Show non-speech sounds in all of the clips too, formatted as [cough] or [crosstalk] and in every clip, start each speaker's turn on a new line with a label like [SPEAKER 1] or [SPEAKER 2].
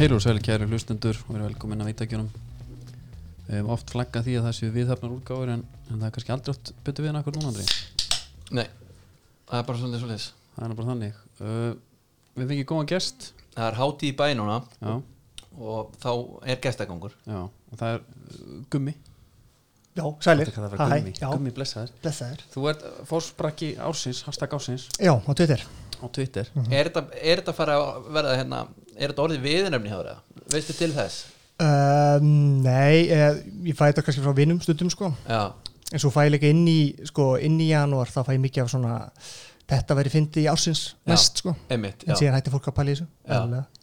[SPEAKER 1] Heil og sæl kæri hlustendur og verið velkomin að veitakjunum Við hefum oft flaggað því að það séu viðhafnar útgáfur en, en það er kannski aldrei oft betur við en akkur núna Andri
[SPEAKER 2] Nei, það er bara svolítið svolítið
[SPEAKER 1] Það er nú bara þannig uh, Við fengið góðan gest
[SPEAKER 2] Það er hátíð í bæ núna
[SPEAKER 1] Já,
[SPEAKER 2] og þá er gestagangur
[SPEAKER 1] já, og það er uh, Gummi
[SPEAKER 3] Já, sælir,
[SPEAKER 1] Þetta kallar að vera
[SPEAKER 3] hæ,
[SPEAKER 1] Gummi,
[SPEAKER 3] já,
[SPEAKER 1] Gummi blessaður
[SPEAKER 3] blessaður
[SPEAKER 1] Þú ert uh, fórsprakki ársins, hashtag ársins
[SPEAKER 3] Já, á Twitter
[SPEAKER 1] á Twitter
[SPEAKER 2] er, þetta, er þetta fara að verða hérna er þetta orðið viðnefni hjá það? Veistu til þess?
[SPEAKER 3] um, Nei, eh, ég fæ þetta kannski frá vinum stundum sko
[SPEAKER 2] Já,
[SPEAKER 3] En svo fæ ég líka inn í, sko, inn í janúar Þá fæ ég mikið af svona Þetta væri fyndi í ársins
[SPEAKER 2] Já.
[SPEAKER 3] næst sko
[SPEAKER 2] einmitt
[SPEAKER 3] En
[SPEAKER 2] já.
[SPEAKER 3] síðan hætti fólk að pæla í þessu
[SPEAKER 2] Já.
[SPEAKER 3] eðlilega.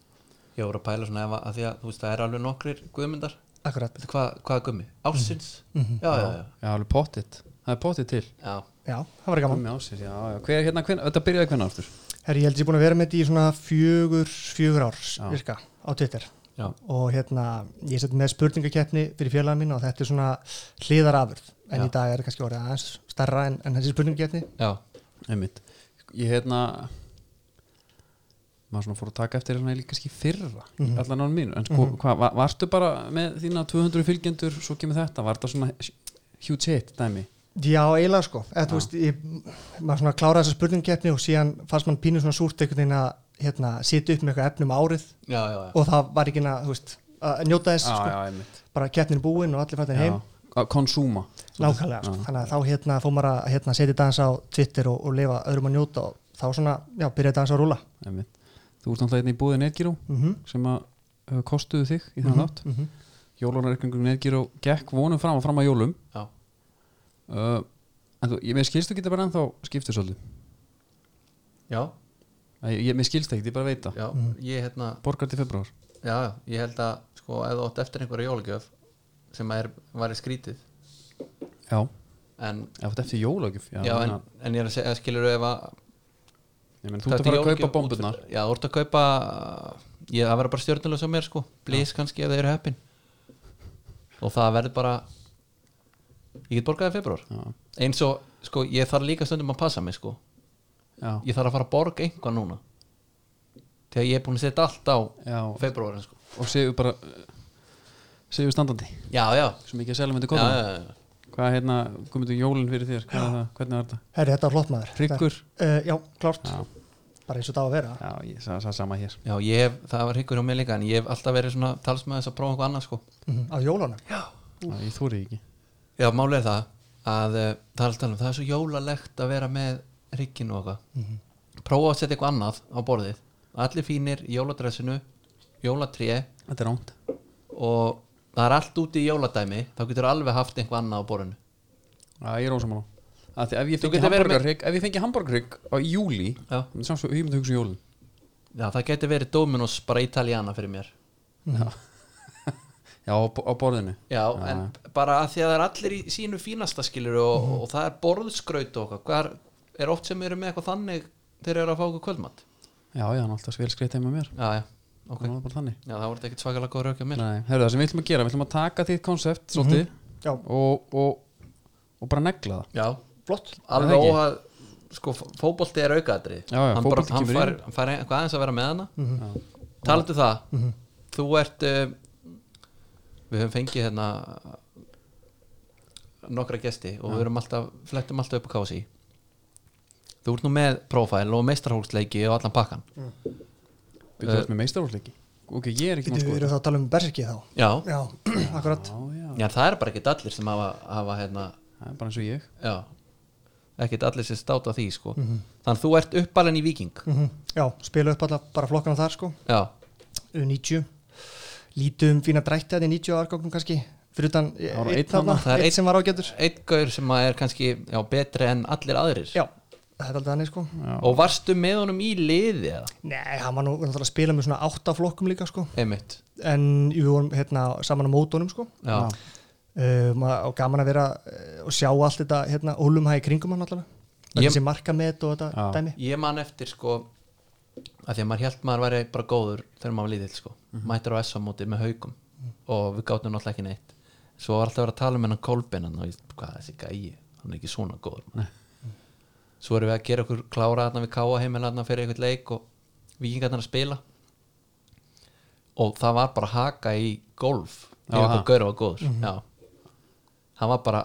[SPEAKER 2] Ég voru að pæla svona ef að, að því að þú veist það er alveg nokkrir guðmyndar
[SPEAKER 3] Akkurat,
[SPEAKER 2] Veitu hvað, hvað er gummi? Ársins?
[SPEAKER 3] Mhm.
[SPEAKER 2] Já, já, já,
[SPEAKER 1] Já, alveg pottitt Það er pottitt til
[SPEAKER 2] já.
[SPEAKER 3] já, það var gaman
[SPEAKER 1] Gummi ársins, já, já Hver, hérna, hven, Þetta byrjaði hvernig aftur?
[SPEAKER 3] Herri, ég held ég búin að vera með þetta í svona fjögur, fjögur ár
[SPEAKER 1] Já.
[SPEAKER 3] virka á Twitter
[SPEAKER 2] Já.
[SPEAKER 3] og hérna, ég seti með spurningakeppni fyrir félaga mín og þetta er svona hliðarafurð en
[SPEAKER 2] Já.
[SPEAKER 3] í dag er það kannski orðið aðeins starra en, en þessi spurningakeppni
[SPEAKER 2] já.
[SPEAKER 1] Einmitt. Ég hérna maður svona fór að taka eftir hérna líka kannski í fyrra mm
[SPEAKER 3] Mhm.
[SPEAKER 1] allan án mínu, en sko, hvað, var, varstu bara með þína 200 fylgjendur, svo kemur þetta var þetta svona huge hit dæmi
[SPEAKER 3] Já, eiginlega sko, eða
[SPEAKER 1] Já.
[SPEAKER 3] þú veist ég, maður svona kláraði þessa spurningakeppni og síðan fannst mann pínu svona súrt einhvern veginn að hérna, sitja upp með eitthvað efnum árið
[SPEAKER 2] já, já, já.
[SPEAKER 3] og það var ekki að, þú veist, að njóta þess sko,
[SPEAKER 1] einmitt
[SPEAKER 3] bara keppnin búin og allir fættin heim
[SPEAKER 1] Að Konsúma
[SPEAKER 3] nákvæmlega, sko.
[SPEAKER 1] Já.
[SPEAKER 3] þannig að þá hérna fór maður að hérna, setja þetta aðeins á Twitter og, og lifa öðrum að njóta og þá svona, já, byrja þetta aðeins að rúla
[SPEAKER 1] einmitt. Þú ert náttúrulega einnig í búið Nergiró
[SPEAKER 3] mm -hmm.
[SPEAKER 1] sem að uh, kostuðu þig í þann átt
[SPEAKER 3] mm -hmm.
[SPEAKER 1] Jólunarreikningum Nergiró gekk vonum fram og fram að jólum
[SPEAKER 2] já.
[SPEAKER 1] uh, en þú, ég, mér skilst þú geta bara ennþá skiptu svolítið
[SPEAKER 2] já.
[SPEAKER 1] Æ, ég, mér skilst ekki, ég bara veit það
[SPEAKER 2] já. Ég, hérna,
[SPEAKER 1] Borgar til februar
[SPEAKER 2] já, já. ég held að sko, ef þú átt eftir einhverja jólagjöf sem er, var í skrítið
[SPEAKER 1] Já,
[SPEAKER 2] en
[SPEAKER 1] Já, þetta er eftir jólagjöf
[SPEAKER 2] Já, en, en ég er að segja, skilur ef að
[SPEAKER 1] ég menn, þú ert að fara að kaupa bombunar
[SPEAKER 2] Já, þú ert að kaupa Ég það verður bara stjórnulega sem mér sko Blís kannski ef þeir eru heppin Og það verður bara Ég get borgaði februar
[SPEAKER 1] já,
[SPEAKER 2] Eins og, sko, ég þarf líka stundum að passa mig sko
[SPEAKER 1] já,
[SPEAKER 2] Ég þarf að fara að borga einhvað núna Þegar ég er búin að setja allt á
[SPEAKER 1] já,
[SPEAKER 2] februarin sko
[SPEAKER 1] og séu bara séu standandi
[SPEAKER 2] Já, já,
[SPEAKER 1] svo mikið að selja myndi
[SPEAKER 2] já,
[SPEAKER 1] koma
[SPEAKER 2] já, já.
[SPEAKER 1] hvað hérna, komið þú jólinn fyrir þér hvað er það, hvernig var þetta,
[SPEAKER 3] Herri, þetta var flott maður
[SPEAKER 1] hryggur
[SPEAKER 3] uh, Já, klárt,
[SPEAKER 1] já,
[SPEAKER 3] bara eins og það á að vera
[SPEAKER 1] já, ég sagði það sama hér
[SPEAKER 2] já, ég hef, það var hyggur hjá mér líka En ég hef alltaf verið svona talsmaður þess að prófa einhvað annað sko
[SPEAKER 3] mm á jólunum
[SPEAKER 1] já, ég þúri ekki,
[SPEAKER 2] Já, málið er það að uh, það er, alltaf talað um, það er svo jólalegt að vera með rikkinu og eitthvað prófa að setja eitthvað annað á borðið allir fínir í jóladressinu jólatré
[SPEAKER 1] þetta er ránt
[SPEAKER 2] og það er allt úti í jóladæmi þá getur alveg haft eitthvað annað á borðinu
[SPEAKER 1] já, ég er ósamála að því ef ég
[SPEAKER 2] Þú
[SPEAKER 1] fengi
[SPEAKER 2] getur verið með-
[SPEAKER 1] hamburgarhrygg ef ég fengi hamburgarhrygg á í júli
[SPEAKER 2] Já,
[SPEAKER 1] sams og ég myndi hugsa um jólinn
[SPEAKER 2] Já það getur verið Dominos bara Italiana fyrir mér
[SPEAKER 1] já, á, bo- á borðinu
[SPEAKER 2] Já, en bara að því að það er allir í sínu fínasta skilur og, og það er borðskraut og eitthvað Hvað er, er oft sem eru með eitthvað þannig þegar þeir eru að fá okkur kvöldmatt
[SPEAKER 1] já, já, hann er alltaf svel skreitt heima hjá mér
[SPEAKER 2] Já, já, ok
[SPEAKER 1] okay. bara þannig
[SPEAKER 2] Já, það voru þetta ekkert svakalega góð raukja mér Mhm.
[SPEAKER 1] Nei, herru, það sem við ætlum að gera, við ætlum að taka þitt konsept svolítið
[SPEAKER 3] Já,
[SPEAKER 1] og, og, og bara negla það
[SPEAKER 2] Já,
[SPEAKER 3] flott
[SPEAKER 1] Er það
[SPEAKER 2] alveg
[SPEAKER 1] ekki?
[SPEAKER 2] óhað sko, fótbolti er aukaðri
[SPEAKER 1] Já, já,
[SPEAKER 2] hann, bara,
[SPEAKER 1] fótbolti
[SPEAKER 2] hann
[SPEAKER 1] kemur
[SPEAKER 2] fær,
[SPEAKER 1] inn.
[SPEAKER 2] hann fær eitthvað aðeins að vera með hana
[SPEAKER 3] mm
[SPEAKER 1] Já.
[SPEAKER 2] talandu það, þú ert uh, við höfum fengið hérna nokkra gesti og við erum alltaf flettum alltaf upp á kási þú ert nú með profile og meistarhólsleiki og allan pakkan
[SPEAKER 1] Byrðu þú ert með meistarhóðleiki? Ok, ég er ekki
[SPEAKER 3] Við
[SPEAKER 1] mann
[SPEAKER 3] erum
[SPEAKER 1] skoður
[SPEAKER 3] þá að tala um berserkið þá
[SPEAKER 2] já,
[SPEAKER 3] Já, [clears throat] akkurat
[SPEAKER 1] Já, já,
[SPEAKER 2] já það er bara ekkert allir sem hafa, hafa hérna,
[SPEAKER 1] það er bara eins og ég
[SPEAKER 2] já ekkert allir sem státa því sko þannig að þú ert uppalinn í viking
[SPEAKER 3] mm Já, spila upp alla bara flokkana þar sko
[SPEAKER 2] já,
[SPEAKER 3] U90 Lítið um fína drætti að í 90 árgangum kannski fyrir utan e-
[SPEAKER 1] Það var
[SPEAKER 3] einn
[SPEAKER 1] einn þarna.
[SPEAKER 3] þarna,
[SPEAKER 2] Það er
[SPEAKER 3] einn
[SPEAKER 2] einn-
[SPEAKER 3] sem var ágætur
[SPEAKER 2] einn gaur sem að er kannski já, betri en allir aðrir
[SPEAKER 3] Já, það er aldrei þannig sko
[SPEAKER 2] og varstu með honum í liði eða?
[SPEAKER 3] Nei, hann var nú náttúrulega að spila með svona átta flokkum líka sko
[SPEAKER 2] einmitt
[SPEAKER 3] en við vorum hérna saman á mótunum sko
[SPEAKER 2] já,
[SPEAKER 3] um, og gaman að vera eh, og sjá allt þetta hérna ólumhæ í kringum hann allavega
[SPEAKER 2] Ég-
[SPEAKER 3] þessi marka með og þetta
[SPEAKER 1] Já.
[SPEAKER 3] dæmi
[SPEAKER 2] ég man eftir sko að því að maður held maður væri bara góður þegar maður var lítill sko, mættir á S-móti með haukum og við gátum náttúrulega ekki neitt svo var alltaf að vera að tala um hennan kolbinan og ég, hvað þessi gæi, hann er ekki svona góður man. svo erum við að gera okkur klára þarna við káa heiminn þarna fyrir eitthvað leik og vikingarnar að spila og það var bara haka í golf ef
[SPEAKER 1] Aha.
[SPEAKER 2] einhver gaur var góður já. hann var bara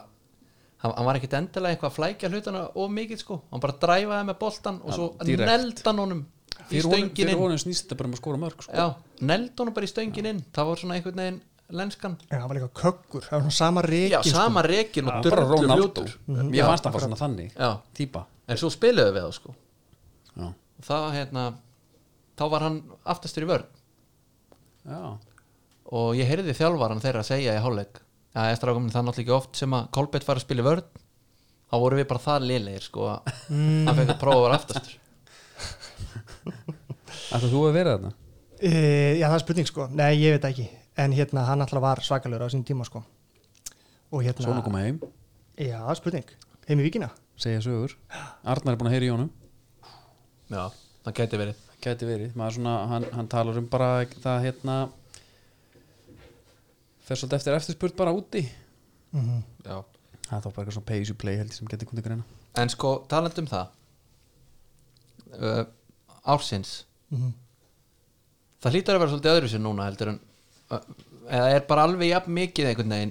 [SPEAKER 2] hann, hann var ekkit endilega eitthvað að flækja hlutana of mikið sko, hann bara dræfaði með boltan og svo
[SPEAKER 4] direkt.
[SPEAKER 2] neldan honum í
[SPEAKER 1] fyrir honum,
[SPEAKER 2] stöngin
[SPEAKER 1] fyrir
[SPEAKER 2] inn
[SPEAKER 1] honum snýst þetta bara um að skora mörg sko.
[SPEAKER 2] já, neld honum bara í stöngin inn það var svona einhvern veginn lenskan
[SPEAKER 3] en hann var líka kökkur, það var svona sama sko. reikin
[SPEAKER 2] já, sama rekin og
[SPEAKER 1] sko. bara
[SPEAKER 2] drullu
[SPEAKER 1] Ronaldo,
[SPEAKER 2] fljótur
[SPEAKER 1] mér fannst það bara svona þannig
[SPEAKER 2] já,
[SPEAKER 1] típa
[SPEAKER 2] en svo spiluðu við þá sko
[SPEAKER 1] já.
[SPEAKER 2] og það hérna þá var hann aftastur í vörn
[SPEAKER 1] Já.
[SPEAKER 2] og ég heyrði þjálfaran þeirra að segja í hálfleik að eftir ákominu það er náttúrulega ekki oft sem að Kolbett var að spila í vörn þá voru við bara það lélegir sko
[SPEAKER 1] [laughs]
[SPEAKER 2] að hann fengur prófa að vera aftastur
[SPEAKER 1] Ætlar þú að vera þarna?
[SPEAKER 3] Uh, já, það er spurning sko, nei ég veit það ekki en hérna hann alltaf var svakalur á sín tíma sko og hérna
[SPEAKER 1] Svona koma heim,
[SPEAKER 3] Já, það er spurning, heim í vikina
[SPEAKER 1] segja sögur Arnar er búin að heyra í honum
[SPEAKER 2] já, það gæti verið
[SPEAKER 1] Gæti verið, maður svona, hann, hann talar um bara það hérna fer svolítið eftir eftirspurt bara úti
[SPEAKER 2] já.
[SPEAKER 1] það er þá bara eitthvað svona pay as you play held ég sem geti kundi greina
[SPEAKER 2] en sko talandi um það uh, ársins Mhm. það hlýtar að vera svolítið öðru sér núna heldur en uh, eða er bara alveg jafn mikið einhvern veginn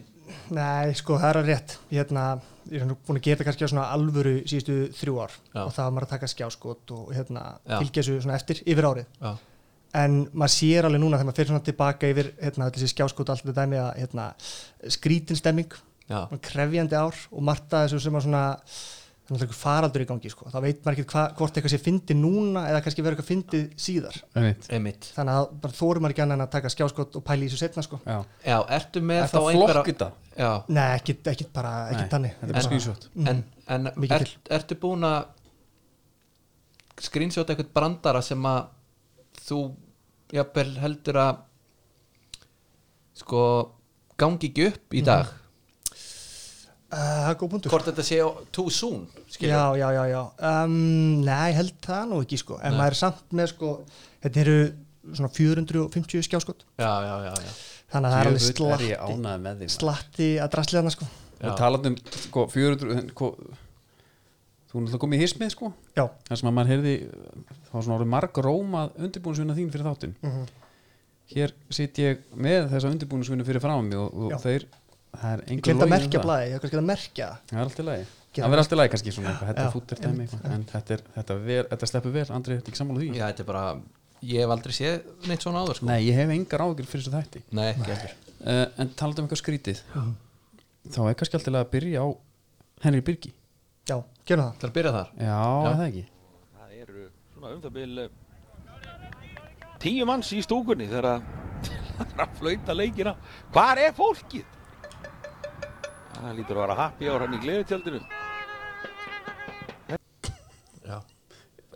[SPEAKER 3] Nei, sko, það er alveg rétt hérna, ég er nú búin að gera þetta kannski á svona alvöru síðustu þrjú ár
[SPEAKER 2] Já.
[SPEAKER 3] og það var maður að taka skjáskot og hérna
[SPEAKER 2] Já.
[SPEAKER 3] fylgja þessu svona eftir yfir árið
[SPEAKER 2] já,
[SPEAKER 3] en maður sér alveg núna þegar maður fyrir svona tilbaka yfir hérna, öll þessi skjáskot og allt þetta dæmi að hérna, skrítin stemming
[SPEAKER 2] já,
[SPEAKER 3] svona krefjandi ár og margt að þessu sem að svona það er náttúrulega einhver faraldur í gangi sko. þá veit maður ekki hva, hvort eitthvað sé fyndi núna eða kannski verður eitthvað fyndi síðar
[SPEAKER 1] Einmitt.
[SPEAKER 2] einmitt
[SPEAKER 3] þannig að bara þórum maður ekki annað en að taka skjáskott og pæla í þessu setna sko.
[SPEAKER 1] Já,
[SPEAKER 2] já, ertu með
[SPEAKER 1] þetta
[SPEAKER 2] þá
[SPEAKER 1] flokk
[SPEAKER 2] einhverja
[SPEAKER 1] þetta
[SPEAKER 2] já,
[SPEAKER 3] nei, ekki, ekki bara, ekki
[SPEAKER 1] Nei,
[SPEAKER 3] tannig
[SPEAKER 1] þetta er bara
[SPEAKER 3] Bara- Mm.
[SPEAKER 1] screenshot.
[SPEAKER 2] en, en
[SPEAKER 3] Mhm. Mikið
[SPEAKER 2] er, ertu búin að skrýnsjóta eitthvað brandara sem að þú jafnvel heldur að sko gangi ekki upp í dag
[SPEAKER 3] Uh, það er góð punktur
[SPEAKER 2] hvort þetta sé too soon skilur.
[SPEAKER 3] já, já, já, já um, nei, held það nú ekki sko. en maður er samt með sko, þetta eru svona 450 skjáskott
[SPEAKER 2] já, já, já, já.
[SPEAKER 3] þannig að það er alveg
[SPEAKER 1] Djöfull er ég
[SPEAKER 3] slatti
[SPEAKER 1] ánæði með því
[SPEAKER 3] slatti að drasli þarna sko.
[SPEAKER 2] Já.
[SPEAKER 1] og talandi um sko, 400 en, ko, þú er náttúrulega komið í hismið sko
[SPEAKER 3] já,
[SPEAKER 1] þar sem að maður heyrði þá var svona orðið marg róma undirbúinsvinna þín fyrir þáttinn
[SPEAKER 3] mhm.
[SPEAKER 1] hér sit ég með þessa undirbúinsvinna fyrir frá mig og,
[SPEAKER 3] Já.
[SPEAKER 1] og þeir það er
[SPEAKER 3] ég
[SPEAKER 1] engu
[SPEAKER 3] glemt að
[SPEAKER 1] logið um
[SPEAKER 3] merkja
[SPEAKER 1] það.
[SPEAKER 3] blæði, ég hef kannski að merkja það.
[SPEAKER 1] það er allt í lagi
[SPEAKER 3] Gera
[SPEAKER 1] það verður allt í lagi kannski svona eitthvað, þetta
[SPEAKER 3] Já,
[SPEAKER 1] er fúttir dæmi eitthvað, en þetta, er, þetta, ver, þetta sleppur vel, Andri, þetta er ekki sammála því
[SPEAKER 2] já, þetta er bara ég hef aldrei séð neitt svona áður sko.
[SPEAKER 1] nei, ég hef engar ágjur fyrir þessu þætti
[SPEAKER 2] nei, ekki heldur
[SPEAKER 1] uh, en talað um eitthvað skrítið þá er kannski allt í lagi að byrja á Henry Birgi,
[SPEAKER 3] já, gerum
[SPEAKER 2] Það
[SPEAKER 3] það
[SPEAKER 2] er að byrja þar
[SPEAKER 1] já, já. það ekki
[SPEAKER 5] Það eru svona um það bil eh, tíu manns í stúkunni þegar að- [laughs] þegar að flauta leikina. Hvar er fólkið? Það lítur að vera happy ára hann í gleðutjaldinu.
[SPEAKER 2] já.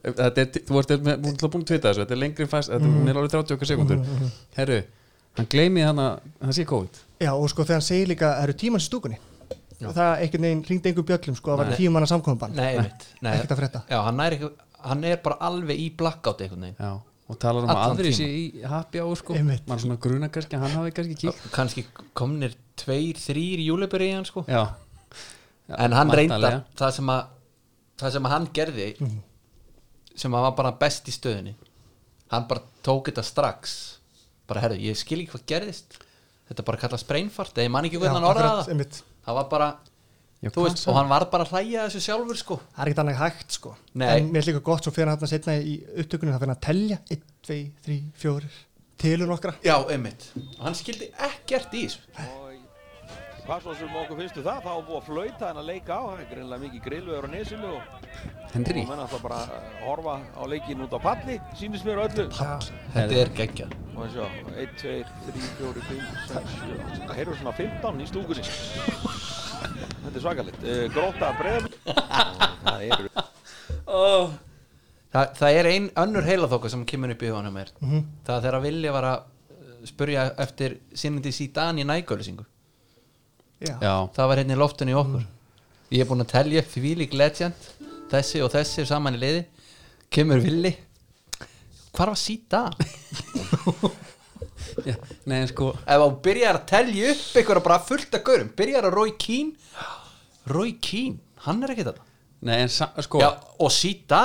[SPEAKER 1] þetta er, þú ert með, búin til að búin að tvita þessu þetta er lengri fæst, þetta er meðal árið 30 okkar sekundur herru, hann gleymi hann að hann sé COVID
[SPEAKER 3] Já og sko þegar hann segir líka það eru tímans í stúkunni og það einhvern veginn ringdi einhver bjöllum sko að var tíum manna samkominbann
[SPEAKER 2] nei, einmitt nei,
[SPEAKER 3] Ekkert að frétta.
[SPEAKER 2] já, hann, er ekki, hann er bara alveg í blackout einhvern veginn
[SPEAKER 1] já, og talar um að
[SPEAKER 2] Allan
[SPEAKER 1] aðri
[SPEAKER 2] tímann.
[SPEAKER 1] sé í happy hour sko,
[SPEAKER 3] Einmitt.
[SPEAKER 1] maður svona gruna kannski að hann hafi kannski kíkt
[SPEAKER 2] kannski komnir tveir, þrýr júlibur í hann sko
[SPEAKER 1] já,
[SPEAKER 2] en hann reyndar
[SPEAKER 1] væntanlega.
[SPEAKER 2] það sem að það sem að hann gerði
[SPEAKER 3] Mhm.
[SPEAKER 2] sem að var bara best í stöðinni hann bara tók þetta strax bara herðu, ég skil ekki hvað gerðist þetta er bara kallað spreinfart eða ég man ekki hvernig hann orðaði það
[SPEAKER 3] einmitt.
[SPEAKER 2] það var bara,
[SPEAKER 1] Já,
[SPEAKER 2] þú veist,
[SPEAKER 1] hvað
[SPEAKER 2] og hann var bara að hlæja þessu sjálfur sko
[SPEAKER 3] Það er ekkert annað hægt sko
[SPEAKER 2] Nei.
[SPEAKER 3] En mér er líka gott svo fyrir hann að setna í upptökunum það fyrir hann að telja 1, 2, 3, 4 tilur nokkra
[SPEAKER 2] já, einmitt, og hann skildi ekkert í þessu
[SPEAKER 5] Og hvað svo sem okkur finnstu það, þá er búið að flauta hann að leika á. Það er greinlega mikið grillveður á nesinu og
[SPEAKER 1] Henry,
[SPEAKER 5] og menn alltaf bara að horfa á leikin út á palli, sínist mér á öllu.
[SPEAKER 2] þetta er geggja
[SPEAKER 5] Og sjá, 1, 2, 3, 4, 5, 6, 7, 8, það heyrður svona 15 í stúkunni. [laughs] Þetta er svakalegt. Uh, gróta bregðum. það eru
[SPEAKER 2] Þa, það er ein önnur heilaþóka sem kemur upp í huganum mér það er þegar Vilja var að uh, spurja eftir sinnindi síðan í nægölusingu
[SPEAKER 3] Já,
[SPEAKER 1] já,
[SPEAKER 2] það var hérna í loftinu í okkur ég er búin að telja upp því lík legend þessi og þessi eru saman í liði kemur villi hvar var síta?
[SPEAKER 1] já, nei en sko
[SPEAKER 2] [laughs] ef þú byrjar að telja upp ykkur bara fullt af gaurum, byrjar að Rói Kín Rói Kín, hann er ekki þetta
[SPEAKER 1] nei en sa- sko,
[SPEAKER 2] Já, og síta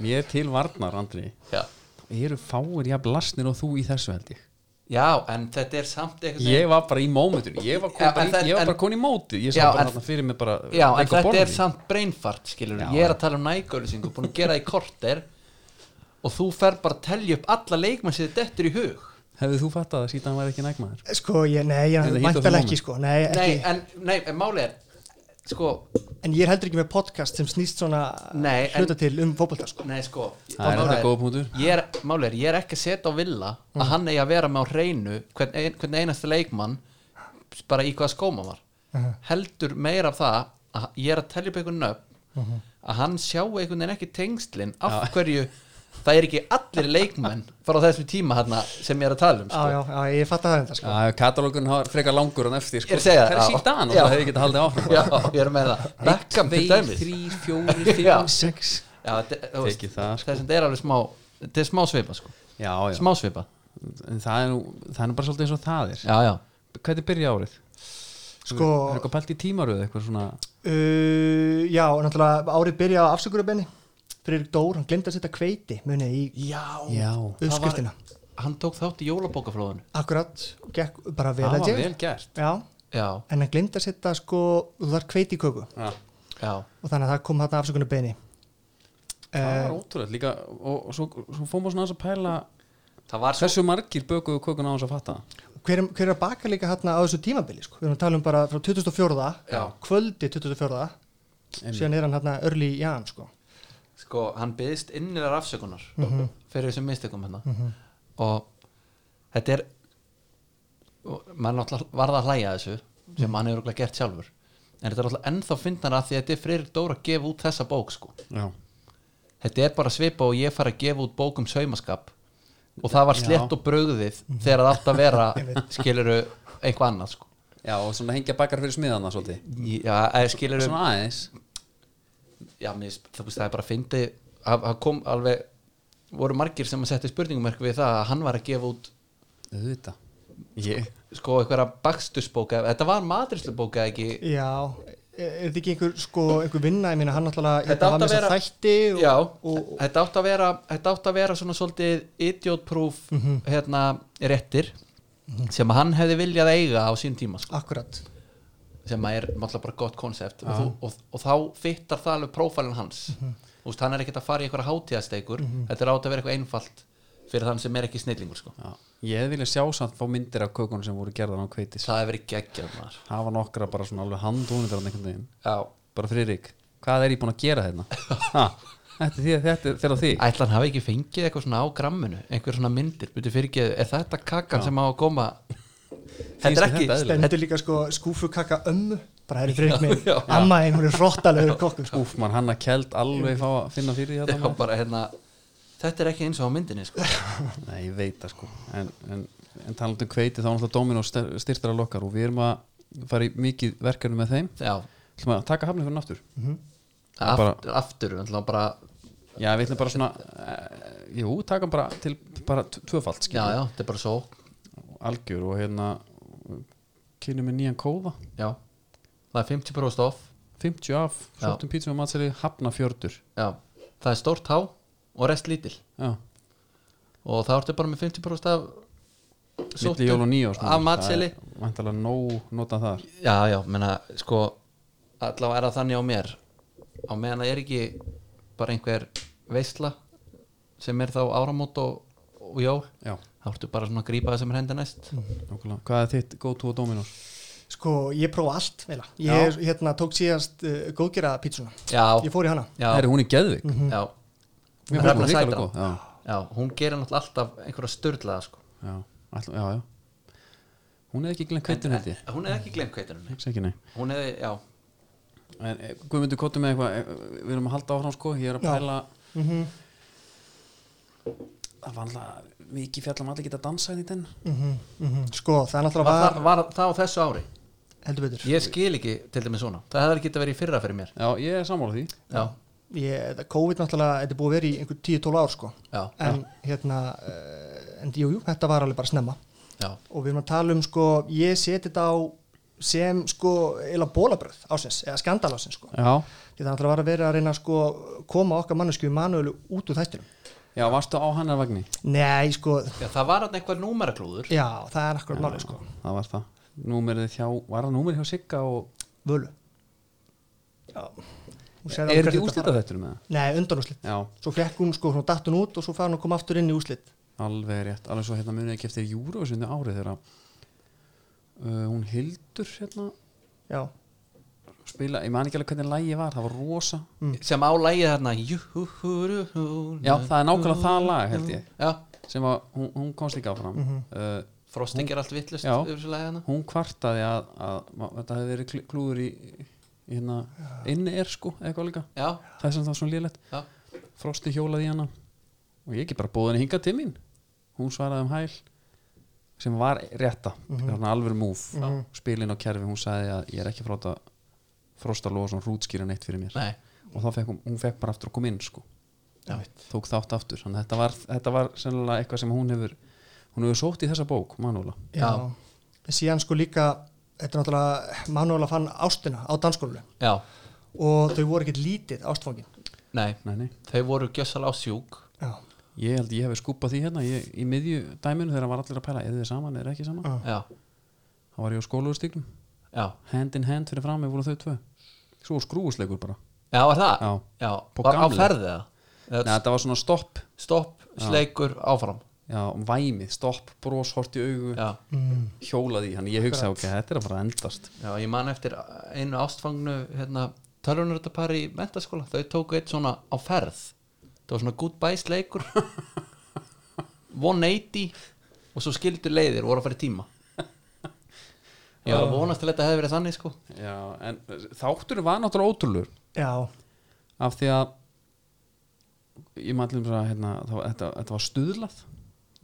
[SPEAKER 1] mér til varnar Andri
[SPEAKER 2] já.
[SPEAKER 1] eru fáir jafn lasnir og þú í þessu held ég
[SPEAKER 2] Já, en þetta er samt eitthvað
[SPEAKER 1] ég var bara í mómentinu ég var
[SPEAKER 2] Já,
[SPEAKER 1] komin bara,
[SPEAKER 2] en
[SPEAKER 1] í-
[SPEAKER 2] það-
[SPEAKER 1] ég var
[SPEAKER 2] en-
[SPEAKER 1] bara komin í móti ég sá
[SPEAKER 2] Já,
[SPEAKER 1] bara
[SPEAKER 2] en-
[SPEAKER 1] þarna fyrir mig bara
[SPEAKER 2] Já,
[SPEAKER 1] leik
[SPEAKER 2] en
[SPEAKER 1] á
[SPEAKER 2] þetta er
[SPEAKER 1] borðinu.
[SPEAKER 2] samt brainfart skilur
[SPEAKER 1] Já,
[SPEAKER 2] Ég er að tala um nægaulisingu, búin að gera það í korter Og þú fer bara að telja upp alla leikmenn sem þið dettur í hug
[SPEAKER 1] hefðu þú fattað að síðan væri ekki nægmaður
[SPEAKER 3] sko, ég, nei,
[SPEAKER 1] Þetta
[SPEAKER 3] ég
[SPEAKER 1] hitt á þeim
[SPEAKER 3] væntalega
[SPEAKER 1] moment.
[SPEAKER 3] ekki sko, nei,
[SPEAKER 1] Eh,
[SPEAKER 2] Nei,
[SPEAKER 3] ekki,
[SPEAKER 2] en, nei, en máli er Sko,
[SPEAKER 3] en ég er heldur ekki með podcast sem snýst svona
[SPEAKER 2] Nei, en-
[SPEAKER 3] hluta til um fótbolta sko.
[SPEAKER 2] nei, sko
[SPEAKER 1] það er
[SPEAKER 2] málið
[SPEAKER 1] þetta góða punktur Mm.
[SPEAKER 2] ég er, máli er, ég er ekki að setja á villa að hann eigi að vera með á hreinu hvern, ein, hvern einasta leikmann bara í hvaða skóma var
[SPEAKER 1] Mhm.
[SPEAKER 2] heldur meira af það að ég er að telja upp einhvern nöfn
[SPEAKER 1] Mhm.
[SPEAKER 2] að hann sjá einhvern veginn ekki tengslin af hverju það er ekki allir leikmenn frá þessum tíma hana, sem ég er að tala um
[SPEAKER 3] já, já,
[SPEAKER 2] sko.
[SPEAKER 3] já, ég fatt að það enda sko.
[SPEAKER 1] Já, katalógun har frekar langur en eftir sko.
[SPEAKER 2] Ég er að segja
[SPEAKER 1] það er
[SPEAKER 2] það, já.
[SPEAKER 1] síðan og
[SPEAKER 2] Já.
[SPEAKER 1] það hefði getað haldið
[SPEAKER 2] [laughs]
[SPEAKER 1] áfram
[SPEAKER 2] já, ég er með það Beckham til dæmis
[SPEAKER 1] 3, 4,
[SPEAKER 2] [laughs] Já.
[SPEAKER 1] 5, 6
[SPEAKER 2] já, þe- þú veist,
[SPEAKER 1] Tekið það, sko.
[SPEAKER 2] þess að þetta er alveg smá þetta er smá svipa sko.
[SPEAKER 1] Já, já,
[SPEAKER 2] smá svipa
[SPEAKER 1] en það er, nú, það er nú bara svolítið eins og það er
[SPEAKER 2] já, já.
[SPEAKER 1] Hvernig byrja árið?
[SPEAKER 3] Sko,
[SPEAKER 1] Er eitthvað pælt í tímaröð eitthvað svona
[SPEAKER 3] uh, já, og náttúrulega árið byrja á afsökurubenni Friðrik Dór, hann glemdi að setja kveiti munið í
[SPEAKER 1] Já,
[SPEAKER 3] uppskriftina
[SPEAKER 2] hann tók þátt í jólabókaflóðinu
[SPEAKER 3] akkurat, og gekk bara vel
[SPEAKER 1] það
[SPEAKER 3] að
[SPEAKER 1] var
[SPEAKER 3] ég
[SPEAKER 1] vel gert
[SPEAKER 3] já,
[SPEAKER 2] já,
[SPEAKER 3] en hann glemdi að setja sko, þú þarf kveiti í köku
[SPEAKER 1] Já.
[SPEAKER 2] já
[SPEAKER 3] og þannig að það kom þarna afsökurubenni
[SPEAKER 1] Það
[SPEAKER 3] Eh,
[SPEAKER 1] var ótrúlega líka og, og svo, svo fórum við svona aðeins að pæla
[SPEAKER 2] Það var svo
[SPEAKER 1] hversu margir bökuðu kökun á þess að fatta það?
[SPEAKER 3] hver, hver er að baka líka hérna á þessu tímabili sko? við erum að tala um bara frá 2004
[SPEAKER 2] Já.
[SPEAKER 3] kvöldi 2004
[SPEAKER 1] Einmitt.
[SPEAKER 3] síðan er hann hérna örli í jan sko.
[SPEAKER 2] Sko, hann byggðist innilegar afsökunar Fyrir þessum mistökum hérna Og þetta er og Maður náttúrulega varð að hlæja að þessu Sem hann hefur okkur gert sjálfur En þetta er alltaf ennþá fyndnara af Því að þetta er Freyrik Dóra að gefa út þessa bók sko.
[SPEAKER 1] Já,
[SPEAKER 2] Þetta er bara svipa og ég fara að gefa út bók um saumaskap Og það var slett
[SPEAKER 1] Já.
[SPEAKER 2] og brugðið Þegar það átt að vera Skiluru eitthvað annað sko.
[SPEAKER 1] Já og svona hengja bakar fyrir smiðana svolítið
[SPEAKER 2] Já, eða skiluru
[SPEAKER 1] Svona aðeins
[SPEAKER 2] já, mér, finnst- þú veist, það er bara að fyndi að að kom alveg voru margir sem að setja spurningumerk við það að hann var að gefa út
[SPEAKER 1] Þetta Ég
[SPEAKER 2] sko einhverja bakstusbóka þetta var matristlubóka ekki
[SPEAKER 3] já, er er þetta ekki einhver, sko, einhver vinna ég meina hann náttúrulega
[SPEAKER 2] Þetta átti
[SPEAKER 3] hérna, var með
[SPEAKER 2] að
[SPEAKER 3] þess að þætti og,
[SPEAKER 2] já,
[SPEAKER 3] og, og,
[SPEAKER 2] þetta átt að vera þetta átt að vera svona svolítið idiotproof
[SPEAKER 3] Mhm.
[SPEAKER 2] hérna réttir sem að hann hefði viljað eiga á sín tíma sko,
[SPEAKER 3] akkurat
[SPEAKER 2] sem að er náttúrulega bara gott konsept og, þú- og, og þá fittar það alveg prófælun hans þú veist, hann er ekkert að fara í einhverja hátíðasteikur þetta er átt að vera eitthvað einfalt fyrir þann sem er ekki snillingur sko.
[SPEAKER 1] Já. Ég vilja sjá samt fá myndir af kökunum sem voru gerðan á kveitis
[SPEAKER 2] það hefur ekki ekki að maður
[SPEAKER 1] Það var nokkra bara svona alveg handónið þarna einhvern veginn
[SPEAKER 2] já.
[SPEAKER 1] Bara Friðrik, hvað er ég búin að gera hérna? Ha, þetta er því þetta er þegar á því
[SPEAKER 2] ætla hann hafi ekki fengið eitthvað svona á gramminu einhver svona myndir, byrju fyrir ekki er þetta kakan sem á að koma þetta er
[SPEAKER 1] Finnst
[SPEAKER 2] ekki
[SPEAKER 1] þér þetta
[SPEAKER 2] [laughs]
[SPEAKER 3] stendur líka sko skúfukaka ömmu bara er fyrir mig,
[SPEAKER 2] Já, já.
[SPEAKER 3] amma einn hún er hróttalegur kokkur sko.
[SPEAKER 1] Úf, mann hann að keld alveg fá að finna fyrir
[SPEAKER 2] þetta
[SPEAKER 1] þetta
[SPEAKER 2] er bara hérna þetta er ekki eins og á myndinni [laughs] sko.
[SPEAKER 1] Nei, ég veit það sko En, en, en talandi um kveiti þá er náttúrulega Dominos styrtar að lokkar og við erum að fara í mikið verkefni með þeim
[SPEAKER 2] já,
[SPEAKER 1] ætlum að taka hafnið fyrir aftur
[SPEAKER 2] aft,
[SPEAKER 1] Bara-
[SPEAKER 2] aftur náttúrulega bara,
[SPEAKER 1] Já, við ætlum bara svona uh, Jú, taka hann bara til bara t- tvöfalt
[SPEAKER 2] já,
[SPEAKER 1] skilur,
[SPEAKER 2] já, þetta er bara svo
[SPEAKER 1] algjör og hérna kynum við nýjan kóða
[SPEAKER 2] já, það er 50% off
[SPEAKER 1] 50 af,
[SPEAKER 2] Já.
[SPEAKER 1] sóttum pítsum og matseli hafna fjördur
[SPEAKER 2] já, það er stórt há og rest lítil
[SPEAKER 1] Já,
[SPEAKER 2] og það ertu bara með 50% af
[SPEAKER 1] milli jól og nýjós
[SPEAKER 2] af matseli
[SPEAKER 1] Væntalega nóg nota þar
[SPEAKER 2] Já, já, menna, sko allavega er það þannig á mér á meðan það er ekki bara einhver veisla sem er þá áramót og, og jól
[SPEAKER 1] Já,
[SPEAKER 2] þá ertu bara svona að grípa það sem er henda næst
[SPEAKER 1] Mhm. nokkulega Hvað er þitt go to og Dominos?
[SPEAKER 3] sko ég prófa allt meila. ég
[SPEAKER 1] Já.
[SPEAKER 3] er, hérna, tók síðast uh, góðgera pítsuna
[SPEAKER 2] Já,
[SPEAKER 3] ég fór í hana
[SPEAKER 2] já,
[SPEAKER 1] Það er hún Mhm. í Geðvik
[SPEAKER 2] já
[SPEAKER 1] Mér
[SPEAKER 2] Hrefna
[SPEAKER 1] finnst hún
[SPEAKER 2] Sætran.
[SPEAKER 1] hrikalega góð Já,
[SPEAKER 2] Já, hún gerir náttúrulega alltaf einhverja störlaða sko.
[SPEAKER 1] já, ætlum, já, já Hún hefði ekki glemt kveitin held ég
[SPEAKER 2] En- en Hún hefði ekki glemt kveitunum
[SPEAKER 1] Hugsa ekki nei
[SPEAKER 2] Hún hefði, já,
[SPEAKER 1] En eh, Guðmundur kottu með eitthvað eh, Við erum að halda áfram sko Ég er að
[SPEAKER 3] Já.
[SPEAKER 1] pæla
[SPEAKER 3] Mhm,
[SPEAKER 1] Það var alltaf Mikið fjallum allir geta dansað í den
[SPEAKER 3] sko það náttúrulega
[SPEAKER 2] var,
[SPEAKER 3] var,
[SPEAKER 2] það, var það á þessu ári
[SPEAKER 3] heldur betur
[SPEAKER 2] Ég skil ekki til dæmis svona Það hefði ekki að vera í fyrra fyrir mér
[SPEAKER 1] Já, ég er sammála því
[SPEAKER 2] Já,
[SPEAKER 3] ég, þetta COVID náttúrulega, þetta er búið að vera í einhver 10-12 ár sko
[SPEAKER 2] já,
[SPEAKER 3] en hérna, uh, en jújú, jú, þetta var alveg bara snemma
[SPEAKER 2] já,
[SPEAKER 3] og við erum að tala um sko, ég seti þetta á sem sko, eila bólabröð ásins, eða skandal ásins sko
[SPEAKER 1] Já,
[SPEAKER 3] því það náttúrulega var að vera að reyna að sko koma okkar mannesku í manuölu út úr þættinum
[SPEAKER 1] Já, varstu á hannar vagni?
[SPEAKER 3] Nei, sko,
[SPEAKER 2] Já, það var hann eitthvað númeraklúður
[SPEAKER 3] já, það er akkurat málið sko
[SPEAKER 1] Það var það. Númerið hjá, var það númerið hjá Sigga og
[SPEAKER 3] Völu Já Hún sagði
[SPEAKER 1] er
[SPEAKER 3] alveg
[SPEAKER 1] ekki
[SPEAKER 3] hvert þetta
[SPEAKER 1] úslita
[SPEAKER 3] fara.
[SPEAKER 1] þetta með það?
[SPEAKER 3] Nei, undanúslit
[SPEAKER 1] Já,
[SPEAKER 3] Svo fekk hún sko, hún datt hún út og svo fær hún að koma aftur inn í úslit
[SPEAKER 1] alveg rétt. Alveg svo hérna munið ekki eftir júruvísundu árið þegar að, uh, hún hildur hérna
[SPEAKER 3] Já,
[SPEAKER 1] spila, ég man ekki alveg hvernig lægi var, það var rosa.
[SPEAKER 2] sem á lægið þarna Júhúhúrú
[SPEAKER 1] Mm. Já,
[SPEAKER 3] Mhm.
[SPEAKER 1] það er nákvæmlega það lag held ég
[SPEAKER 2] Já,
[SPEAKER 1] sem að hún, hún komst ekki áfram
[SPEAKER 3] Mhm.
[SPEAKER 1] uh,
[SPEAKER 2] Frosting er allt vittlust
[SPEAKER 1] Já.
[SPEAKER 2] yfir þessu lægið hana
[SPEAKER 1] hún kvartaði að, að, að þetta hefði verið klú- klúður í, í hérna, inni er sko eða eitthvað líka,
[SPEAKER 2] Já,
[SPEAKER 1] það er sem það var svona lélegt
[SPEAKER 2] já,
[SPEAKER 1] Frosti hjólaði í hana og ég ekki bara bóð henni hingað til mín hún svaraði um hæl sem var rétta, mm -hmm. alveg múf mm -hmm. spilin á kerfi, hún sagði að ég er ekki frá þetta Frosta Lóðsson rútskýra neitt fyrir mér
[SPEAKER 2] nei
[SPEAKER 1] og þá fekk hún, hún fekk bara aftur að koma inn sko
[SPEAKER 2] Já.
[SPEAKER 1] tók þátt aftur, þannig að þetta var, þetta var sennilega eitthvað sem hún hefur hún hefur sótt í þessa bók, Manúla
[SPEAKER 3] já
[SPEAKER 2] Já.
[SPEAKER 3] En síðan sko líka Þetta er náttúrulega Manuela fann ástina á danskólu
[SPEAKER 2] Já,
[SPEAKER 3] og þau voru ekkert lítið ástfangin
[SPEAKER 2] nei,
[SPEAKER 1] nei, nei.
[SPEAKER 2] þau voru gjössalega á sjúk
[SPEAKER 3] Já,
[SPEAKER 1] ég held ég hefði skúpað því hérna ég, í miðju dæminu þegar var allir að pæla er þið saman, er ekki saman,
[SPEAKER 3] Já.
[SPEAKER 2] Já,
[SPEAKER 1] þá var ég á skóluðurstíknum
[SPEAKER 2] já,
[SPEAKER 1] hand in hand fyrir fram, ég voru þau tvö svo skrúusleikur bara
[SPEAKER 2] já, var það?
[SPEAKER 1] Já.
[SPEAKER 2] já.
[SPEAKER 1] På
[SPEAKER 2] var á
[SPEAKER 1] gamlu.
[SPEAKER 2] ferðið það?
[SPEAKER 1] Nei, Mm. þetta var svona stopp,
[SPEAKER 2] Stopp, sleikur, áfram
[SPEAKER 1] já, væmið stopp, bros, hort í augu,
[SPEAKER 2] Já,
[SPEAKER 1] hjólaði í hann ég hugsaði, ok, þetta er að fara að endast
[SPEAKER 2] já, ég man eftir einu ástfangnu hérna, tölvunarutapari í mentaskóla þau tóku eitt svona á ferð það var svona goodbye [laughs] sleikur 180 og svo skildu leiðir og voru að fara í tíma ég var að vonast til að þetta hefði verið þannig sko
[SPEAKER 1] já, en þáttur var náttúrulega ótrúlur
[SPEAKER 3] já,
[SPEAKER 1] af því að ég maður allir um að hérna, það var- þetta, þetta var stuðlað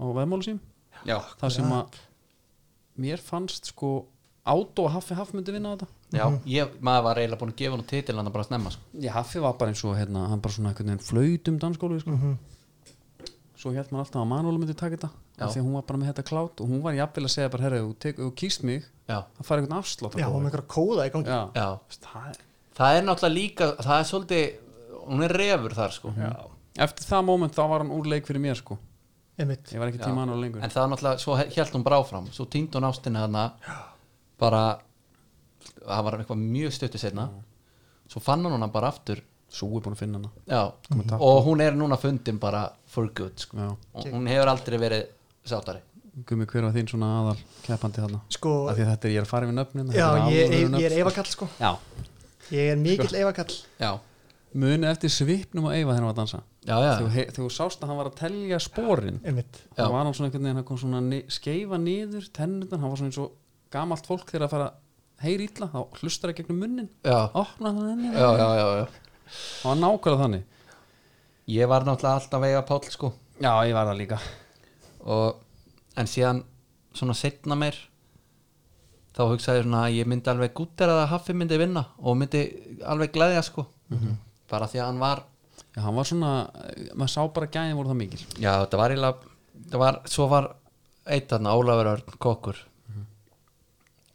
[SPEAKER 1] á veðmálu sím
[SPEAKER 2] Já,
[SPEAKER 1] það sem að mér fannst sko Átó og Haffi Haff myndi vinna þetta
[SPEAKER 2] já ég, maður var eiginlega búin að gefa nú titil hann bara snemma sko
[SPEAKER 1] Já, Haffi var bara eins og hérna, hann bara svona einhvern veginn flaut um danskólu sko.
[SPEAKER 3] Mhm.
[SPEAKER 1] svo held maður alltaf að Manóla myndi taka þetta
[SPEAKER 2] Já.
[SPEAKER 1] af því að hún var bara með þetta klátt og hún var jafnvel að segja bara, herra, ef þú tek- ef þú kýst mig
[SPEAKER 2] Já,
[SPEAKER 1] það fær einhvern afslátt
[SPEAKER 3] já, og með einhverja kóða í gangi
[SPEAKER 1] já.
[SPEAKER 2] já
[SPEAKER 1] Það er-
[SPEAKER 2] það er náttúrulega líka, það er svolítið hún er refur þar sko já.
[SPEAKER 1] eftir það moment þá var hann úr leik fyrir mér sko
[SPEAKER 3] einmitt,
[SPEAKER 1] ég var ekki tíma Manóla lengur
[SPEAKER 2] en það er náttúrulega, svo held hún bara áfram svo týnd hún ástinni þarna bara, það var eitthvað mjög stöttu setna svo fann hún hana bara aftur
[SPEAKER 1] Sú er búin að finna hana
[SPEAKER 2] já, og hún er núna fundin bara for good sko.
[SPEAKER 1] Já.
[SPEAKER 2] og hún hefur aldrei verið sátari
[SPEAKER 1] Gumi, hver var þín svona aðal keppandi þarna?
[SPEAKER 3] Sko-
[SPEAKER 1] Af því að þetta er, ég er að fara við nöfnin
[SPEAKER 3] já, ég, ég, ég er eifakall sko
[SPEAKER 1] Já, Sko.
[SPEAKER 3] ég er mikill eifakall
[SPEAKER 2] já,
[SPEAKER 1] muni eftir svipnum og Eyva þegar hann var að dansa
[SPEAKER 2] já, já,
[SPEAKER 1] Þegar he- þegar þú sást að hann var að telja sporin
[SPEAKER 3] einmitt,
[SPEAKER 1] þá
[SPEAKER 2] Já.
[SPEAKER 1] var hann svona einhvern veginn hann kom svona ni skeifa niður tennurnar, hann var svona eins og gamalt fólk þegar að fara að heyra illa, þá hlustar það gegnum munnin
[SPEAKER 2] já,
[SPEAKER 1] opna það henni,
[SPEAKER 2] já, já, já, já.
[SPEAKER 1] það var nákvæmlega þannig
[SPEAKER 2] ég var náttúrulega alltaf vega Páll sko
[SPEAKER 1] Já, ég var það líka
[SPEAKER 2] og, en síðan svona setna mér þá hugsaði ég svona að ég myndi alveg gúttir að Haffi myndi vinna og myndi alveg glæðja sko
[SPEAKER 1] Mhm.
[SPEAKER 2] bara því að hann var
[SPEAKER 1] Já, hann var svona, eh, maður sá bara gæðin voru það mikil
[SPEAKER 2] Já, þetta var eiginlega þetta var, svo var eitt þarna Ólafur Örn Kokkur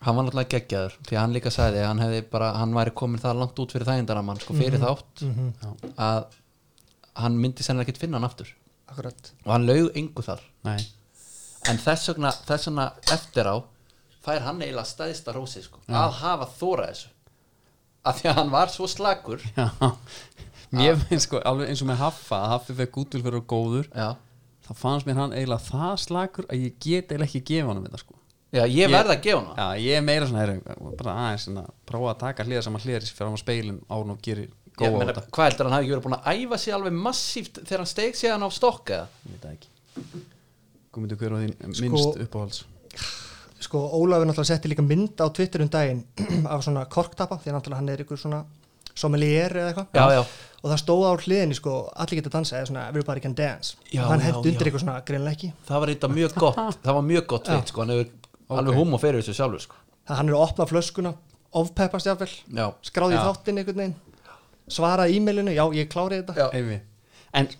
[SPEAKER 2] hann var náttúrulega geggjaður því að hann líka sagði að hann hefði bara hann væri komin það langt út fyrir þægindaramann sko fyrir þátt að hann myndi sennilega ekkert finna hann aftur
[SPEAKER 3] akkurat
[SPEAKER 2] og hann laug yngu þar
[SPEAKER 1] Nei, [laughs]
[SPEAKER 2] en þess vegna, þess vegna eftir á fær hann eiginlega stæðista rósi sko, að hafa þóra þessu af því að hann var svo slakur
[SPEAKER 1] já Mér finnst sko, alveg eins og með Haffa að Haffi fekk útvil fyrir og góður
[SPEAKER 2] Já,
[SPEAKER 1] þá fannst mér hann eiginlega það slakur að ég get eiginlega ekki gefa hann um þetta sko
[SPEAKER 2] Já ég,
[SPEAKER 1] Ég-
[SPEAKER 2] verð að gefa hana
[SPEAKER 1] Já, ég er meira svona, heru, bara aðeins svona, prófa að taka hliða saman hliðar fyrir á speilin án og gerir
[SPEAKER 2] Ég
[SPEAKER 1] góða á
[SPEAKER 2] meina,
[SPEAKER 1] þetta
[SPEAKER 2] hvað heldur hann hafi ekki verið búin að æfa sig alveg massíft þegar hann steig sig hann á stokka eða?
[SPEAKER 1] Ég veit það ekki Guðmundur, hver var þín
[SPEAKER 3] Sko-
[SPEAKER 1] minnst uppáhalds?
[SPEAKER 3] sko Ólafur náttúrulega setti líka mynd á Twitter um daginn [clears throat] af svona korktappa því að náttúrulega hann er ykkur svona sommelier eða eitthvað
[SPEAKER 2] Já, já.
[SPEAKER 3] og það stóð á hliðinni sko allir geta dansa eða svona everybody can dance
[SPEAKER 2] Já,
[SPEAKER 3] og hann
[SPEAKER 2] já,
[SPEAKER 3] held undir
[SPEAKER 2] já.
[SPEAKER 3] eitthvað svona greinlega ekki
[SPEAKER 2] það var eitthvað mjög gott það var mjög gott veit sko, hann hefur alveg húm og fyrir þessu sjálfur sko.
[SPEAKER 3] það hann er að opna flöskuna ofpeppast jáfnvel,
[SPEAKER 2] Já.
[SPEAKER 3] skráði í
[SPEAKER 2] Já.
[SPEAKER 3] þáttinn einhvern veginn svara e-mailinu, já ég klári þetta
[SPEAKER 2] Já.
[SPEAKER 1] Eyvi En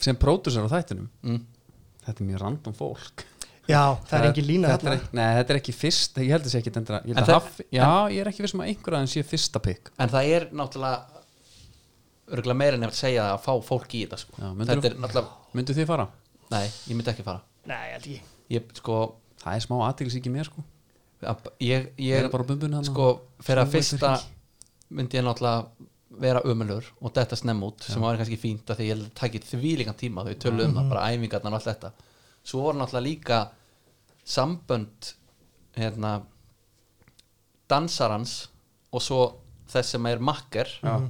[SPEAKER 1] sem pródusar á þættinum Þetta er mjög random fólk
[SPEAKER 3] já það er engin lína
[SPEAKER 1] þetta er,
[SPEAKER 3] þarna
[SPEAKER 1] ekki- Nei, þetta er ekki fyrst Ég held þessi ekki endra ég held
[SPEAKER 2] En
[SPEAKER 1] að haf, Já, ég er ekki viss um að einhver aðeins sé fyrsta pikk
[SPEAKER 2] en það er náttúrulega örgulega meira en ég að segja að fá fólk í þetta sko.
[SPEAKER 1] Já, myndirðu-
[SPEAKER 2] þetta er náttúrulega,
[SPEAKER 1] myndu þið fara?
[SPEAKER 2] nei, ég myndi ekki fara
[SPEAKER 3] Nei, ég held ekki
[SPEAKER 2] ég, sko,
[SPEAKER 1] það er smá aðtilsíki mér sko
[SPEAKER 2] að- ég,
[SPEAKER 1] ég
[SPEAKER 2] ég
[SPEAKER 1] er bara á bumbunni hann
[SPEAKER 2] sko, fyrir að
[SPEAKER 1] Snúa í
[SPEAKER 2] fyrsta
[SPEAKER 1] þurrking.
[SPEAKER 2] myndi ég náttúrulega vera ömulur og detta snemm út sem var kannski fínt að því ég takið þvílíkan tíma þau
[SPEAKER 1] Mhm.
[SPEAKER 2] töluðum mm það, bara æfingarnar og allt þetta svo voru náttúrulega líka sambönd hérna dansarans og svo þess sem er makker Já.
[SPEAKER 1] Mhm.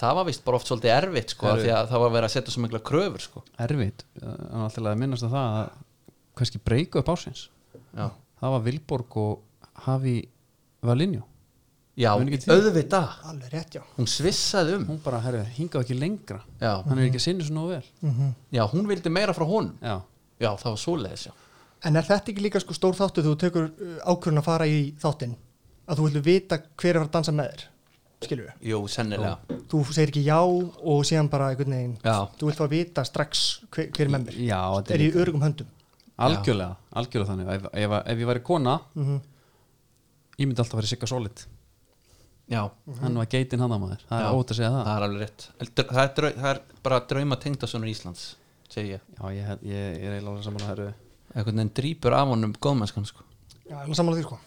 [SPEAKER 2] það var vist bara oft svolítið erfitt sko, af því að það var verið að setja svo mikla kröfur sko.
[SPEAKER 1] erfitt, hann alltaf að minnast að það að hverski breyku upp ásins
[SPEAKER 2] Já.
[SPEAKER 1] það var Vilborg og Hafi Valinju
[SPEAKER 2] Já,
[SPEAKER 1] Muni ekki til.
[SPEAKER 2] auðvitað
[SPEAKER 3] Alveg rétt, já
[SPEAKER 2] hún svissaði um
[SPEAKER 1] hún bara, herri, hingað ekki lengra
[SPEAKER 2] Já.
[SPEAKER 1] hann er ekki að sinni svona og vel
[SPEAKER 3] Mhm.
[SPEAKER 2] Já, hún vildi meira frá honum
[SPEAKER 1] já,
[SPEAKER 2] Já, það var svoleiðis já.
[SPEAKER 3] En er þetta ekki líka sko stór þáttu þegar þú tekur ákvörun að fara í þáttinn að þú villu vita hver er að fara að dansa með þér skilur við,
[SPEAKER 2] Jú, sennilega
[SPEAKER 3] þú segir ekki já og síðan bara einhvern veginn,
[SPEAKER 2] Já.
[SPEAKER 3] þú vilt fá að vita strax hver, hver er með mér,
[SPEAKER 1] já þetta
[SPEAKER 3] er í örgum höndum
[SPEAKER 1] algjörlega, algjörlega þannig ef, ef, ef ég væri kona ég myndi alltaf verið sigga solid
[SPEAKER 2] Já,
[SPEAKER 1] hann var geitin hann að maður, það
[SPEAKER 2] Já.
[SPEAKER 1] er ótt að segja það
[SPEAKER 2] það er alveg rétt En dr- Það er, drau, það er bara drauma tengdasonur Íslands segi ég,
[SPEAKER 1] já, ég, held- ég, ég er eiginlega alveg saman að herri
[SPEAKER 2] einhvern veginn drýpur af honum góðmennskan sko
[SPEAKER 3] Já, alveg sammála því sko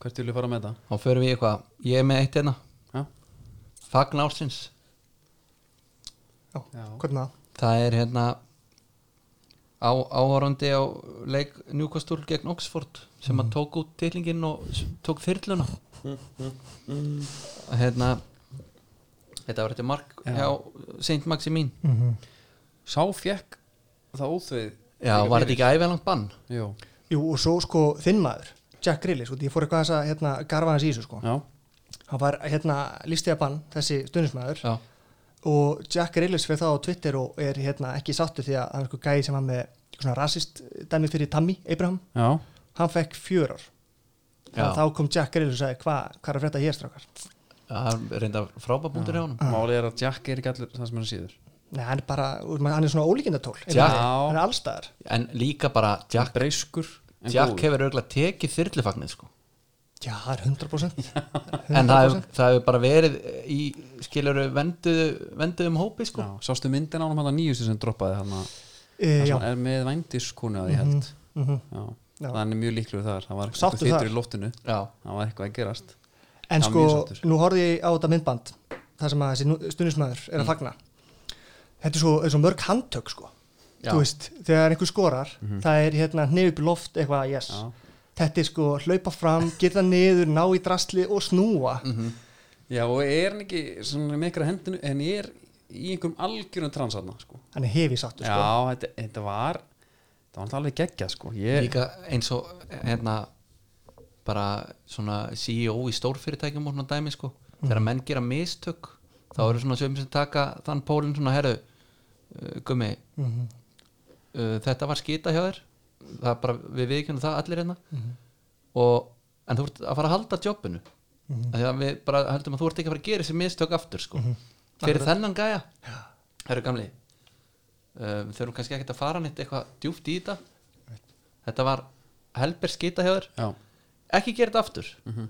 [SPEAKER 1] hvert vil ég fara með það?
[SPEAKER 2] Þá förum við í eitthvað, ég er með eitt hérna
[SPEAKER 1] Já.
[SPEAKER 2] Fagn ársins,
[SPEAKER 3] Já,
[SPEAKER 1] Já.
[SPEAKER 3] hvernig það?
[SPEAKER 2] það er hérna á, áhorandi á leik Newcastle gegn Oxford sem að tók út tilingin og s- tók þyrluna Hérna Þetta var þetta mark
[SPEAKER 1] Já.
[SPEAKER 2] hjá Saint Maximin
[SPEAKER 1] sá fekk það óþveið
[SPEAKER 2] Já, var þetta ekki æfælangt bann?
[SPEAKER 1] Jú.
[SPEAKER 3] Jú, og svo sko þinn maður, Jack Grilli sko, ég fór eitthvað þess að hérna, garfa hans í þessu sko
[SPEAKER 1] já,
[SPEAKER 3] hann var hérna lístiða bann, þessi stundismæður
[SPEAKER 2] Já,
[SPEAKER 3] og Jack Grillis fyrir það á Twitter og er hérna ekki sáttu því að hann er sko gæði sem hann með eitthvað svona rasist dæmi fyrir Tammy Abraham,
[SPEAKER 1] já,
[SPEAKER 3] hann fekk fjör ár
[SPEAKER 2] Já.
[SPEAKER 3] og þá kom Jack Grillis og sagði hvað hva er að frétta hér strákar
[SPEAKER 2] það er reynda frábabúndur hjá honum
[SPEAKER 1] málið er að Jack er ekki allir það sem hann síður
[SPEAKER 3] Nei, hann er bara, hann er svona ólíkindatól
[SPEAKER 2] Já.
[SPEAKER 3] hann er allstaðar
[SPEAKER 2] en líka bara Jack,
[SPEAKER 1] breyskur en
[SPEAKER 2] Jack
[SPEAKER 1] góður.
[SPEAKER 2] hefur auðvitað tekið þyrlufagnir sko.
[SPEAKER 3] Já, það er [laughs] 100%, 100%.
[SPEAKER 2] en það hefur, það hefur bara verið í skiluru vendu, venduðum hópi sko.
[SPEAKER 1] Já, sástu myndin á hann hann nýjustu sem droppaði hann
[SPEAKER 3] e, já,
[SPEAKER 1] hann er með vændiskonu að ég held
[SPEAKER 3] mm
[SPEAKER 1] Mhm. já.
[SPEAKER 3] Já.
[SPEAKER 1] hann er mjög líklegur þar það var
[SPEAKER 3] Sáttu
[SPEAKER 1] eitthvað þýttur
[SPEAKER 3] þar?
[SPEAKER 1] í loftinu
[SPEAKER 2] Já.
[SPEAKER 1] það var eitthvað að gerast
[SPEAKER 3] En
[SPEAKER 1] Já,
[SPEAKER 3] sko,
[SPEAKER 1] mjög sáttur.
[SPEAKER 3] nú horfði ég á þetta myndband þar sem að þessi stundismæður
[SPEAKER 1] Mhm.
[SPEAKER 3] er að fagna Þetta er svo, er svo mörg handtök sko
[SPEAKER 2] Já.
[SPEAKER 3] Þú veist, þegar einhver skorar það er hérna hnið upp í loft eitthvað, yes
[SPEAKER 1] Mhm. Já.
[SPEAKER 3] Þetta er sko, hlaupa fram, geta niður, ná í drasli og snúa
[SPEAKER 1] Mm. Mhm. já og er hann ekki svona með ykkur að hendinu en ég er í einhverjum algjörum transarna sko.
[SPEAKER 3] Hann er hefi sáttur
[SPEAKER 1] já
[SPEAKER 3] sko
[SPEAKER 1] þetta, þetta var það var náttúrulega alveg geggja sko. ég,
[SPEAKER 2] líka eins og hérna bara svona CEO í stórfyrirtækjum og svona dæmi sko
[SPEAKER 1] Mhm.
[SPEAKER 2] þegar menn gera mistök þá eru svona sögum sem taka þann pólinn svona herðu uh, gummi
[SPEAKER 1] Mhm.
[SPEAKER 2] uh, þetta var skita hjá þér það er bara, við viðkjönum það allir hérna
[SPEAKER 1] Mhm.
[SPEAKER 2] og, en þú ert að fara að halda jobbinu
[SPEAKER 1] Mhm.
[SPEAKER 2] mm að við bara heldum að þú ert ekki að fara að gera þessi mistök aftur sko fyrir þennan gæja herru gamli um, þau eru kannski ekkert að fara nýtt eitthvað djúft í þetta þetta var helber skita hjá þér
[SPEAKER 1] já,
[SPEAKER 2] ekki gera þetta aftur mm
[SPEAKER 1] Mhm.
[SPEAKER 2] -hmm.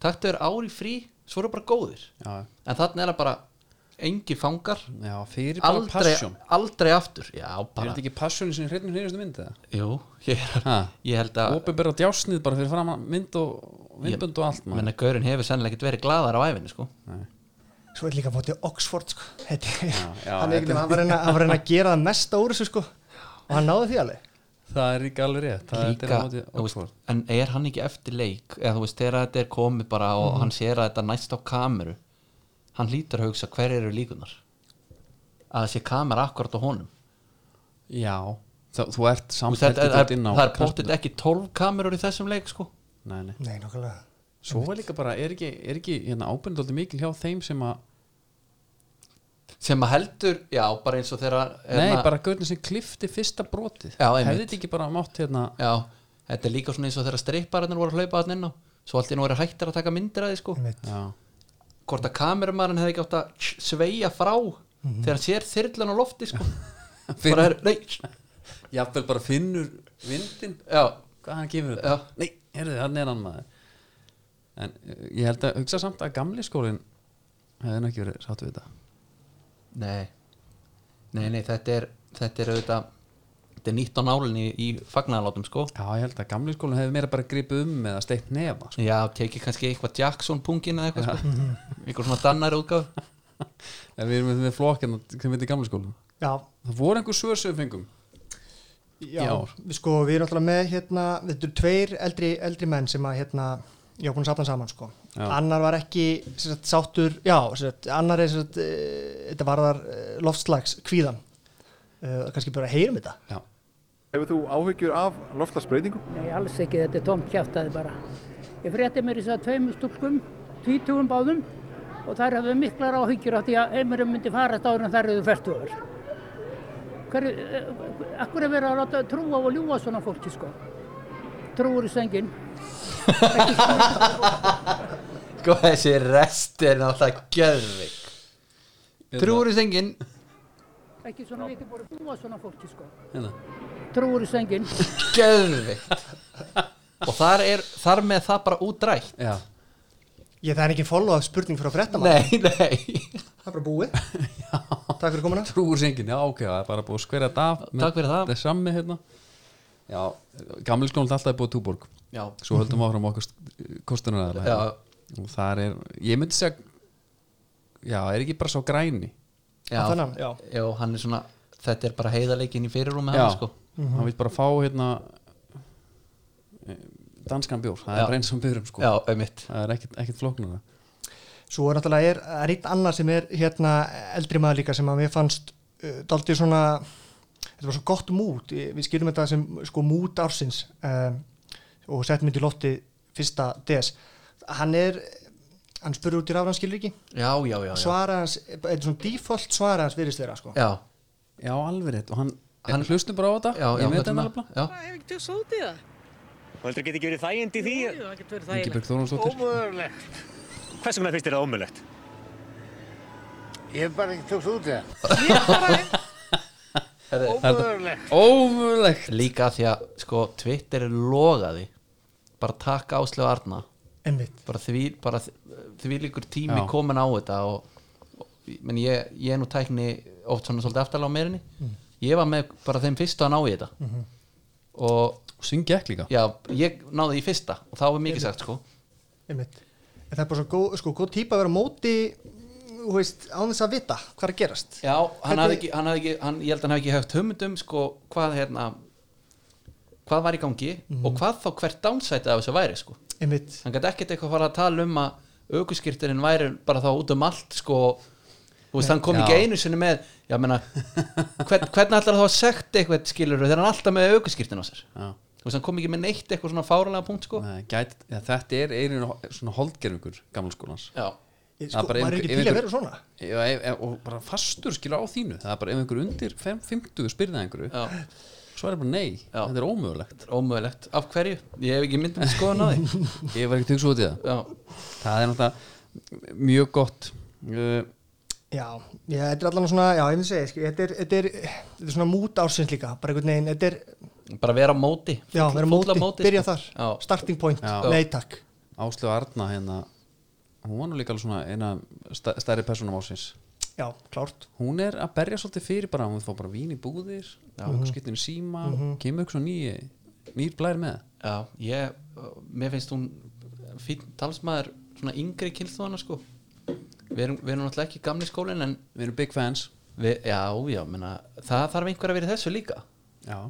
[SPEAKER 2] taktu þér ári frí, svo eru bara góðir
[SPEAKER 1] já,
[SPEAKER 2] en þarna er það bara engi fangar
[SPEAKER 1] já fyrir bara
[SPEAKER 2] aldrei,
[SPEAKER 1] passion
[SPEAKER 2] aldrei aftur já,
[SPEAKER 1] er
[SPEAKER 2] bara,
[SPEAKER 1] þetta ekki passion sem hreitnum hreinustu myndið það
[SPEAKER 2] jú, ég, er,
[SPEAKER 1] ha.
[SPEAKER 2] ég held að
[SPEAKER 1] ofinbera djásnið bara fyrir fram mynd og myndbund og allt maður.
[SPEAKER 2] menna gaurin hefur sennilega ekkert verið glaðar á æfinni sko.
[SPEAKER 3] Svo er líka fótið Oxford sko [laughs] Þetta er,
[SPEAKER 1] já,
[SPEAKER 3] hann, er
[SPEAKER 1] þetta-
[SPEAKER 3] ekki, hann, var að reyna, hann var að reyna að gera það mesta úr þessu sko og hann náði því alveg
[SPEAKER 1] það er ekki alveg rétt það þetta er
[SPEAKER 2] líka,
[SPEAKER 1] á móti
[SPEAKER 2] þú veist,
[SPEAKER 1] Oxford.
[SPEAKER 2] en er hann ekki eftir leik eða þú veist, þegar þetta er komið bara og
[SPEAKER 1] Mhm.
[SPEAKER 2] hann sér að þetta næst á kameru hann lítur að hugsa hver eru líkunar að það sé kamera akkurat á honum
[SPEAKER 1] Já, þá, þú ert
[SPEAKER 2] Þú
[SPEAKER 1] samt
[SPEAKER 2] veist, þetta-
[SPEAKER 1] heldur
[SPEAKER 2] það
[SPEAKER 1] dálítið
[SPEAKER 2] er-
[SPEAKER 1] inn á
[SPEAKER 2] það er
[SPEAKER 1] knattspyrnu.
[SPEAKER 2] pottet ekki 12 kamerur í þessum leik sko
[SPEAKER 1] Nei, nei.
[SPEAKER 3] Nei, nokkulega
[SPEAKER 1] Svo er líka bara, er ekki, er ekki hérna, ábyrðin dálítið mikil hjá þeim sem að
[SPEAKER 2] sem að heldur, já, bara eins og hérna, þeirra
[SPEAKER 1] Nei, bara gauðin sem klifti fyrsta brotið
[SPEAKER 2] Já, einmitt.
[SPEAKER 1] Hefði þetta ekki bara mátt hérna
[SPEAKER 2] já, þetta er líka svona eins og þeirra strippararnir voru að hlaupa þarna inn á svo allt í nú eru hættir að taka myndir að því sko
[SPEAKER 3] Einmitt.
[SPEAKER 1] Já,
[SPEAKER 2] hvort að kameramærin hefði ekki átt að tss, sveigja frá
[SPEAKER 1] Mhm.
[SPEAKER 2] þegar hann sér þyrlan á lofti sko
[SPEAKER 1] [laughs]
[SPEAKER 2] bara er, nei, tss,
[SPEAKER 1] jafnvel bara finnur vindin
[SPEAKER 2] já,
[SPEAKER 1] Hvað hann gefur þetta?
[SPEAKER 2] já
[SPEAKER 1] Nei, heyrðu, hann er hann maður En eh, ég held að hugsa samt að gamli skólin hefði nú ekki verið sátt við þetta
[SPEAKER 2] Nei, nei, nei þetta, er, þetta er auðvitað Þetta er nýtt á nálinni í fagnaðalátum sko
[SPEAKER 1] Já, ég held að gamli skólan hefði meira bara gripið um eða steitt nefa sko.
[SPEAKER 2] Já, tekið kannski eitthvað Jackson pungin eða eitthvað sko Eitthvað svona dannar útgáf
[SPEAKER 1] Ef við erum með flokkinn sem heitir gamli skólan
[SPEAKER 3] já,
[SPEAKER 1] Það voru einhver svör sem við fengum
[SPEAKER 3] já,
[SPEAKER 1] Já.
[SPEAKER 3] Við, sko, við erum alltaf með hérna, þetta eru tveir eldri, eldri menn sem að hérna, ég á búin að safna saman sko.
[SPEAKER 1] Já.
[SPEAKER 3] annar var ekki sem sagt, sáttur, já, sem sagt, annar er sem sagt, eh, þetta varðar eh, loftslags kvíðan uh, kannski bara heyrum þetta
[SPEAKER 1] Já,
[SPEAKER 4] Hefur þú áhyggjur af loftslagsbreytingum?
[SPEAKER 6] Nei, alls ekki, þetta er tómt kjátaði bara. Ég frétti mér þess að tveimur stúlkum, tvítugum báðum og þær hafðu miklar áhyggjur af því að heimurum myndi farast áður en þær eru færtugur. Akkur eh, er verið að láta trúa og ljúa svona fólki sko? Trúur í sengin.
[SPEAKER 2] Sko þessi rest er náttúrulega gjöðvik Trúur í sengin
[SPEAKER 6] Ekki svona við ekki búið að ljúa svona fólki sko?
[SPEAKER 1] hérna
[SPEAKER 6] Trúur í sengin.
[SPEAKER 2] Gjöðvikt Og þar, er, þar með það bara útrætt
[SPEAKER 1] Já,
[SPEAKER 3] ég það er ekki follow-up spurning frá frettamann
[SPEAKER 2] Nei, nei
[SPEAKER 3] það er bara búið takk fyrir komuna
[SPEAKER 1] trúur sengin, já ok, það er bara búið að skverja þetta af með
[SPEAKER 2] Takk fyrir það.
[SPEAKER 1] þetta er sammi hérna Já, gamli skólan er alltaf búið túborg
[SPEAKER 2] Já,
[SPEAKER 1] Svo höldum við áfram okkar kostunar
[SPEAKER 2] já,
[SPEAKER 1] hérna. Og þar er, ég myndi segja Já, er ekki bara svo græni
[SPEAKER 2] já,
[SPEAKER 3] Á
[SPEAKER 1] um,
[SPEAKER 3] þennan, já.
[SPEAKER 2] já hann er svona Þetta er bara heiðarleikin í fyrirrúmi
[SPEAKER 1] Já,
[SPEAKER 2] hann sko
[SPEAKER 1] hann vil bara fá hérna eh, danskan bjór, það
[SPEAKER 2] Já.
[SPEAKER 1] er bara eins og bjórum sko
[SPEAKER 2] Já, auðvitað
[SPEAKER 1] það er ekkert, ekkert flóknur
[SPEAKER 3] Svo er náttúrulega er, er eitt annað sem er hérna eldri maður líka sem að mér fannst uh, daldið svona þetta var svo gott mút, Ég- við skilum þetta sem sko mút ársins um, og sett mynd í lofti fyrsta DS hann er hann spurði út í ráð, hann skilur ekki
[SPEAKER 2] Já, já, já, já.
[SPEAKER 3] svara hans, eitthvað svona default svara hans virðist þeirra sko
[SPEAKER 2] já.
[SPEAKER 1] Já, alveg rétt og hann,
[SPEAKER 2] Hann-
[SPEAKER 1] hann hlustum bara á þetta
[SPEAKER 2] já, já,
[SPEAKER 1] ég veit hann
[SPEAKER 2] hérna,
[SPEAKER 1] alveg
[SPEAKER 2] já.
[SPEAKER 7] Það hefur ekki tökst út í það.
[SPEAKER 8] Og heldur geti ekki verið þægind í því?
[SPEAKER 7] Jú, það getur verið þægilegt.
[SPEAKER 1] Ingibjörg Þórumsdóttir
[SPEAKER 8] Ómögulegt. Hvers vegna finnst þér það ómögulegt?
[SPEAKER 9] Ég hef bara ekki tókst út í það.
[SPEAKER 2] Herri,
[SPEAKER 8] Ómögulegt.
[SPEAKER 1] Ómulegt
[SPEAKER 2] Líka því að sko, Twitter er logaði bara takk Áslu og Arna
[SPEAKER 3] einmitt,
[SPEAKER 2] bara því, bara því líkur tími
[SPEAKER 1] Já.
[SPEAKER 2] komin á þetta og, og menn ég, ég er nú tækni oft svona svolítið aftalega á meirinni ég var með bara þeim fyrstu að ná í þetta og
[SPEAKER 1] og syngi ekki líka
[SPEAKER 2] já, ég náði í fyrsta og þá var mikið sagt sko
[SPEAKER 3] einmitt en það er bara svo góð, sko, góð típa að vera á móti mm, þú veist, án þess að vita hvað er að gerast
[SPEAKER 2] Já, hann
[SPEAKER 3] Hvernig-
[SPEAKER 2] hafði ekki, hann hafði ekki hann, ég held að hann hafði ekki högt hugmyndum sko, hvað hérna hvað var í gangi og hvað þá hvert dánsætið af þessu væri sko.
[SPEAKER 3] einmitt,
[SPEAKER 2] hann gæti ekkert eitthvað að fara að tala um að aukuskirtirinn væri bara þá út um allt sko, þú veist, hann kom
[SPEAKER 1] Já.
[SPEAKER 2] ekki einu sinni með, já meina hvern, hvernig ætlar þá að sekta eitthvað skilur þegar hann er alltaf með aukuskirtin á sér
[SPEAKER 1] Já.
[SPEAKER 2] þú veist, hann kom ekki með neitt eitthvað svona fáranlega punkt sko.
[SPEAKER 1] Nei, gæt, ja, þetta er einu svona holdgerfingur gamla skólans
[SPEAKER 2] já,
[SPEAKER 3] Ég-
[SPEAKER 1] Það
[SPEAKER 3] sko,
[SPEAKER 1] er bara
[SPEAKER 3] maður er
[SPEAKER 1] einhver-
[SPEAKER 3] ekki píl að
[SPEAKER 1] einhver-
[SPEAKER 3] vera svona
[SPEAKER 1] Já, ef, ef, og bara fastur skilur á þínu það er bara ef einhver undir 5, 50 spyrða einhverju
[SPEAKER 2] já,
[SPEAKER 1] svo er það bara nei,
[SPEAKER 2] Já.
[SPEAKER 1] þetta er ómögulegt
[SPEAKER 2] þetta er ómögulegt af hverju, ég hef ekki myndið skoðan á því
[SPEAKER 1] ég var ekki tökst út í það
[SPEAKER 2] já,
[SPEAKER 1] það er náttúrulega mjög gott uh,
[SPEAKER 3] Já, já, þetta er allan svona, já, ég myndi segja, skil, þetta, er, þetta, er, þetta er svona mút ársins líka, bara einhvern veginn, þetta er,
[SPEAKER 2] bara vera á móti
[SPEAKER 3] já,
[SPEAKER 2] Full-
[SPEAKER 3] vera
[SPEAKER 2] fulla
[SPEAKER 3] móti, byrja
[SPEAKER 2] sko.
[SPEAKER 3] þar,
[SPEAKER 2] já,
[SPEAKER 3] starting point,
[SPEAKER 1] Já.
[SPEAKER 3] nei takk,
[SPEAKER 1] Áslu Arna hérna hún var nú líka alveg svona eina sta- stærri personum ásins
[SPEAKER 3] já, klárt,
[SPEAKER 1] hún er að berja svolítið fyrir bara hún fá bara vín í búðir aukurskiptin í síma, kemur ykkur svo nýi nýr blær með
[SPEAKER 2] Já, ég, mér finnst hún fín talsmaður svona yngri kynþóðana sko við erum, við erum náttúrulega ekki gamli skólin en
[SPEAKER 1] við erum big fans
[SPEAKER 2] við, já, já, menna, það þarf einhver að vera í þessu líka
[SPEAKER 1] já,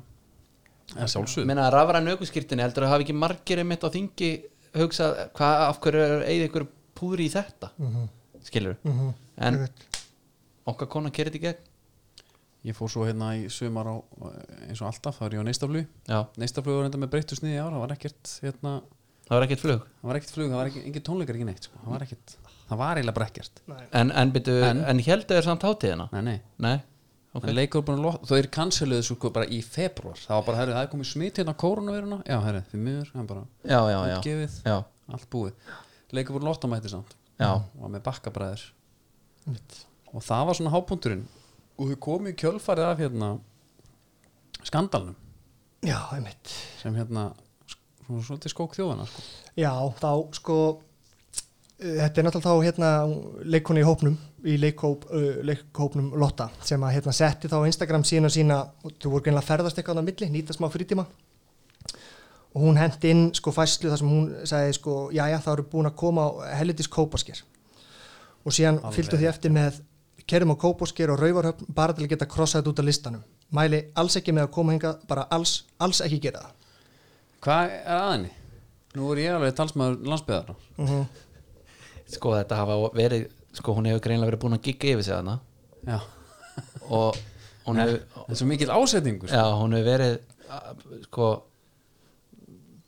[SPEAKER 1] það sjálfsög
[SPEAKER 2] menna rafræn aukuskirtinni heldur að hafa ekki margir einmitt á þingi hugsað hvað af hverju er eigið einhver púðri í þetta skilur en okkar konan gerir þetta í gegn
[SPEAKER 1] ég fór svo hérna í sumar á eins og alltaf, það var ég á neistaflug
[SPEAKER 2] já,
[SPEAKER 1] neistaflug var hérna með breyttu sniði í ár, það var ekkert hérna,
[SPEAKER 2] það var ekkert flug
[SPEAKER 1] það var ekkert flug, það var ekki, engin tónleikar ekki neitt, sko. það var ekkert það var eiginlega bara ekkert
[SPEAKER 2] en, en, byrju, en,
[SPEAKER 1] En-
[SPEAKER 2] heldur þér samt hátíðina?
[SPEAKER 1] nei, nei
[SPEAKER 2] nei, ok
[SPEAKER 1] okay. leikur búin að loka, þau eru kanseluðu sko bara í februar, það var bara, herru, það er komið smit hérna á koronaviruna, já, herru, því miður hann bara,
[SPEAKER 2] já, já, já,
[SPEAKER 1] útgefið,
[SPEAKER 2] já,
[SPEAKER 1] allt búið leikur búin að lotta mætti samt
[SPEAKER 2] já,
[SPEAKER 1] og með bakkabræður og það var svona hápunkturinn og þau komu í kjölfarið af hérna skandalnum
[SPEAKER 3] já, einmitt,
[SPEAKER 1] sem hérna sk- svona svolítið skók þjóðana sko.
[SPEAKER 3] já, þá, sko, þetta er náttúrulega þá hérna leikonu í hópnum í leikhóp, uh, leikhópnum Lotta sem að hérna setti þá á Instagram sína sína og þú voru greinlega að ferðast eitthvað á milli nýta smá frítíma og hún hendi inn sko fæslu þar sem hún sagði sko jæja það eru búin að koma á hellitis kópasker og síðan
[SPEAKER 1] Alveg.
[SPEAKER 3] fylgdu því eftir með kerum á kópasker og rauvarhöfn bara til að geta krossað þetta út af listanum mæli alls ekki með að koma hingað bara alls, alls ekki gera það
[SPEAKER 1] Hvað er aðinni? Nú er ég alveg talsmaður landsbyðar
[SPEAKER 2] sko þetta hafa verið sko hún hefur greinlega verið búin að gigga yfir sig hana
[SPEAKER 1] Já,
[SPEAKER 2] og hún hefur
[SPEAKER 1] þetta er svo mikill ásetningur sko.
[SPEAKER 2] já, hún hefur verið a- sko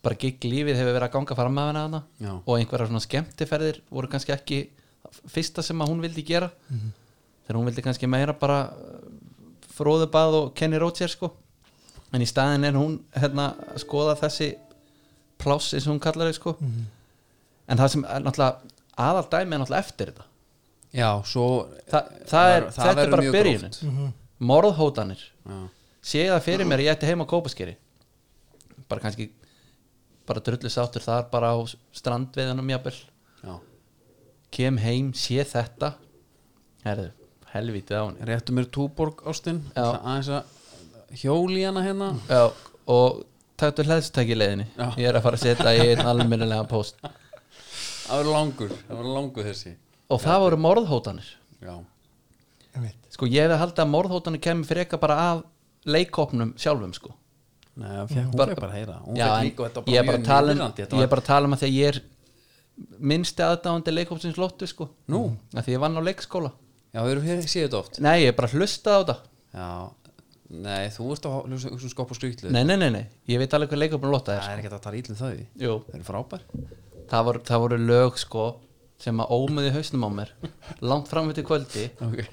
[SPEAKER 2] bara gigg lífið hefur verið að ganga fram með hana hana
[SPEAKER 1] Já.
[SPEAKER 2] og einhverjar svona skemmtiferðir voru kannski ekki fyrsta sem að hún vildi gera
[SPEAKER 1] Mhm.
[SPEAKER 2] þegar hún vildi kannski meira bara fróðubað og Kenny Rogers sko en í staðin er hún hérna að skoða þessi pláss eins og hún kallar þau sko
[SPEAKER 1] Mhm.
[SPEAKER 2] en það sem er náttúrulega aðal dæmi er náttúrulega eftir þetta
[SPEAKER 1] Já, svo
[SPEAKER 2] Þa, það er,
[SPEAKER 1] það
[SPEAKER 2] þetta er
[SPEAKER 1] verður
[SPEAKER 2] bara
[SPEAKER 1] mjög
[SPEAKER 2] byrjunin
[SPEAKER 1] gróft. Mhm.
[SPEAKER 2] morðhótanir
[SPEAKER 1] Já.
[SPEAKER 2] sé ég það fyrir mér að ég ætti heima á kópaskeri bara kannski bara drullu sáttur þar bara á strandveðanum jafnvel
[SPEAKER 1] Já,
[SPEAKER 2] kem heim, sé þetta herðu, helvítið á henni
[SPEAKER 1] réttu mér túborg ástin
[SPEAKER 2] Já.
[SPEAKER 1] aðeins að hjóli hana hérna
[SPEAKER 2] Já, og tættu hlæðstæki leiðinni
[SPEAKER 1] Já.
[SPEAKER 2] ég er að fara að setja í einn almennilega post
[SPEAKER 1] Það verður langur, það verður langur þessi
[SPEAKER 2] og það voru morðhótanir
[SPEAKER 1] Já,
[SPEAKER 3] Einmitt.
[SPEAKER 2] sko ég hefði haldið að morðhótanir kemur fyrir eitthvað bara af leikopnum sjálfum sko
[SPEAKER 1] Nei, hún fekk
[SPEAKER 2] Bara-
[SPEAKER 1] bara, bara að heyra hún
[SPEAKER 2] Já,
[SPEAKER 1] fékk
[SPEAKER 2] en
[SPEAKER 1] líka, og þetta var
[SPEAKER 2] ég er bara
[SPEAKER 1] mjög
[SPEAKER 2] að tala um
[SPEAKER 1] niðurrandi, þetta
[SPEAKER 2] ég
[SPEAKER 1] var-
[SPEAKER 2] er bara að tala um að því að ég er minnsti aðdáðandi leikópsins lóttu sko
[SPEAKER 1] Nú,
[SPEAKER 2] að því ég vann á leikskóla
[SPEAKER 1] já, við erum hér, séu þetta oft
[SPEAKER 2] nei, ég er bara að hlusta á þetta
[SPEAKER 1] Já, nei, þú ert að hlusta hugsa um skopp og skrýtlu
[SPEAKER 2] nei, nei, nei, nei, ég veit alveg hvað leikópin lóta er
[SPEAKER 1] Það er ekkert að tala ítlum þau
[SPEAKER 2] Jú,
[SPEAKER 1] Þau eru frábær
[SPEAKER 2] það, var, það voru lög sko sem að ómuði hausnum á mér langt fram til kvöldi
[SPEAKER 1] okay.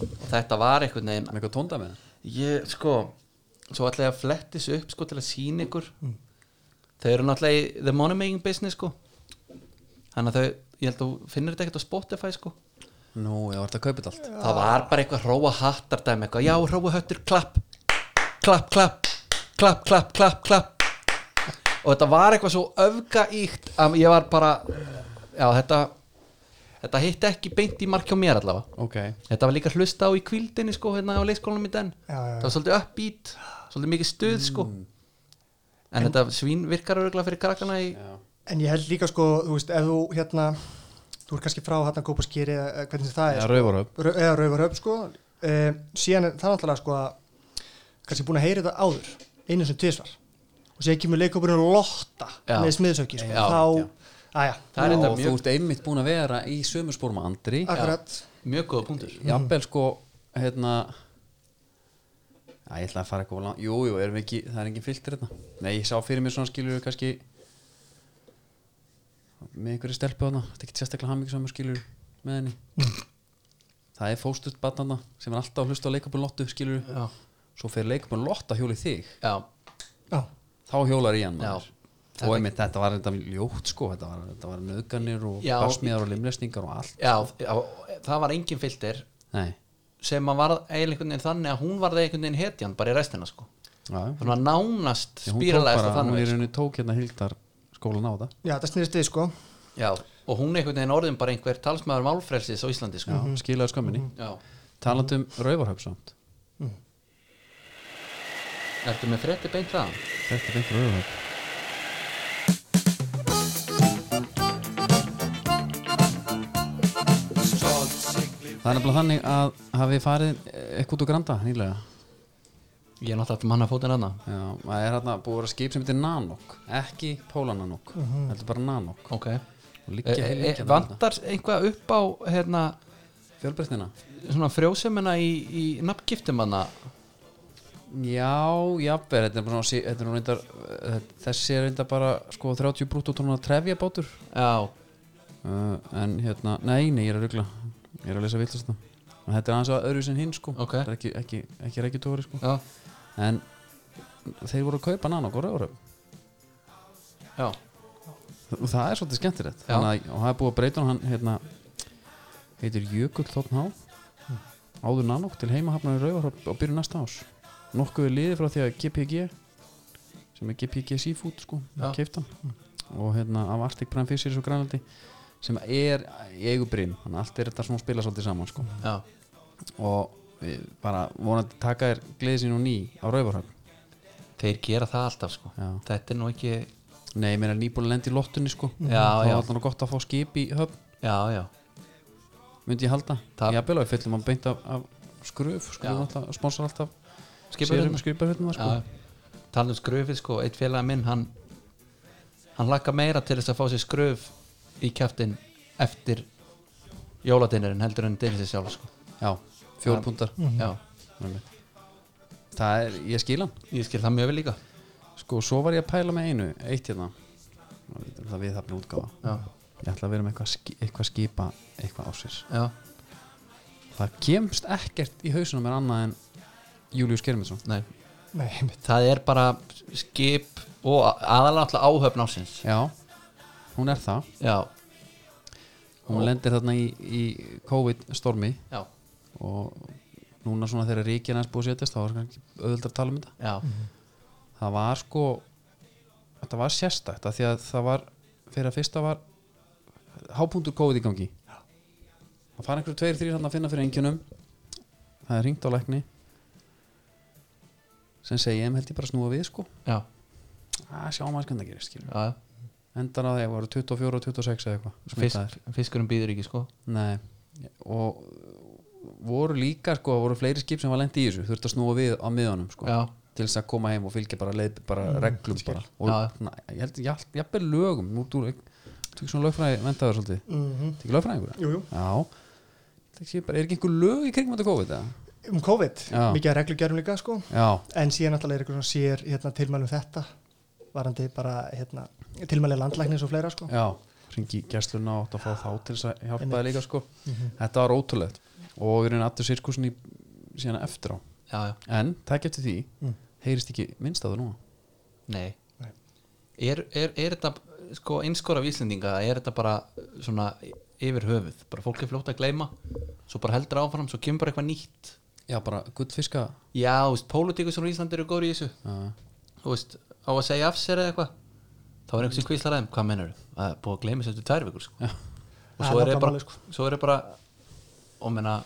[SPEAKER 2] og þetta var einhvern veginn
[SPEAKER 1] Með eitthvað tónda með það
[SPEAKER 2] ég, sko, svo ætla ég að flettis upp sko til að sína ykkur Mm. þau eru náttúrulega í the money making business sko þannig að þau, ég held að þú finnir þetta ekkert á Spotify sko
[SPEAKER 1] Nú, ég vart að kaupa þetta allt
[SPEAKER 2] það var bara eitthvað hróa hattar dæmi eitthvað, já hróa höttur, klapp klapp, klapp, klapp, klapp, klapp klapp og þetta var eitthvað svo öfgaíkt að ég var bara já þetta þetta hitti ekki beint í mark hjá mér allavega
[SPEAKER 1] Ok,
[SPEAKER 2] þetta var líka hlusta á í kvildinni sko hérna á leikskólanum í den
[SPEAKER 3] Já, já, já.
[SPEAKER 2] það var svolítið uppbít, svolítið mikið stuð sko
[SPEAKER 3] Mm.
[SPEAKER 2] en, þetta svín virkar örgulega fyrir krakkana í já,
[SPEAKER 3] En ég held líka sko, þú veist, ef þú hérna, þú ert kannski frá hérna Kópaskýri eða eða hvernig sem það
[SPEAKER 1] það
[SPEAKER 3] er,
[SPEAKER 1] er rauvaröf
[SPEAKER 3] sko, rau- eða Rauvarhöfn sko, e, síðan er það náttúrulega sko að kannski búin að heyra þetta áður, einu sem tvisvar, og sér kemur leikopurinn að lotta
[SPEAKER 2] Já.
[SPEAKER 3] með smiðsöki, sko,
[SPEAKER 2] Já, já.
[SPEAKER 3] þá, aðja,
[SPEAKER 2] það er
[SPEAKER 1] Og
[SPEAKER 2] þetta
[SPEAKER 1] þú
[SPEAKER 2] mjög,
[SPEAKER 1] ert einmitt búin að vera í sömu spórum að Andri
[SPEAKER 3] akkurat,
[SPEAKER 2] mjög góða punktur
[SPEAKER 1] Jafnvel sko, hérna Já, ég ætla að fara eitthvað langt Jú, jú, erum við ekki, það er engin filter hérna Nei, ég sá fyrir mér svona skilur kannski með einhverju stelpu hana þetta er ekki sérstaklega hamingi saman skilur með henni Það er fóstust batnana sem er alltaf að hlusta á leikabun Lottu skilur
[SPEAKER 2] já,
[SPEAKER 1] Svo fer leikabun Lotta hjóli þig
[SPEAKER 2] já,
[SPEAKER 3] já,
[SPEAKER 1] þá hjólar í hann
[SPEAKER 2] Já.
[SPEAKER 1] maður. og einmitt þetta var þetta ljótt sko þetta var, þetta var nöðganir og
[SPEAKER 2] Já.
[SPEAKER 1] barsmiðar og limlesningar og allt
[SPEAKER 2] já, já það var engin filter
[SPEAKER 1] nei,
[SPEAKER 2] sem að varð eiginlega einhvern veginn þannig að hún varð einhvern veginn hetjan bara í restina sko
[SPEAKER 1] já, já.
[SPEAKER 2] þannig að nánast
[SPEAKER 1] Ég, hún tók
[SPEAKER 2] spýralæðist
[SPEAKER 1] bara,
[SPEAKER 2] að
[SPEAKER 1] hún
[SPEAKER 2] þannig
[SPEAKER 1] er
[SPEAKER 2] sko.
[SPEAKER 1] henni tók hérna hildar skólan á það
[SPEAKER 3] já, það snýrist við sko,
[SPEAKER 2] já, og hún er einhvern veginn orðin bara einhver talsmaður málfrelsis á Íslandi sko.
[SPEAKER 1] já, skilaði skömminni,
[SPEAKER 2] já.
[SPEAKER 1] talandi um rauvarhöf samt,
[SPEAKER 2] ertu með frétti beint þaðan?
[SPEAKER 1] þetta er beint rauvarhöf Það er nefnilega þannig að hafið farið eh, eitthvað út og granda nýlega
[SPEAKER 2] ég er náttúrulega manna fótinn hana
[SPEAKER 1] Já, það er hérna búið að vera skip sem heitir Nanok ekki Pólananok, uh -huh. heldur bara Nanok
[SPEAKER 2] ok
[SPEAKER 1] og
[SPEAKER 2] e,
[SPEAKER 1] liggja
[SPEAKER 2] e,
[SPEAKER 1] heilengja
[SPEAKER 2] vandar einhvað upp á hérna,
[SPEAKER 1] fjölbreytnina
[SPEAKER 2] svona frjósemina í, í nafngiftum hana
[SPEAKER 1] já, jafnver, þetta er bara svona þetta er nú reyndar, eh, þessi er reyndar bara sko 30 brúttótrónar trefja bátur
[SPEAKER 2] já,
[SPEAKER 1] uh, en hérna, nei, nei, ég er að rugla ég er að lesa villast þetta en þetta er aðeins að öðru sem hinn sko
[SPEAKER 2] Ok.
[SPEAKER 1] Þetta er ekki, ekki, ekki reykjutóri sko
[SPEAKER 2] já,
[SPEAKER 1] en þeir voru að kaupa Nanok og Rauvaröf
[SPEAKER 2] já
[SPEAKER 1] og það er svolítið skemmtilegt
[SPEAKER 2] Já.
[SPEAKER 1] Þannig að, og það er búið að breyta hann hérna, heitir Jökull Þotn Há áður nanokk til heimahafnar í Rauvarhópp og byrju næsta ás nokkuð er liðið frá því að GPG sem er GPG Seafood sko
[SPEAKER 2] Já.
[SPEAKER 1] keiftan og hérna af Arctic Prime Fisheries og Grænaldi sem er í eigu brinn þannig að allt er þetta svona spila svolítið saman sko.
[SPEAKER 2] já,
[SPEAKER 1] og við bara vonandi taka þér gleði sín og ný á rauvarhöfn
[SPEAKER 2] þeir gera það alltaf sko.
[SPEAKER 1] Já.
[SPEAKER 2] þetta er nú ekki
[SPEAKER 1] nei, mér er nýbúin að lenda í lottunni sko.
[SPEAKER 2] Já,
[SPEAKER 1] þá
[SPEAKER 2] já.
[SPEAKER 1] er alltaf gott að fá skip í höfn
[SPEAKER 2] já, já,
[SPEAKER 1] myndi ég halda,
[SPEAKER 2] Það-
[SPEAKER 1] ég abil á við fyllum hann beint af, af skröf,
[SPEAKER 2] Já.
[SPEAKER 1] skröf alltaf, sponsor alltaf
[SPEAKER 2] Skipaferðirnar.
[SPEAKER 1] skipafjörnum sko.
[SPEAKER 2] já. tala um skröfið sko, eitt félaga minn hann, hann laka meira til þess að fá sér skröf í kjaftin eftir jóladinirinn heldur en dinir sér sjálf sko.
[SPEAKER 1] já, fjór pundar
[SPEAKER 2] já,
[SPEAKER 1] það er, ég skil hann
[SPEAKER 2] ég skil það mjög vel líka
[SPEAKER 1] Sko, svo var ég að pæla með einu, eitt hérna Það við það blir útgáfa
[SPEAKER 2] já,
[SPEAKER 1] Ég ætla að vera með eitthvað, ski- eitthvað skipa eitthvað á sér
[SPEAKER 2] já,
[SPEAKER 1] Það kemst ekkert í hausinu mér annað en Július Kermitsson
[SPEAKER 2] nei
[SPEAKER 3] Nei, einmitt.
[SPEAKER 2] það er bara skip og aðalega alltaf áhöfn ásins
[SPEAKER 1] Já, hún er það
[SPEAKER 2] já,
[SPEAKER 1] Hún lendir þarna í, í COVID-stormi
[SPEAKER 2] já,
[SPEAKER 1] og núna svona þegar ríkina er búið að setjast þá var kannski auðvöld að tala um þetta
[SPEAKER 2] já,
[SPEAKER 1] það var sko þetta var sérstakt að því að það var fyrir að fyrsta var hápundur COVID í gangi það fara einhverju tveir, þrýr hann að finna fyrir engjunum það er ringt á lækni sem segi ég held ég bara að snúa við sko
[SPEAKER 2] já,
[SPEAKER 1] að sjá maður hvernig það gerist skilur
[SPEAKER 2] já.
[SPEAKER 1] endar að það voru 24 og 26 eða eitthvað smitaðir.
[SPEAKER 2] Fisk, fiskurum býður ekki sko
[SPEAKER 1] Nei, og voru líka sko, það voru fleiri skip sem var lent í þessu þurfti að snúa við á miðanum sko
[SPEAKER 2] Já.
[SPEAKER 1] til þess að koma heim og fylgja bara, leið, bara
[SPEAKER 3] Mm,
[SPEAKER 1] reglum bara. og
[SPEAKER 2] Já.
[SPEAKER 1] na, ég held, ég held, jafnvel lögum nú þú tökur svona lögfræði vendaður svolítið, mm -hmm. tekur lögfræðingur
[SPEAKER 3] Mhm. Jú, jú.
[SPEAKER 1] já, Tek sé bara, er ekki einhver lög í kringum þetta COVID eða?
[SPEAKER 3] um COVID,
[SPEAKER 1] Já.
[SPEAKER 3] mikið að reglugjærum líka sko.
[SPEAKER 1] já,
[SPEAKER 3] en síðan náttúrulega er eitthvað svona sér hérna, tilmælum þetta varandi bara hérna, tilmæli landlæknis og fleira sko.
[SPEAKER 1] já, ringi gæstluna og átt að fá þá til þess að hjálpa það líka sko
[SPEAKER 3] Mhm.
[SPEAKER 1] þetta var ótrúlegt og við erum alltaf sirkusin í síðan eftir á
[SPEAKER 2] já, já,
[SPEAKER 1] en takk eftir því
[SPEAKER 3] Mm.
[SPEAKER 1] heyrist ekki minnst á það núna
[SPEAKER 2] nei er, er, er þetta sko einskora víslendinga er þetta bara svona yfir höfuð bara fólk er fljótt að gleyma svo bara heldur áfram, svo kemur bara eitthvað nýtt
[SPEAKER 1] já, bara guttfiska
[SPEAKER 2] já, þú veist, pólitíkus og Ísland eru góður í þessu
[SPEAKER 1] Já.
[SPEAKER 2] þú veist, á að segja af sér eða eitthvað þá er einhvers sem kvíslar aðeim, hvað mennur að búið að gleyma þessu eftir tvær vikur sko. og
[SPEAKER 3] Það
[SPEAKER 2] svo
[SPEAKER 3] er
[SPEAKER 2] er ég
[SPEAKER 3] nákvæmlega
[SPEAKER 2] bara,
[SPEAKER 3] málið, sko.
[SPEAKER 2] svo er ég bara og menna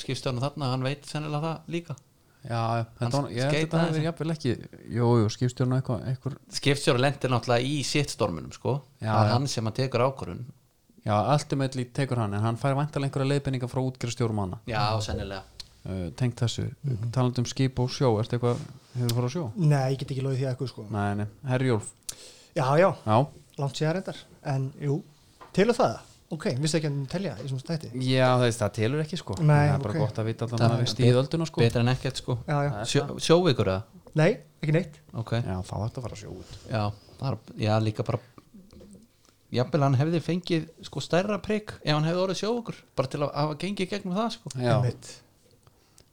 [SPEAKER 2] skipstjórn þarna, hann veit sennilega það líka
[SPEAKER 1] já, já, þetta,
[SPEAKER 2] Hann
[SPEAKER 1] var- ég, held
[SPEAKER 2] skeitaði
[SPEAKER 1] þetta hafi verið
[SPEAKER 2] þessu.
[SPEAKER 1] jafnvel ekki jú, jú, skipstjórna eitthvað einhver,
[SPEAKER 2] skipstjóri lendir náttúrulega í sittstorminum sko.
[SPEAKER 1] Já,
[SPEAKER 2] það er
[SPEAKER 1] já.
[SPEAKER 2] hann sem að tekur ákvörun
[SPEAKER 1] já, ultimately tekur hann en hann fær vantalega einhverja leiðbendinga frá útgerðstjórum hana
[SPEAKER 2] já, sennilega
[SPEAKER 1] uh, tengt þessu, mm talandi um skip og sjó ertu eitthvað, hefur þú fór á sjó?
[SPEAKER 3] Nei, ég get ekki lóðið því eitthvað sko.
[SPEAKER 1] Nei, nei, Herjólf,
[SPEAKER 3] Já, já,
[SPEAKER 1] já
[SPEAKER 3] langt sér reyndar en jú, til og það ok, vissi ekki að hann telja í svona stætti
[SPEAKER 1] Já, það, það telur ekki sko
[SPEAKER 3] Nei,
[SPEAKER 1] Það er bara
[SPEAKER 3] ok.
[SPEAKER 1] gott að vita alltaf að við stíð ölduna sko
[SPEAKER 2] betra en ekkert sko.
[SPEAKER 3] Já, já.
[SPEAKER 2] Sjó, sjóvikur eða
[SPEAKER 3] Nei, ekki neitt
[SPEAKER 2] okay.
[SPEAKER 1] Já, þá ætti að fara að sjó út
[SPEAKER 2] já. bara, já, líka bara jafnvel hann hefði fengið sko, stærra prigg ef hann hefði orðið sjóvikur bara til að hafa gengið gegnum það sko.
[SPEAKER 1] Já,
[SPEAKER 3] Einmitt.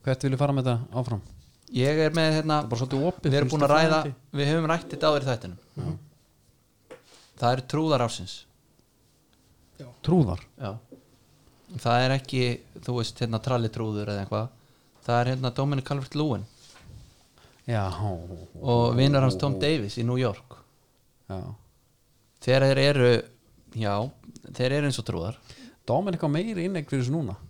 [SPEAKER 1] hvert vil ég fara með þetta áfram?
[SPEAKER 2] ég er með
[SPEAKER 1] Það
[SPEAKER 2] hérna
[SPEAKER 1] er bara svolítið opið
[SPEAKER 2] við erum
[SPEAKER 1] finnst
[SPEAKER 2] búin að
[SPEAKER 1] þér
[SPEAKER 2] ræða,
[SPEAKER 1] fræðandi?
[SPEAKER 2] við höfum rætt þetta áður í þættinum það eru trúðar ásins
[SPEAKER 1] Trúðar
[SPEAKER 2] Já. það er ekki, þú veist, hérna trallitrúður eða eitthvað, það er hérna Dominic Calvert-Lewin
[SPEAKER 1] Já,
[SPEAKER 2] og vinnar hans Tom Davis í New York
[SPEAKER 1] já.
[SPEAKER 2] þegar þeir eru já, þeir eru eins og trúðar
[SPEAKER 1] Dominik á meiri innegg fyrir þessu núna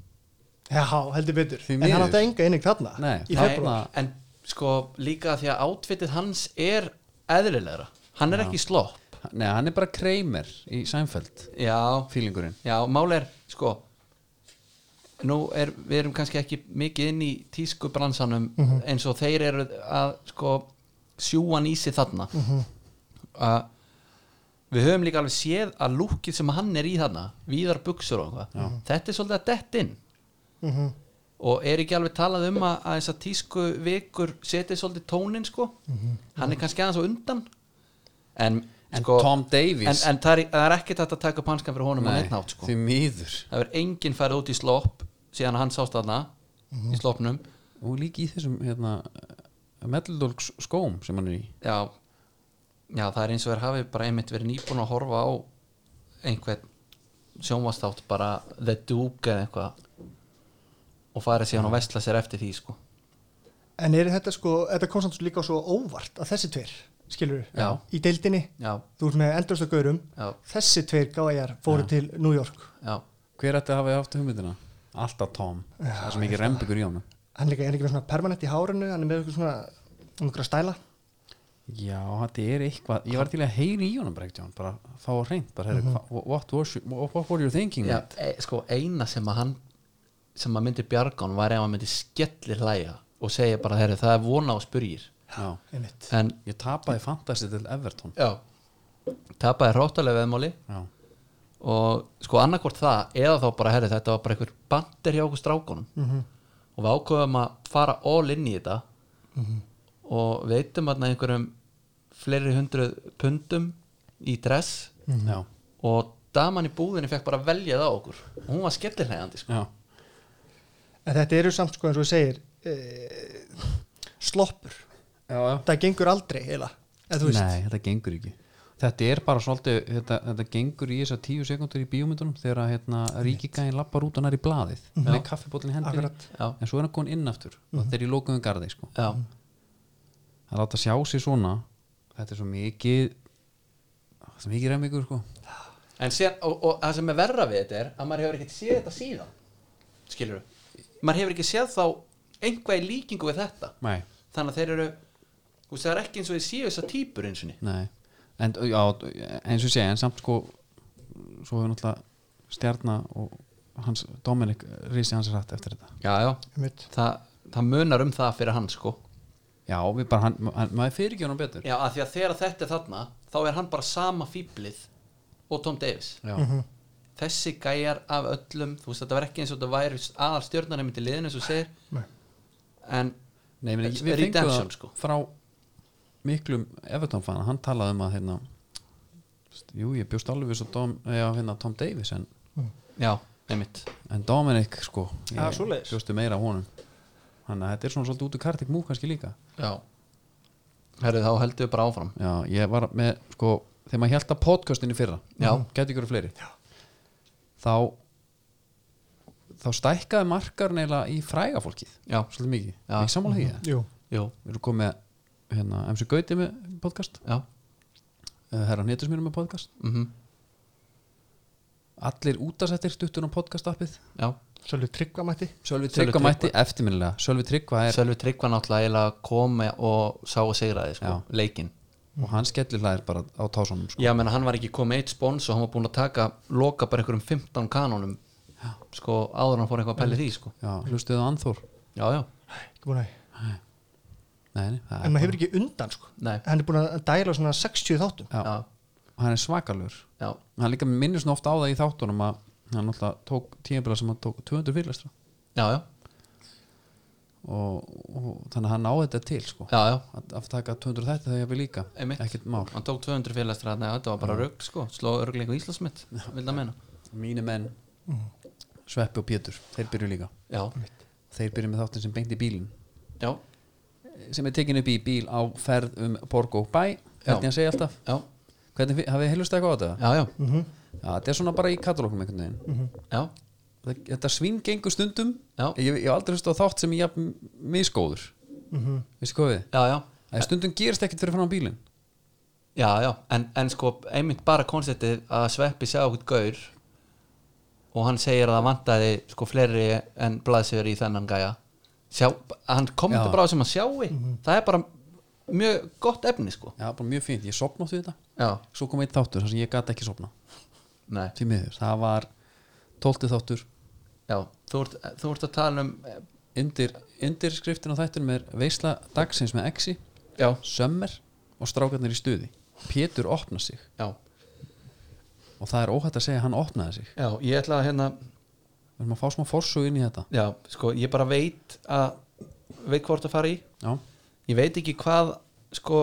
[SPEAKER 3] Já, heldur betur
[SPEAKER 1] Því
[SPEAKER 3] En
[SPEAKER 1] miður.
[SPEAKER 3] hann átti enga einnig þarna
[SPEAKER 1] Nei,
[SPEAKER 3] í
[SPEAKER 1] það-
[SPEAKER 3] februar
[SPEAKER 2] en sko líka því að átfitið hans er eðlilegra, hann er ekki slopp
[SPEAKER 1] Nei, hann er bara kreimer í Seinfeld
[SPEAKER 2] já,
[SPEAKER 1] Fílingurinn
[SPEAKER 2] já, mál er sko nú er, við erum kannski ekki mikið inn í tísku bransanum eins og þeir eru að sko sjúan í sig þarna mm við höfum líka alveg séð að lúkið sem hann er í þarna víðar buksur og eitthvað þetta er svolítið að dett inn og er ekki alveg talað um að, að þessar tísku vikur setið svolítið tónin sko hann er kannski aðeins á undan en,
[SPEAKER 1] En
[SPEAKER 2] sko,
[SPEAKER 1] Tom Davies-
[SPEAKER 2] en, en það, er, það er ekki þetta að taka upp hanskan fyrir honum á neitt nátt sko
[SPEAKER 1] því miður
[SPEAKER 2] það verður enginn færið út í slopp síðan hann sást þarna í sloppnum
[SPEAKER 1] Og líka í þessum hérna Meldolks skóm sem hann er í
[SPEAKER 2] já, já, það er eins og verður hafi bara einmitt verið nýbúin að horfa á einhvern sjónvastátt bara The Duke eða eitthvað og farið síðan og vesla sér eftir því sko.
[SPEAKER 3] En er þetta sko, þetta kom samt líka svo óvart að þessi tveir skilur
[SPEAKER 2] Já.
[SPEAKER 3] í deildinni,
[SPEAKER 2] já,
[SPEAKER 3] þú ert með endursta gaurum
[SPEAKER 2] já,
[SPEAKER 3] þessi tveir gájar fóru til New York
[SPEAKER 2] já
[SPEAKER 1] Hver ætti að hafa haft hugmyndina? Alltaf Tom, það er svo mikið rembyggur í honum
[SPEAKER 3] hann líka er ekki með svona permanent í hárinu hann er með eitthvað svona, um ykkur að stæla
[SPEAKER 1] Já, þetta er eitthvað Ég var til að heyri í honum bregt Jón, bara fá að reynd bara, mm what, was you, what, what were you thinking?
[SPEAKER 2] já,
[SPEAKER 1] mate?"
[SPEAKER 2] e, sko eina sem að hann sem að myndi bjargán var ef hann myndi skellir hlæja og segja bara herri það er vona á spurgir
[SPEAKER 1] Já.
[SPEAKER 3] einmitt,
[SPEAKER 2] en
[SPEAKER 1] Ég tapaði fantasy til Everton
[SPEAKER 2] já, tapaði hráttalega veðmáli
[SPEAKER 1] Já,
[SPEAKER 2] og sko annarkvort það eða þá bara herri þetta var bara einhver bandir hjá okkur strákunum -hmm. og við ákveðum að fara all inn í þetta -hmm. og veitum að einhverjum fleiri hundruð pundum í dress
[SPEAKER 1] já,
[SPEAKER 2] og daman í búðinni fekk bara að velja það á okkur og hún var skellirhægandi sko.
[SPEAKER 1] já
[SPEAKER 3] en þetta eru samt sko eins og þú segir e, sloppur
[SPEAKER 1] Já, já
[SPEAKER 3] það gengur aldrei heila eða þú veist,
[SPEAKER 1] Nei, þetta gengur ekki Þetta er bara svolítið, þetta, þetta gengur í þessar tíu sekundur í bíómyndunum þegar að hérna, ríkigæðin lappar út og nær í blaðið með kaffibóllin hendur
[SPEAKER 3] Akkurat.
[SPEAKER 2] Já.
[SPEAKER 1] en svo er hann komin inn aftur og þeir eru í lókuðum garði sko.
[SPEAKER 2] já,
[SPEAKER 1] að láta sjá sig svona þetta er svo mikið þetta er mikið remmingur sko.
[SPEAKER 2] en sér og, og það sem er verra við þetta er að maður hefur ekkert séð þetta síðan skilur maður hefur ekki séð þá einhvað í líkingu við þetta
[SPEAKER 1] Nei,
[SPEAKER 2] þannig að þeir eru þú veist það er ekki eins og þeir séu þessa típur eins og niður
[SPEAKER 1] nei en, já, eins og ég segi, en samt sko svo hefur náttúrulega stjarnar og hans Dominik rísi hans rætt eftir þetta
[SPEAKER 2] já, já,
[SPEAKER 3] einmitt
[SPEAKER 2] það, það munar um það fyrir hann sko
[SPEAKER 1] Já, við bara, hann, hann, maður fyrir ekki honum betur
[SPEAKER 2] já, af því að þegar þetta er þarna þá er hann bara sama fýblið og Tom Davis
[SPEAKER 1] Já,
[SPEAKER 2] þessi gæjar af öllum þú veist þetta var ekki eins og þetta væri aðal stjórnar í liðinu eins og þú segir
[SPEAKER 3] Nei.
[SPEAKER 2] en
[SPEAKER 1] Nei, meni,
[SPEAKER 2] It's
[SPEAKER 1] við fengum
[SPEAKER 2] redemption,
[SPEAKER 1] það
[SPEAKER 2] sko.
[SPEAKER 1] frá miklum Everton fana, hann talaði um að hérna, jú, ég bjóst alveg við svo Dom, já, hérna, Tom Davis en,
[SPEAKER 2] já, einmitt
[SPEAKER 1] en Dominic, sko ég
[SPEAKER 3] Ja, svoleiðis.
[SPEAKER 1] bjóstu meira á honum þannig að þetta er svona svolítið út úr kartik mú kannski líka
[SPEAKER 2] já herru þá heldur við bara áfram
[SPEAKER 1] já, ég var með, sko, þegar maður held að podcastinu fyrra,
[SPEAKER 2] Já.
[SPEAKER 1] gæti ykkur fleiri já. þá þá stækkaði markar neila í fræga fólkið
[SPEAKER 2] já,
[SPEAKER 1] svolítið mikið,
[SPEAKER 2] Já. Mhm.
[SPEAKER 1] ekki sammála því mm
[SPEAKER 3] Jú.
[SPEAKER 2] jú,
[SPEAKER 1] við erum komið, með, hérna, MC Gauti með podcast
[SPEAKER 2] já
[SPEAKER 1] uh, herra Nétusmýrum með podcast
[SPEAKER 2] mm
[SPEAKER 1] allir útasettir stuttur á podcast appið
[SPEAKER 2] já
[SPEAKER 3] Sölvi Tryggvamætti
[SPEAKER 1] Sölvi
[SPEAKER 2] Tryggva
[SPEAKER 1] Tryggva mætti eftirminnilega Sölvi Tryggva er
[SPEAKER 2] Sölvi Tryggva náttúrulega eiginlega kom með og sá og segraði sko,
[SPEAKER 1] Já.
[SPEAKER 2] leikinn
[SPEAKER 1] og hann skellir hlæðir bara á tásunum sko.
[SPEAKER 2] já, menn hann var ekki komið eitt spons og hann var búin að taka loka bara einhverjum 15 kanónum sko, áður en hann fór eitthvað að pæli því sko.
[SPEAKER 1] Já, hlustuðu á Anþór
[SPEAKER 2] já, já,
[SPEAKER 3] Ekki búin að-
[SPEAKER 1] nei, nei, það er
[SPEAKER 3] en maður
[SPEAKER 1] bara-
[SPEAKER 3] hefur ekki undan sko
[SPEAKER 2] nei
[SPEAKER 3] hann er búin að dæla svona 60 þáttum
[SPEAKER 1] Já.
[SPEAKER 2] já,
[SPEAKER 1] hann er svakalur
[SPEAKER 2] já,
[SPEAKER 1] hann líka minnir svona ofta á það í þáttunum að hann alltaf tók tímabila sem hann tók 200 fyrirlestra
[SPEAKER 2] já, já,
[SPEAKER 1] og, og þannig að hann náði þetta til sko.
[SPEAKER 2] já, já.
[SPEAKER 1] að, að taka 200 þetta þegar ég vil líka
[SPEAKER 2] Einmitt.
[SPEAKER 1] ekkert mál
[SPEAKER 2] hann tók 200 félagstra þarna, já, þetta var bara rögg sko, sló örgleiku Íslandsmitt vil það meina,
[SPEAKER 1] mínu menn Sveppi og Pétur, þeir byrju líka
[SPEAKER 2] já,
[SPEAKER 1] þeir byrju með þáttin sem beint í bílinn
[SPEAKER 2] já,
[SPEAKER 1] sem er tekin upp í bíl á ferð um borg og bæ hvernig
[SPEAKER 2] Já.
[SPEAKER 1] hann segja alltaf
[SPEAKER 2] já,
[SPEAKER 1] hvernig, fi- hafið heilust eitthvað á þetta?
[SPEAKER 2] já, já,
[SPEAKER 1] Já, þetta er svona bara í katalógum einhvern veginn
[SPEAKER 2] já.
[SPEAKER 1] Þa- þetta svín gengur stundum
[SPEAKER 2] Mhm. Já.
[SPEAKER 1] ég, ég hef aldrei hlust á þátt sem ég jafn misgóður mm
[SPEAKER 2] Mhm.
[SPEAKER 1] -hmm. veistu hvað við?
[SPEAKER 2] já, já.
[SPEAKER 1] að stundum gerist ekkert fyrir fram á bílinn
[SPEAKER 2] Já, já, en, en sko einmitt bara konceptið að Sveppi sjá okkur gaur og hann segir að það vantaði sko fleiri en blaðsögur í þennan gæja sjá, hann komið
[SPEAKER 1] Já.
[SPEAKER 2] bara á sem að sjáu það er bara mjög gott efni sko
[SPEAKER 1] já, bara mjög fínt, ég sopnátt við þetta
[SPEAKER 2] Já,
[SPEAKER 1] svo kom einn þáttur þar sem ég gæti ekki sopna
[SPEAKER 2] nei,
[SPEAKER 1] því miður, það var 12. þáttur
[SPEAKER 2] já, þú ert, þú ert að tala um
[SPEAKER 1] undir, undir skriftin á þættunum er veisla dagsins með exi
[SPEAKER 2] já,
[SPEAKER 1] sömmer og strákarnir í stuði Pétur opna sig
[SPEAKER 2] já,
[SPEAKER 1] og það er óhætt að segja að hann opnaði sig
[SPEAKER 2] já, ég ætla að hérna
[SPEAKER 1] við erum að fá smá forsug inn í þetta
[SPEAKER 2] já, sko, ég bara veit að veit hvort að fara í
[SPEAKER 1] já,
[SPEAKER 2] ég veit ekki hvað sko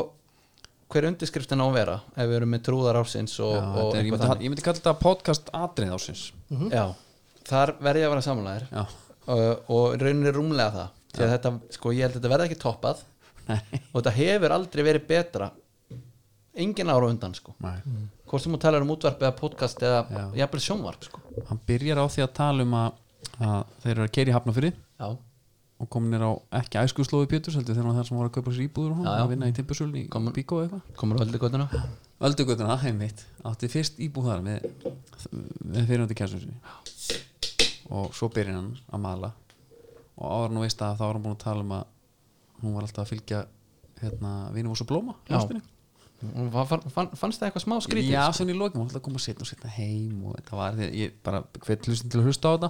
[SPEAKER 2] hver undirskriftin á að vera ef við erum með trúðar ársins og,
[SPEAKER 1] já
[SPEAKER 2] og
[SPEAKER 1] þetta er, ég,
[SPEAKER 2] eitthvað
[SPEAKER 1] myndi,
[SPEAKER 2] þannig.
[SPEAKER 1] ég myndi kalla þetta podcast atrið ásins
[SPEAKER 2] Já, þar verði ég að vera samanlæðir
[SPEAKER 1] Mhm. já, [laughs]
[SPEAKER 2] uh, og rauninni rúmlega það því að þetta, sko, ég held að þetta verði ekki toppað
[SPEAKER 1] nei,
[SPEAKER 2] og þetta hefur aldrei verið betra engin ára undan sko
[SPEAKER 1] nei.
[SPEAKER 2] hvort sem hún talar um útvarp eða podcast eða
[SPEAKER 1] Já.
[SPEAKER 2] jafnvel sjónvarp sko
[SPEAKER 1] hann byrjar á því að tala um að, að þeir eru að keiri hafna fyrir
[SPEAKER 2] já,
[SPEAKER 1] og kominir á ekki æskuslóði Péturs heldur þegar hann þar sem voru að kaupa sér íbúður og
[SPEAKER 2] Já,
[SPEAKER 1] hann
[SPEAKER 2] já.
[SPEAKER 1] að vinna í timbursölni í
[SPEAKER 2] Komin-
[SPEAKER 1] Bíkó eða eitthvað
[SPEAKER 2] komur á öldugötuna
[SPEAKER 1] Öldugötuna, heimitt, átti fyrst íbúð þar með, með fyrirhundi kæsum sinni og svo byrjar hann að mala og áður nú veist að þá var hann búin að tala um að hún var alltaf að fylgja hérna, vinum og svo blóma
[SPEAKER 2] Já.
[SPEAKER 1] ástinni.
[SPEAKER 2] fann, fann, fannst það eitthvað smá skrítið
[SPEAKER 1] Já, svona í lokin, hún var alltaf að koma setna og setna heim og þetta var því, ég bara hvet hlustin til að hlusta á þetta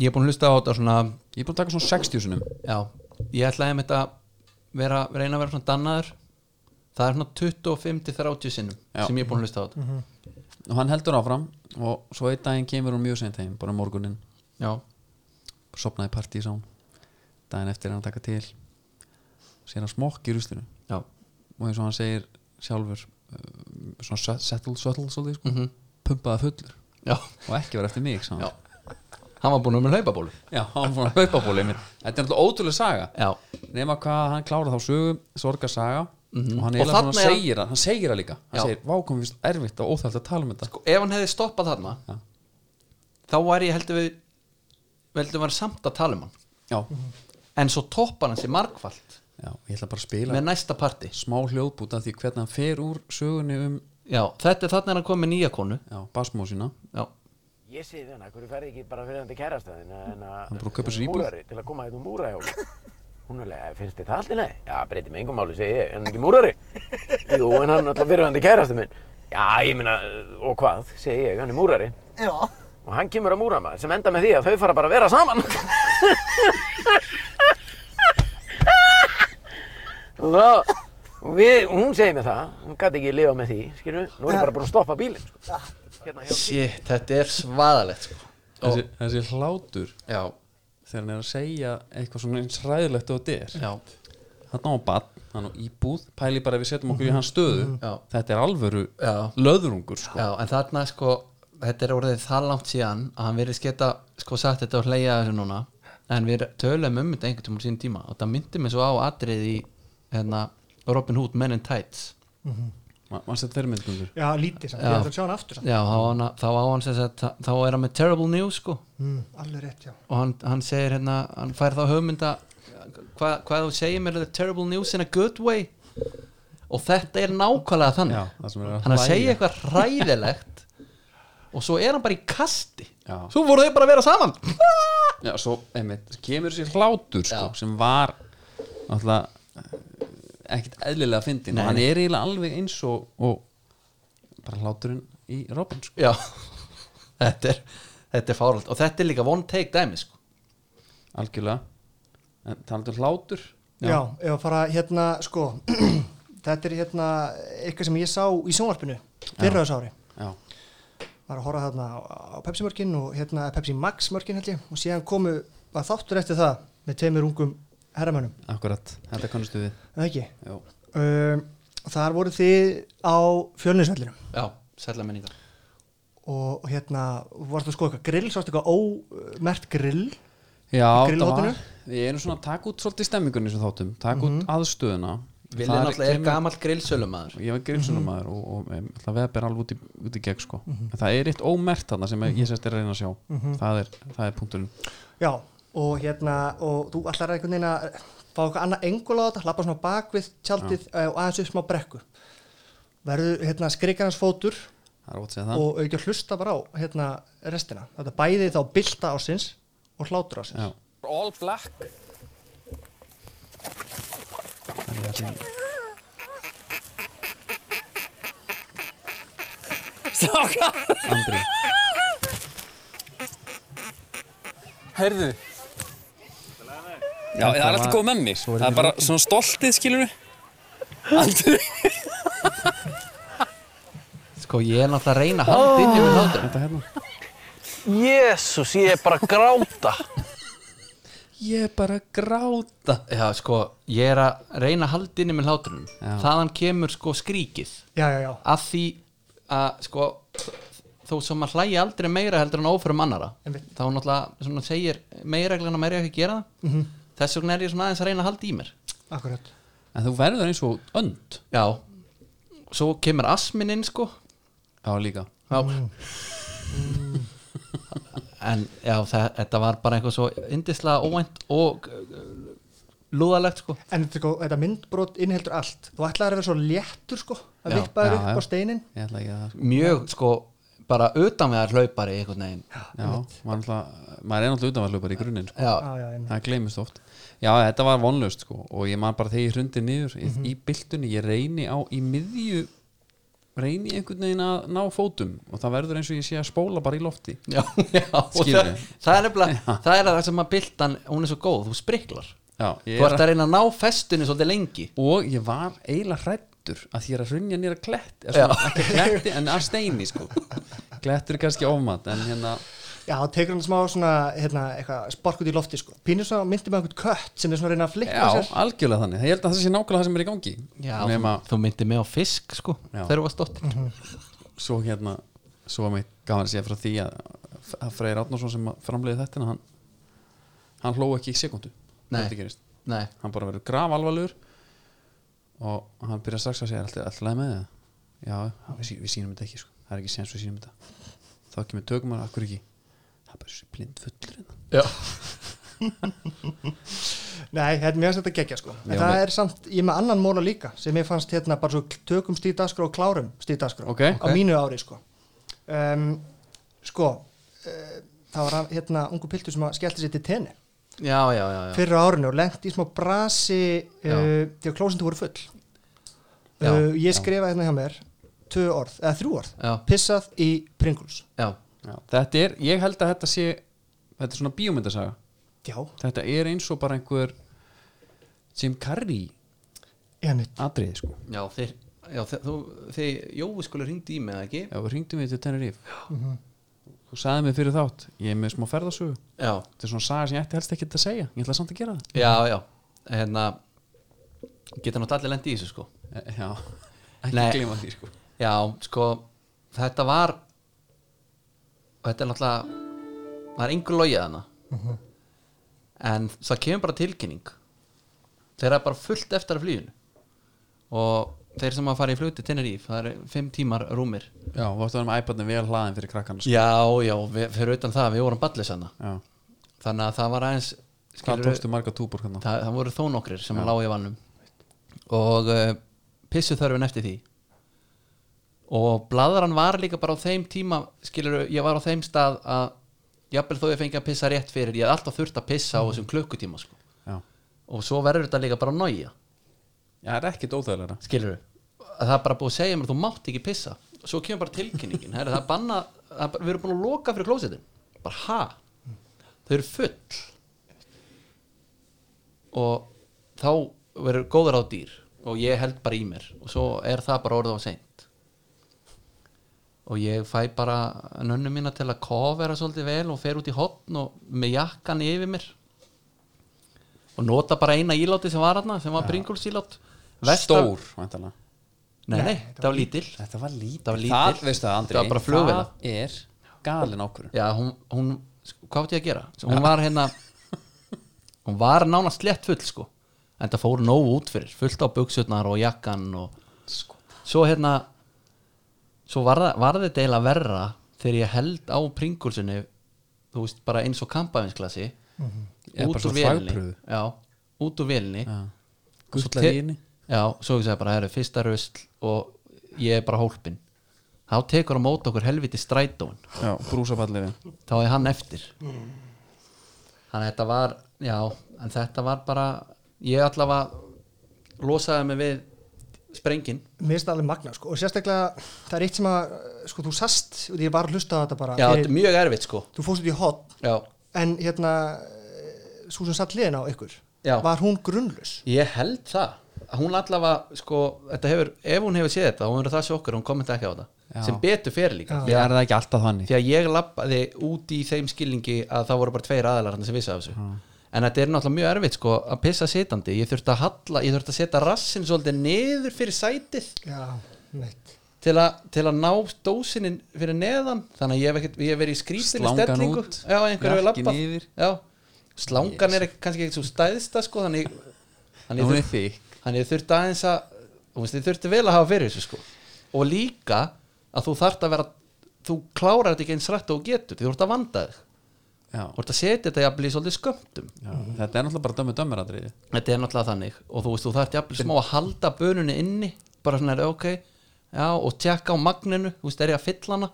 [SPEAKER 2] ég er búin að hlusta á þetta svona
[SPEAKER 1] Ég er búin að taka svona 60 sinum
[SPEAKER 2] já, ég ætlaði einmitt að vera, reyna að vera svona dannaður það er svona 25 til 30 sinnum
[SPEAKER 1] Já.
[SPEAKER 2] sem ég er búin að hlusta á þetta
[SPEAKER 1] og hann heldur áfram og svo einn daginn kemur hún mjög sent heim bara um morguninn,
[SPEAKER 2] já,
[SPEAKER 1] sopnaði partí sá hún daginn eftir er hann að taka til sér hann smokk í ruslinu
[SPEAKER 2] já,
[SPEAKER 1] og eins og hann segir sjálfur uh, svona set- settled, settled svolítið sko,
[SPEAKER 2] Mhm.
[SPEAKER 1] pumpaða fullur
[SPEAKER 2] já,
[SPEAKER 1] og ekki var eftir mig sagði
[SPEAKER 2] já
[SPEAKER 1] hann.
[SPEAKER 2] hann var búin að vera með hlaupabólu
[SPEAKER 1] já, hann fór að haupa bóli mér þetta er náttúrulega ótrúlega saga
[SPEAKER 2] já,
[SPEAKER 1] nema hvað hann klára þá sögu sorgarsaga og hann
[SPEAKER 2] Mhm. Og
[SPEAKER 1] eiginlega
[SPEAKER 2] þarna
[SPEAKER 1] svona
[SPEAKER 2] er hann-
[SPEAKER 1] segir hann, hann segir það líka hann
[SPEAKER 2] Já.
[SPEAKER 1] segir, vá komum við erfitt og óþægt að tala um þetta
[SPEAKER 2] sko, ef hann hefði stoppað þarna
[SPEAKER 1] Já.
[SPEAKER 2] þá væri ég heldur við heldur við var samt að tala um hann
[SPEAKER 1] já,
[SPEAKER 2] en svo toppar hann sér margfald
[SPEAKER 1] já, ég ætla bara að spila
[SPEAKER 2] með næsta parti
[SPEAKER 1] smá hljóðbút af því hvernig hann fer úr sögunni um
[SPEAKER 2] já, þetta er þarna er hann komið með nýja konu
[SPEAKER 1] já, basmósina
[SPEAKER 2] já,
[SPEAKER 9] Ég segi þannig, hverju ferði ekki bara fyrir hann til kærastöðin en að...
[SPEAKER 1] Hann bara kaupir sér íbúð.
[SPEAKER 9] Múrari, til að koma hérna um múra hjá hún. Hún er alveg, finnst þið það allir leið? Já, breytir mig engum máli, segi ég, en ekki múrari. Jú, en hann er alltaf fyrir hann til kærastöðin. Já, ég meina, og hvað, segi ég, hann er múrari. Já. Og hann kemur að múra maður sem enda með því að þau fara bara að vera saman. og þá, og við, hún segir mér það, hún gæti ekki lifa með því, skilju, nú er ég bara búin að stoppa bílinn, sko.
[SPEAKER 2] shit, þetta er svaðalegt sko.
[SPEAKER 1] þessi, þessi hlátur
[SPEAKER 2] já,
[SPEAKER 1] þegar hann er að segja eitthvað svona eins ræðilegt og þetta er
[SPEAKER 2] já,
[SPEAKER 1] hann á bann, hann á íbúð pæli bara að við setjum okkur í hans stöðu
[SPEAKER 2] Já.
[SPEAKER 1] þetta er alvöru
[SPEAKER 2] Já.
[SPEAKER 1] löðrungur sko.
[SPEAKER 2] já, en þarna sko þetta er orðið það langt síðan að hann verið sketa, sko sagt þetta og hleyja þessu núna en við töluðum um þetta einhvern tímann sín tíma og það myndi mig svo á atrið í hérna, Robin Hood Men in Tights
[SPEAKER 1] Ma- mannstu þetta þeirra myndgungur
[SPEAKER 3] já, lítið samt, ég ætla að sjá hann aftur samt
[SPEAKER 2] já, þá, á hann- þá á hann sem sagt, þá- þá er hann með Terrible News sko
[SPEAKER 3] mm, alveg rétt, já
[SPEAKER 2] og hann, hann segir hérna hann fær þá hugmynda hva, hvað þú segir mér the terrible news in a good way og þetta er nákvæmlega þannig
[SPEAKER 1] Já, það sem er að
[SPEAKER 2] hann er að
[SPEAKER 1] hlæja.
[SPEAKER 2] segja eitthvað ræðilegt [laughs] og svo er hann bara í kasti
[SPEAKER 1] Já.
[SPEAKER 2] svo voru þau bara að vera saman
[SPEAKER 1] já, svo einmitt, kemur þessi hlátur sko, sem var náttúrulega eh, ekkert eðlilega fyndin og hann er eiginlega alveg eins og, og bara hláturinn í Robin sko.
[SPEAKER 2] já þetta er, þetta er fáralt og þetta er líka one take dæmi sko.
[SPEAKER 1] algjörlega en talandur hlátur
[SPEAKER 3] Já, ef að fara hérna, sko [clears throat] þetta er hérna eitthvað sem ég sá í sjónvarpinu fyrra þessu ári
[SPEAKER 1] já,
[SPEAKER 3] var að horfa þarna á, á Pepsi mörkin og hérna Pepsi Max mörkin held ég og síðan komu, var þáttur eftir það með teimur ungum herramönnum
[SPEAKER 1] akkurat, þetta kannastu við
[SPEAKER 3] en það ekki
[SPEAKER 1] já.
[SPEAKER 3] um, þar voru þið á fjölnisvellinum
[SPEAKER 2] já, sætla minningar
[SPEAKER 3] og og hérna, varstu að skoða eitthvað grill sástu eitthvað ómert grill
[SPEAKER 1] Já, það
[SPEAKER 3] Grillhotinu?
[SPEAKER 1] var, við erum svona að taka út svolítið stemmingunni sem þáttum, taka út aðstöðuna
[SPEAKER 2] Vilja
[SPEAKER 1] Þar
[SPEAKER 2] náttúrulega er
[SPEAKER 1] kemur-
[SPEAKER 2] gamall grillsölumæður
[SPEAKER 1] Ég var grillsunumæður og, og em, ætla að veða er alveg út í, út í gegn sko En það er eitt ómert þarna sem ég sérst er að reyna að sjá það, er, það er punkturinn
[SPEAKER 3] já, og hérna og þú ætlar einhvern veginn að fá eitthvað annað engul á þetta, lappa svona bak við tjaldið eh, og aðeins upp smá brekku verður hérna skrikarnas fótur
[SPEAKER 1] Það er ótt að segja það
[SPEAKER 3] og auðvitað hlusta bara á hérna restina, þetta er bæði þá bylta ásins og hlátur ásins
[SPEAKER 1] Já.
[SPEAKER 5] All black
[SPEAKER 1] Andri,
[SPEAKER 5] Herðu Já,
[SPEAKER 1] Þetta
[SPEAKER 5] það er alltaf
[SPEAKER 1] var-
[SPEAKER 5] góð með mig
[SPEAKER 1] svo er
[SPEAKER 5] Það er
[SPEAKER 1] ekki
[SPEAKER 5] bara svona stoltið, skilur við Andri
[SPEAKER 2] sko ég er náttúrulega að reyna að halda inn í mér hlátur
[SPEAKER 1] þetta hérna
[SPEAKER 5] Jésús, ég er bara að
[SPEAKER 10] [laughs]
[SPEAKER 5] gráta
[SPEAKER 1] Ég er bara að gráta
[SPEAKER 2] já sko, ég er að reyna að halda inn í mér hláturinn
[SPEAKER 1] Já.
[SPEAKER 2] þaðan kemur sko skríkið
[SPEAKER 3] já, já, já,
[SPEAKER 2] að því að sko þó sem maður hlægi aldrei meira heldur en óförum annara
[SPEAKER 3] Einmitt.
[SPEAKER 2] þá náttúrulega svona segir meirreglana meira ekki gera það
[SPEAKER 1] Mhm.
[SPEAKER 2] þess vegna er ég svona aðeins að reyna að halda í mér
[SPEAKER 3] akkurat
[SPEAKER 1] En þú verður eins og önd
[SPEAKER 2] já, svo kemur asmin inn sko
[SPEAKER 1] Já, líka
[SPEAKER 2] já.
[SPEAKER 1] Mm.
[SPEAKER 2] [laughs] en já, það, þetta var bara eitthvað svo indislega óvænt og uh, lúðalegt sko
[SPEAKER 3] En þetta, sko, þetta myndbrot innheldur allt Þú ætlaðir að vera svo léttur sko að
[SPEAKER 1] Já,
[SPEAKER 3] vippa þér
[SPEAKER 1] já,
[SPEAKER 3] upp
[SPEAKER 1] já.
[SPEAKER 3] á steinin
[SPEAKER 1] ég ætla ekki að
[SPEAKER 2] mjög sko bara utan við að hlaupari einhvern veginn
[SPEAKER 1] já, maður, náttúrulega- maður er náttúrulega utanvæðlu bara í grunninn sko.
[SPEAKER 2] já,
[SPEAKER 3] Já, já, einmitt.
[SPEAKER 1] það gleymist oft já, þetta var vonlaust sko og ég man bara þegar ég hrundi niður
[SPEAKER 2] Mhm.
[SPEAKER 1] mm í byltunni, ég reyni á í miðju reyni einhvern veginn að ná fótum og það verður eins og ég sé að spóla bara í lofti
[SPEAKER 2] já, já
[SPEAKER 1] [laughs]
[SPEAKER 2] og það,
[SPEAKER 1] Skilurðu?
[SPEAKER 2] það er nefnilega það er það sem að byltan, hún er svo góð þú spriklar,
[SPEAKER 1] já, ég er,
[SPEAKER 2] þú ert að reyna að ná festunni svolítið lengi
[SPEAKER 1] og ég var eiginlega hrættur að ég er að hrunja nýra klett er svona, ekki kletti en að steini sko klettur er kannski ofmat en hérna
[SPEAKER 3] Já, það tekur hann smá svona hérna, eitthvað, spark út í lofti sko Pínur svo myndi með einhvern kött sem er svona að reyna að flikka
[SPEAKER 1] já,
[SPEAKER 3] sér
[SPEAKER 1] algjörlega þannig, ég held að það sé nákvæmlega það sem er í gangi
[SPEAKER 2] já,
[SPEAKER 1] nema
[SPEAKER 2] þú, þú myndir mig á fisk sko
[SPEAKER 1] Já.
[SPEAKER 2] þegar þú varst dottir
[SPEAKER 1] svo hérna svo mitt gaman að segja frá því að, að Freyr Átnarsson sem framleiði þetta hann, hann hló ekki í sekundu
[SPEAKER 2] Nei.
[SPEAKER 1] hann
[SPEAKER 2] nei,
[SPEAKER 1] bara verður graf alvarlegur og hann byrjar strax að segja alltaf, alltaf leið með það já, hann- við, sí- við sýnum þetta ekki sko. það er ekki sens við sýnum þetta þá ekki með tökum hann, akkur ekki það er bara þessi blind fullur hérna.
[SPEAKER 2] já,
[SPEAKER 3] Nei, þetta mér finnst þetta geggja sko En
[SPEAKER 1] Já,
[SPEAKER 3] það
[SPEAKER 1] nei.
[SPEAKER 3] er samt, ég er með annan móla líka sem ég fannst hérna bara svo tökum stíðdaskra og klárum stíðdaskra
[SPEAKER 1] Ok.
[SPEAKER 3] á mínu ári sko um, Sko uh, það var hann, hérna ungu piltur sem að skellti sér til tenni
[SPEAKER 2] já, já, já, já.
[SPEAKER 3] fyrra árinu og lendi í smá brasi uh,
[SPEAKER 2] Já.
[SPEAKER 3] þegar klósindu voru full
[SPEAKER 2] Já,
[SPEAKER 3] uh, Ég skrifa hérna hjá mér tvö orð, eða þrjú orð
[SPEAKER 2] Já.
[SPEAKER 3] pissað í Pringles
[SPEAKER 2] já.
[SPEAKER 1] Já, þetta er, ég held að þetta sé þetta er svona bíómyndasaga
[SPEAKER 3] Já,
[SPEAKER 1] þetta er eins og bara einhver Jim Carrey
[SPEAKER 3] einmitt
[SPEAKER 1] atriði sko
[SPEAKER 2] Já, þeir, já, þe- þú, þeir Jói skuli ringdi í mig, eða ekki?
[SPEAKER 1] Já, við ringdum við til Tenerife Mhm. Þú sagði mér fyrir þátt Ég er með smá ferðasögu
[SPEAKER 2] Já,
[SPEAKER 1] Þetta er svona saga sem ég ætti helst ekki að segja Ég ætla samt að gera það
[SPEAKER 2] já, já Hérna, geta nátt allir lendi í þessu, sko
[SPEAKER 1] E- Já, [laughs] ekki
[SPEAKER 2] Nei.
[SPEAKER 1] gleyma því sko
[SPEAKER 2] Já, sko, þetta var og þetta er náttúrulega það er yngur logið hana Mhm. en það kemur bara tilkynning þeirra er bara fullt eftir að flýjun og þeir sem að fara í fluti Tenerife, það er fimm tímar rúmir
[SPEAKER 1] Já, við áttu að vera með iPadin vel hlaðin fyrir krakkan sko.
[SPEAKER 2] Já, já, við, fyrir utan það, við vorum ballis hana
[SPEAKER 1] Já,
[SPEAKER 2] þannig að það var aðeins
[SPEAKER 1] hvað
[SPEAKER 2] skilurðu,
[SPEAKER 1] tókstu marga túbor hérna?
[SPEAKER 2] það, það voru þó nokkrir sem lág í vannum og uh, pissu þörfin eftir því og bladran var líka bara á þeim tíma skilur, ég var á þeim stað að jafnvel þó ég fengi að pissa rétt fyrir ég hef alltaf þurft að pissa á þessum klukkutíma sko.
[SPEAKER 1] Já,
[SPEAKER 2] og svo verður þetta líka bara að nája
[SPEAKER 1] Já, það er ekkit óþægilega
[SPEAKER 2] skilur, að það er bara búið að segja mér þú mátt ekki pissa, svo kemur bara tilkynningin Heru, það er banna, það er bara, við erum búin að loka fyrir klósetin, bara ha þau eru full og þá verður góður á dýr og ég held bara í mér og svo er það bara orðið á seint og ég fæ bara nönnu mína til að kofera svolítið vel og fer út í hotn og með jakkan yfir mér og nota bara eina íláti sem var hana sem var pringulsílát
[SPEAKER 1] Stór, væntanlega
[SPEAKER 2] Nei, nei, það var lítil
[SPEAKER 1] Þetta var lítil
[SPEAKER 2] Það var lítil.
[SPEAKER 1] Það, veistu það, Andri
[SPEAKER 2] Það var bara flugvél.
[SPEAKER 1] Það er galin ákvörðun
[SPEAKER 2] Já, hún, hún sko, hvað átti ég að gera? Svo hún var hérna hún var nánast slett full sko en það fór nóg út fyrir, fullt á buksutnar og jakkan og
[SPEAKER 1] sko.
[SPEAKER 2] svo hérna svo var, það- var þetta eiginlega verra þegar ég held á pringulsinu þú veist, bara eins og kampavinsklasi
[SPEAKER 1] Ég er Mhm. bara
[SPEAKER 2] út úr
[SPEAKER 1] svona
[SPEAKER 2] vélinni
[SPEAKER 1] þvagprufu.
[SPEAKER 2] já, út úr vélinni Svo
[SPEAKER 1] Gull að
[SPEAKER 2] te-
[SPEAKER 1] líni
[SPEAKER 2] Já, svo ég segi bara, það eru fyrsta rusl og ég er bara hólpin þá tekur á móti okkur helviti strætóin
[SPEAKER 1] Já, brúsapallifi
[SPEAKER 2] þá er hann eftir þannig að þetta var já, en þetta var bara ég allavega losaði mig við sprengin
[SPEAKER 3] Mér finnst það alveg magna sko og sérstaklega það er eitt sem að sko þú sast og ég var að hlusta á þetta bara
[SPEAKER 2] já, þetta
[SPEAKER 3] fyrir,
[SPEAKER 2] er mjög erfitt sko
[SPEAKER 3] þú fórst út í hot
[SPEAKER 2] já.
[SPEAKER 3] en hérna svo sem satt liðin á ykkur
[SPEAKER 2] Já.
[SPEAKER 3] var hún grunnlaus
[SPEAKER 2] ég held það Að hún allavega sko, þetta hefur, ef hún hefur séð þetta hún verður það sjokkur, hún komið ekki á þetta
[SPEAKER 1] Já.
[SPEAKER 2] sem betur fyrir líka
[SPEAKER 1] Ég er það ekki alltaf þannig
[SPEAKER 2] því að ég lappaði út í þeim skilningi að það voru bara tveir aðalar hann sem vissi af þessu en þetta er náttúrulega mjög erfitt sko að pissa sitandi, ég þurfti að halla ég þurfti að setja rassin svolítið niður fyrir sætið
[SPEAKER 3] Já, mitt
[SPEAKER 2] til, a, til að ná dósinni fyrir neðan þannig að ég hef, ekkert, ég hef verið í skrítinni
[SPEAKER 1] Slangan
[SPEAKER 2] stellingu
[SPEAKER 1] út,
[SPEAKER 2] já, einhver hefur
[SPEAKER 1] jakkin
[SPEAKER 2] lappað
[SPEAKER 1] yfir.
[SPEAKER 2] já, slangan er ekki- kannski ekki svo stæðsta sko, þannig þannig
[SPEAKER 1] Hún er þykk.
[SPEAKER 2] ég þurfti- þannig ég þurfti aðeins að þú veist, ég þurfti vel að hafa fyrir þessu sko. og líka að þú þarft að vera þú klárar þetta ekki eins rætt og þú getur því þú ert að vanda þig
[SPEAKER 1] Já.
[SPEAKER 2] og þetta setja þetta jafnvel í svolítið skömmtum
[SPEAKER 1] Já, þetta er náttúrulega bara dömmu dömmur aðrið
[SPEAKER 2] þetta er náttúrulega þannig og þú veist, þú þarft jafnvel smá að halda bönunni inni bara svona, ok, já, og tjekka á magninu, þú veist, er ég að fylla hana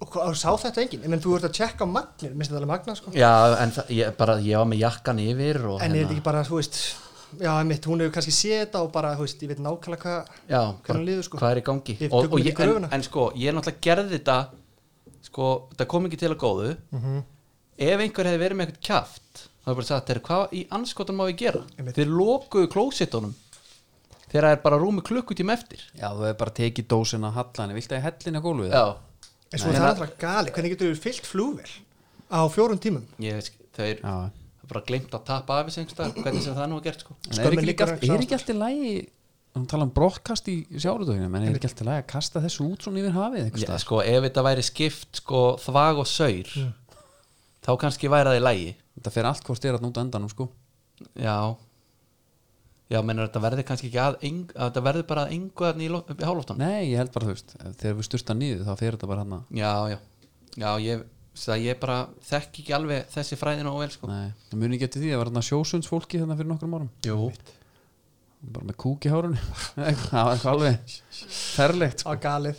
[SPEAKER 3] og hvað- sá þetta enginn, ég menn þú ert að tjekka á magnir, minnst þetta alveg magna sko
[SPEAKER 2] já, hérna. en það, ég, bara, ég var með jakkan yfir og
[SPEAKER 3] en er þetta ekki bara, þú veist já, mitt, hún hefur kannski séð þetta og bara, þú veist, ég veit nákvæmlega hvað
[SPEAKER 2] já, bara,
[SPEAKER 3] hvernig líður, sko.
[SPEAKER 2] hvað er í gangi
[SPEAKER 3] Ég
[SPEAKER 2] og,
[SPEAKER 3] tökum
[SPEAKER 2] og
[SPEAKER 3] þetta í
[SPEAKER 2] ég, en,
[SPEAKER 3] gröfuna.
[SPEAKER 2] en sko, ég náttúrulega gerði þetta sko, það kom ekki til að góðu
[SPEAKER 3] Mhm.
[SPEAKER 2] ef einhver hefði verið með eitthvað kjaft þá hefði bara sagt þér, hvað í anskotan má við gera
[SPEAKER 3] Einmitt.
[SPEAKER 2] þeir lokuðu klósittunum þegar það er bara rúmi klukkutíma eftir
[SPEAKER 1] Já, þú hefur bara tekið dósina að halla henni Viltu að ég hellin að gólfið?
[SPEAKER 2] já,
[SPEAKER 3] en
[SPEAKER 2] Nei, hérna-
[SPEAKER 3] svo er það
[SPEAKER 2] það-
[SPEAKER 3] alltaf gali, hvernig getur þú fyllt flugvel á fjórum tímum
[SPEAKER 2] ég veist, þeir
[SPEAKER 1] Já.
[SPEAKER 2] bara glemt að tappa af þessu einhversta hvernig sem það nú er gert sko
[SPEAKER 1] En er
[SPEAKER 3] Skömmin
[SPEAKER 1] ekki, líka,
[SPEAKER 3] liggur ekki
[SPEAKER 1] er ekki allt í lægi Hún tala um brottkast í sjárutöginu En er ekki allt í lægi að kasta þessu út svona yfir hafið einhvers
[SPEAKER 2] Já,
[SPEAKER 1] staðar?
[SPEAKER 2] sko, ef þetta væri skipt sko, þvag og saur
[SPEAKER 3] Mm.
[SPEAKER 2] þá kannski væri það í lægi
[SPEAKER 1] Þetta fer allt hvort er að núta endanum sko
[SPEAKER 2] Já Já, menur þetta verður kannski ekki að, eng, að þetta verður bara að engu þarna í, lo- í hálóftan
[SPEAKER 1] Nei, ég held bara þú veist ef- Þegar við sturta niður þá fer þetta bara hann
[SPEAKER 2] Já, já Já, ég, það, ég bara þekki ekki alveg þessi fræðin og vel sko
[SPEAKER 1] Nei, það muni ekki eftir því að var hann sjósunds fólki þannig hérna fyrir nokkrum árum
[SPEAKER 2] Jú
[SPEAKER 1] bara með kúk í hárunni [laughs] það var eitthvað alveg ferlegt
[SPEAKER 3] á galið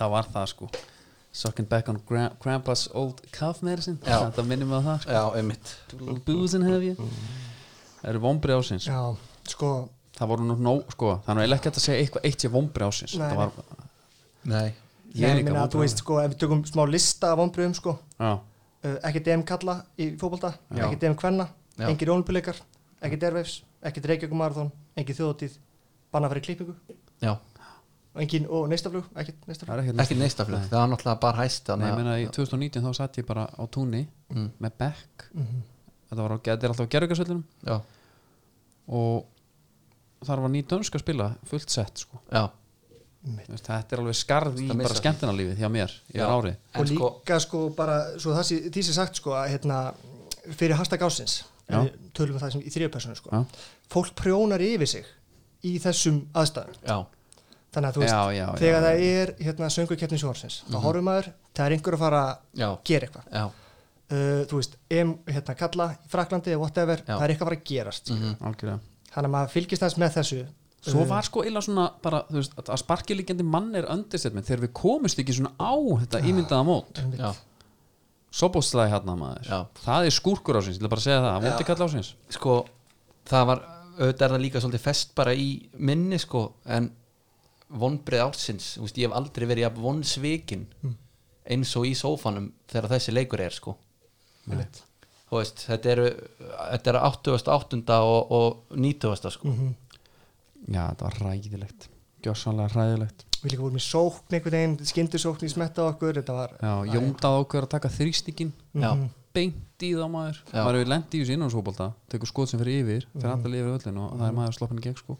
[SPEAKER 1] það var það sko sucking back on gra grandpa's old calf medicine
[SPEAKER 2] Já.
[SPEAKER 1] þetta minnum við á það sko.
[SPEAKER 2] Já, einmitt
[SPEAKER 1] little booze in have you það eru vombri ásins
[SPEAKER 3] já, sko,
[SPEAKER 1] það voru nú nóg sko það er nú eiginlega ekki hægt að segja eitthvað eitt sé vombri ásins
[SPEAKER 3] Nei,
[SPEAKER 1] það var
[SPEAKER 2] Nei
[SPEAKER 1] Ég er
[SPEAKER 3] ég
[SPEAKER 1] líka
[SPEAKER 3] meina að þú
[SPEAKER 1] vonbrigði.
[SPEAKER 3] veist, sko, ef við tökum smá lista af vonbröðum, sko
[SPEAKER 1] já
[SPEAKER 3] uh, ekki DM kalla í fótbolta ekki DM kvenna,
[SPEAKER 2] Já.
[SPEAKER 3] engir ónumpileikar ekki derveifs, ekki Reykjavík marathon engin þjóðtíð, banna fyrir klippingu
[SPEAKER 2] Já,
[SPEAKER 3] og engin, og neistaflug, ekki
[SPEAKER 1] það
[SPEAKER 3] neistaflug
[SPEAKER 1] er
[SPEAKER 2] ekki neistaflug Það var náttúrulega bara hæst
[SPEAKER 1] Nei, ég
[SPEAKER 2] þarna-
[SPEAKER 1] meina í 2019 þá satt ég bara á túnni
[SPEAKER 2] Mm.
[SPEAKER 1] með Beck
[SPEAKER 3] Mhm.
[SPEAKER 1] þetta var á, þetta er alltaf á gerðugarsöllunum
[SPEAKER 2] Já,
[SPEAKER 1] og þar var ný dönsk að spila fullt sett sko
[SPEAKER 2] já
[SPEAKER 1] Þú veist, þetta er alveg skarð í
[SPEAKER 2] Þetta
[SPEAKER 1] bara
[SPEAKER 2] missar.
[SPEAKER 1] skemmtinarlífið hjá mér yfir
[SPEAKER 2] Já.
[SPEAKER 1] ári
[SPEAKER 2] En
[SPEAKER 3] og
[SPEAKER 2] sko,
[SPEAKER 3] líka sko bara svo það sé, því sem sagt sko að hérna, fyrir hashtag ásins ef
[SPEAKER 1] Já.
[SPEAKER 3] við tölum við það sem í þriðapersonu sko
[SPEAKER 1] Já.
[SPEAKER 3] fólk prjónar yfir sig í þessum aðstæðum
[SPEAKER 2] já,
[SPEAKER 3] þannig að þú veist,
[SPEAKER 1] Já, já, já,
[SPEAKER 3] þegar
[SPEAKER 1] já. Mhm.
[SPEAKER 3] það er hérna, söngukeppni sjónsins, þá horfum maður það er einhver að fara að
[SPEAKER 2] já,
[SPEAKER 3] gera eitthvað
[SPEAKER 2] já,
[SPEAKER 3] uh, þú veist, em, hérna, kalla í Fraklandi eða whatever,
[SPEAKER 2] Já.
[SPEAKER 3] það er eitthvað að fara að gerast
[SPEAKER 1] Mhm.
[SPEAKER 3] mm
[SPEAKER 1] algjörlega
[SPEAKER 3] þannig að maður fylgist aðeins með þessu Eh.
[SPEAKER 1] svo var sko illa svona bara þú veist, að sparkilíkjandi mann er understatement þegar við komumst ekki svona á þetta ímyndaða mót
[SPEAKER 2] já,
[SPEAKER 1] sobóstlæði hérna maður
[SPEAKER 2] Já.
[SPEAKER 1] það er skúrkur ásins, ég vil bara segja það vondi kall ásins
[SPEAKER 2] Sko, það var auðvitað er það líka svolítið fest bara í minni sko, en vonbrið ársins, þú veist, ég hef aldrei verið jafn vonsvikin eins og í sófanum þegar þessi leikur er sko þú veist, þetta eru þetta eru 88. og, og 90. sko
[SPEAKER 1] já, þetta var ræðilegt gjössanlega ræðilegt
[SPEAKER 3] við líka vorum í sókn einhvern veginn, skyndisókn í smetta á okkur þetta var,
[SPEAKER 1] já, jóndað ákveður að taka Mhm. þrýstingin
[SPEAKER 2] já,
[SPEAKER 1] beint í þá maður
[SPEAKER 2] Já.
[SPEAKER 1] maður hefur lendi í þessu innanhópolta tekur skot sem fyrir yfir,
[SPEAKER 3] Mhm.
[SPEAKER 1] fyrir alltaf yfir völlin og það er maður að sloppa henni gegn sko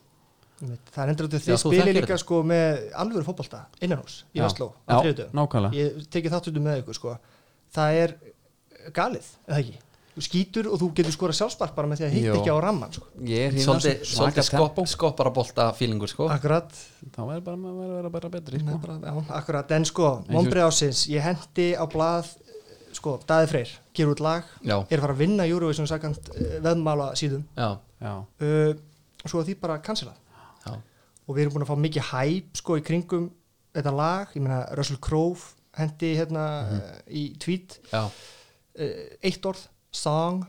[SPEAKER 3] einmitt, það er endur að
[SPEAKER 2] Já,
[SPEAKER 3] þið
[SPEAKER 2] þú
[SPEAKER 3] spili
[SPEAKER 2] þekkir
[SPEAKER 3] líka
[SPEAKER 2] þetta.
[SPEAKER 3] sko með alvöru fótbolta innanhús í
[SPEAKER 1] Já.
[SPEAKER 3] Vestló
[SPEAKER 1] Já,
[SPEAKER 3] á þriðutum
[SPEAKER 1] nákvæmlega.
[SPEAKER 3] ég tekið þáttutum með ykkur sko það er galið, eða ekki þú skýtur og þú getur skora sjálfspark bara með því að hitt
[SPEAKER 1] Jó.
[SPEAKER 3] ekki á ramman sko.
[SPEAKER 1] ég er hérna
[SPEAKER 2] svolítið, svolítið skopp, skopparabolta fílingur sko
[SPEAKER 3] akkurat,
[SPEAKER 1] þá er bara maður að vera bara betri sko.
[SPEAKER 3] bara, já, akkurat, en sko vonbrið ásins, ég hendi á blað sko, Daði Freyr, gerur út lag
[SPEAKER 2] já,
[SPEAKER 3] er að fara að vinna Eurovision sakant veðmála síðum
[SPEAKER 2] já,
[SPEAKER 1] já,
[SPEAKER 3] uh, svo að því bara cancelað
[SPEAKER 2] já,
[SPEAKER 3] og við erum búin að fá mikið hæp sko í kringum þetta lag, ég meina Russell Crowe hendi hérna uh, í tweet
[SPEAKER 2] já.
[SPEAKER 3] uh, eitt orð, song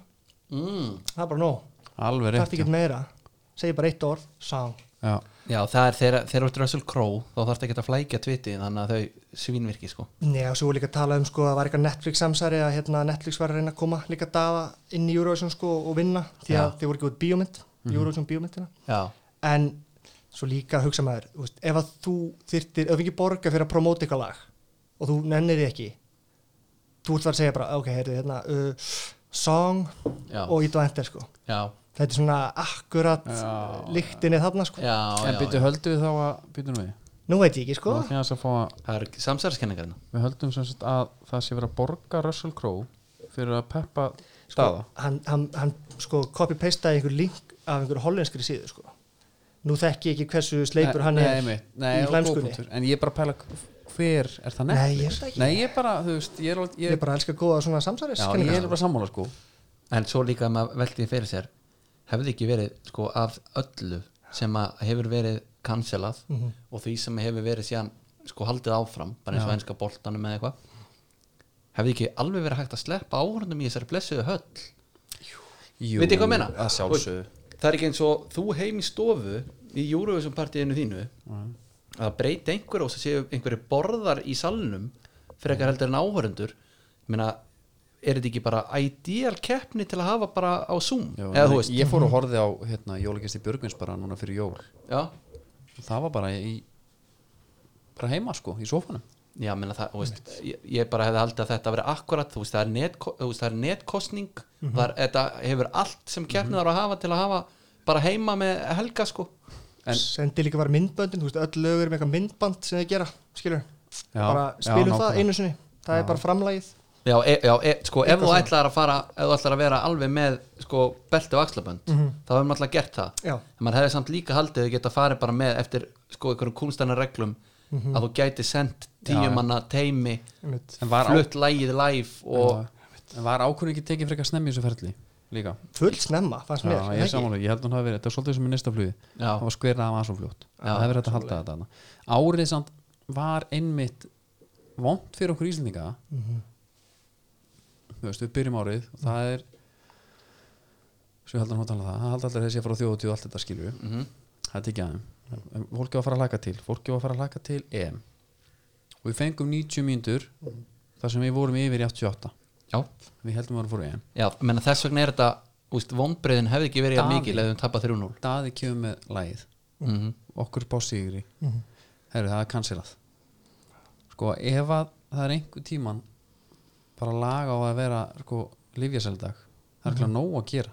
[SPEAKER 2] Mm.
[SPEAKER 3] það er bara nóg,
[SPEAKER 1] alveg
[SPEAKER 3] þarf
[SPEAKER 1] rétt
[SPEAKER 3] ekki meira segi bara eitt orð, song
[SPEAKER 1] já,
[SPEAKER 2] já, það er þegar þegar þú ert Russell Crowe þá þarf ekki að flækja tviti þannig að þau svínvirki sko
[SPEAKER 3] Nei, og svo var líka að tala um sko að það var eitthvað Netflix samsæri að hérna, Netflix var að reyna að koma líka daða inn í Eurovision sko og vinna því
[SPEAKER 2] Já.
[SPEAKER 3] að
[SPEAKER 2] Mhm.
[SPEAKER 3] þið voru ekki út bíómynd, Eurovision bíómyndina
[SPEAKER 2] já,
[SPEAKER 3] en svo líka hugsa maður, þú veist, ef að þú þyrtir, ef ekki borga fyrir að promóta eitthvað lag og þú nennir því ekki þú ert það að segja bara, ok, heyrðu hérna uh, song
[SPEAKER 2] Já.
[SPEAKER 3] og ít og endur sko
[SPEAKER 2] já,
[SPEAKER 3] þetta er svona akkurat líktinni þarna sko,
[SPEAKER 2] já,
[SPEAKER 1] en
[SPEAKER 2] já,
[SPEAKER 1] byrju höldum við þá að byrjum við
[SPEAKER 3] nú veit ég ekki sko
[SPEAKER 1] Nú ætlum ég aðeins að fá að
[SPEAKER 2] það er samsæðarskenningarna
[SPEAKER 1] við höldum sem sagt að það sé verið að borga Russell Crowe fyrir að peppa staða
[SPEAKER 3] Sko, hann, hann, hann sko copy-pastaði einhver link af einhver hollenskri síðu sko nú þekki ég ekki hversu sleipur hann
[SPEAKER 1] Nei,
[SPEAKER 3] er
[SPEAKER 1] einmitt. Nei,
[SPEAKER 3] í
[SPEAKER 1] og góð
[SPEAKER 3] hlæmskunni
[SPEAKER 1] punktur. en ég er bara að pæla hver er það
[SPEAKER 3] Nei, ég
[SPEAKER 1] Netflix?
[SPEAKER 3] veit það ekki.
[SPEAKER 1] Nei, ég bara, þú veist, ég er, alveg-
[SPEAKER 3] ég
[SPEAKER 1] ég,
[SPEAKER 3] bara elska góða svona samsæris
[SPEAKER 1] já, ég er bara sammála sko
[SPEAKER 2] en svo líka að maður veldi fyrir sér hefði ekki verið sko af öllu sem að hefur verið cancelað og því sem hefur verið síðan sko haldið áfram, bara eins og einska boltanum eða eitthvað hefði ekki alveg verið hægt að sleppa áhörnum í þessari blessuðu höll
[SPEAKER 1] Jú,
[SPEAKER 2] veit ekki hvað ég meina?
[SPEAKER 1] Að sjálfsögðu
[SPEAKER 2] Og það er ekki eins og þú heim í stofu í Eurovision partíinu þínu að það breyti einhver og það séu einhverju borðar í salnum fyrir ekkert heldur en áhörundur meina, er þetta ekki bara ideal keppni til að hafa bara á Zoom
[SPEAKER 1] Já,
[SPEAKER 2] eða
[SPEAKER 1] nei,
[SPEAKER 2] þú veist
[SPEAKER 1] Ég fór og horfði á hérna, jólagesti Björgvins bara núna fyrir jól
[SPEAKER 2] já,
[SPEAKER 1] og það var bara í bara heima sko, í sofanum
[SPEAKER 2] já meina, það, þú veist, ég, ég bara hefði haldið að þetta verið akkurat þú veist, það er, net, þú veist, það er netkostning mm
[SPEAKER 1] Mhm.
[SPEAKER 2] -hmm. það er, þetta hefur allt sem keppni þarf að hafa til að hafa bara heima með helga sko
[SPEAKER 1] en-
[SPEAKER 3] sendi líka bara myndböndin, þú veist, öll lögur með eitthvað myndband sem þið gera, skilur
[SPEAKER 1] Já,
[SPEAKER 3] bara
[SPEAKER 1] já,
[SPEAKER 3] spilum það
[SPEAKER 1] nákvæmlega.
[SPEAKER 3] einu sinni það er bara framlægið
[SPEAKER 2] Já, e, já e, sko, ef
[SPEAKER 3] Eitthvað
[SPEAKER 2] þú
[SPEAKER 3] svona.
[SPEAKER 2] ætlar að fara ef þú ætlar að vera alveg með sko, belti og axlabönd
[SPEAKER 3] Mhm.
[SPEAKER 2] þá hefur maður alltaf gert það
[SPEAKER 3] Já.
[SPEAKER 2] en maður hefði samt líka haldið að geta farið bara með eftir sko, einhverjum kúnstæna reglum
[SPEAKER 3] Mhm.
[SPEAKER 2] að þú gæti sendt
[SPEAKER 1] Já, já.
[SPEAKER 2] tíum manna teimi
[SPEAKER 3] einmitt.
[SPEAKER 1] en var, á,
[SPEAKER 2] flutt lægið live og
[SPEAKER 1] en var ákvörðin ekki tekið frekar snemmi í þessu ferli líka
[SPEAKER 3] full snemma, fannst
[SPEAKER 1] Já,
[SPEAKER 3] mér
[SPEAKER 1] ég
[SPEAKER 3] ekki?
[SPEAKER 1] er samanlega, ég held að hún hafi verið, þetta var svolítið sem er næsta flugi
[SPEAKER 2] Já.
[SPEAKER 1] það var skverið að það var svo fljótt
[SPEAKER 2] Já,
[SPEAKER 1] það hefur þetta haldið þetta þarna. árið samt var einmitt vond fyrir okkur Íslendinga þú veist, við byrjum árið og það er svo ég held að hún tala um það, það held allir þessi að fara á þjóðutíð og allt þetta skilju mm -hmm. það er ekki aðeim, fólki var að fara að hlaka til fólki var að fara að hlaka til EM og við fengum 90 mínútur þar sem við vorum yfir í 88
[SPEAKER 2] já,
[SPEAKER 1] við heldum að vorum fór í EM
[SPEAKER 2] já menna, þess vegna er þetta úst, vonbreiðin hefði ekki verið að
[SPEAKER 1] Daði.
[SPEAKER 2] mikið leðum tappa 3-0
[SPEAKER 1] Daði kemur með lægið
[SPEAKER 2] mm
[SPEAKER 3] Mhm.
[SPEAKER 2] -hmm.
[SPEAKER 1] okkur bá sigri herru það er cancelað sko ef að það er einhver tíman bara laga á að vera sko lífjaseldag það er ekki
[SPEAKER 3] Mhm.
[SPEAKER 1] nóg að gera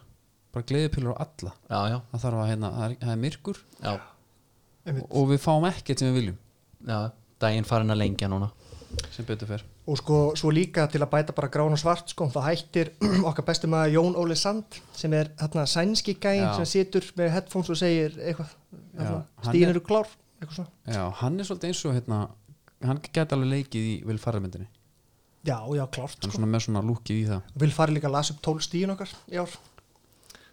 [SPEAKER 1] bara gleðipilur á alla
[SPEAKER 2] já, já,
[SPEAKER 1] það þarf að hérna, það er, það er myrkur
[SPEAKER 2] já,
[SPEAKER 3] Einmitt.
[SPEAKER 1] og við fáum ekkert sem við viljum
[SPEAKER 2] já daginn farin að lengja núna
[SPEAKER 1] sem betur fer
[SPEAKER 3] og sko, svo líka til að bæta bara grán og svart sko, þá hættir [clears throat] okkar besti maður Jón Óli Sand sem er hérna sænski gæinn
[SPEAKER 1] Já.
[SPEAKER 3] sem situr með headphones og segir eitthvað, hérna,
[SPEAKER 1] hann
[SPEAKER 3] stíðin
[SPEAKER 1] er-
[SPEAKER 3] eru klár eitthvað svona,
[SPEAKER 1] já, hann er svolítið eins og hérna hann geti alveg leikið í vilfarðarmyndinni
[SPEAKER 3] já, já, klárt
[SPEAKER 1] hann er
[SPEAKER 3] sko.
[SPEAKER 1] svona með svona lúkið í það
[SPEAKER 3] vil fara líka að lasa upp tól stíðin okkar í ár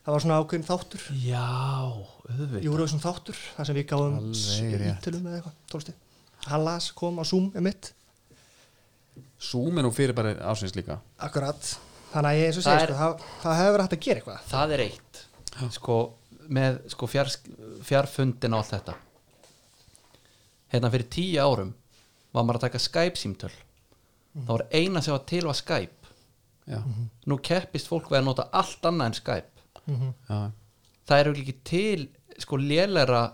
[SPEAKER 3] það var svona ákveðin þáttur
[SPEAKER 2] já, auðvitað
[SPEAKER 3] Júruvísson þáttur, þar sem við gáðum
[SPEAKER 1] Alveg
[SPEAKER 3] s-
[SPEAKER 1] rétt.
[SPEAKER 3] ítölum eða eitthvað, tólstið hann las, kom á Zoom emitt
[SPEAKER 1] Zoom er nú fyrir bara ásins líka
[SPEAKER 3] akkurat, þannig að ég eins og
[SPEAKER 2] Það
[SPEAKER 3] segja
[SPEAKER 2] er-
[SPEAKER 3] sko, það, það hefur hægt að gera eitthvað
[SPEAKER 2] það er eitt sko, með sko, fjár, fjárfundin og allt þetta hérna fyrir tíu árum var maður að taka Skype símtöl
[SPEAKER 1] Mm.
[SPEAKER 2] þá var eina sem var til var Skype
[SPEAKER 1] já,
[SPEAKER 3] Mhm.
[SPEAKER 2] nú keppist fólk við að nota allt annað en Skype
[SPEAKER 1] já,
[SPEAKER 2] það eru ekki til sko lélera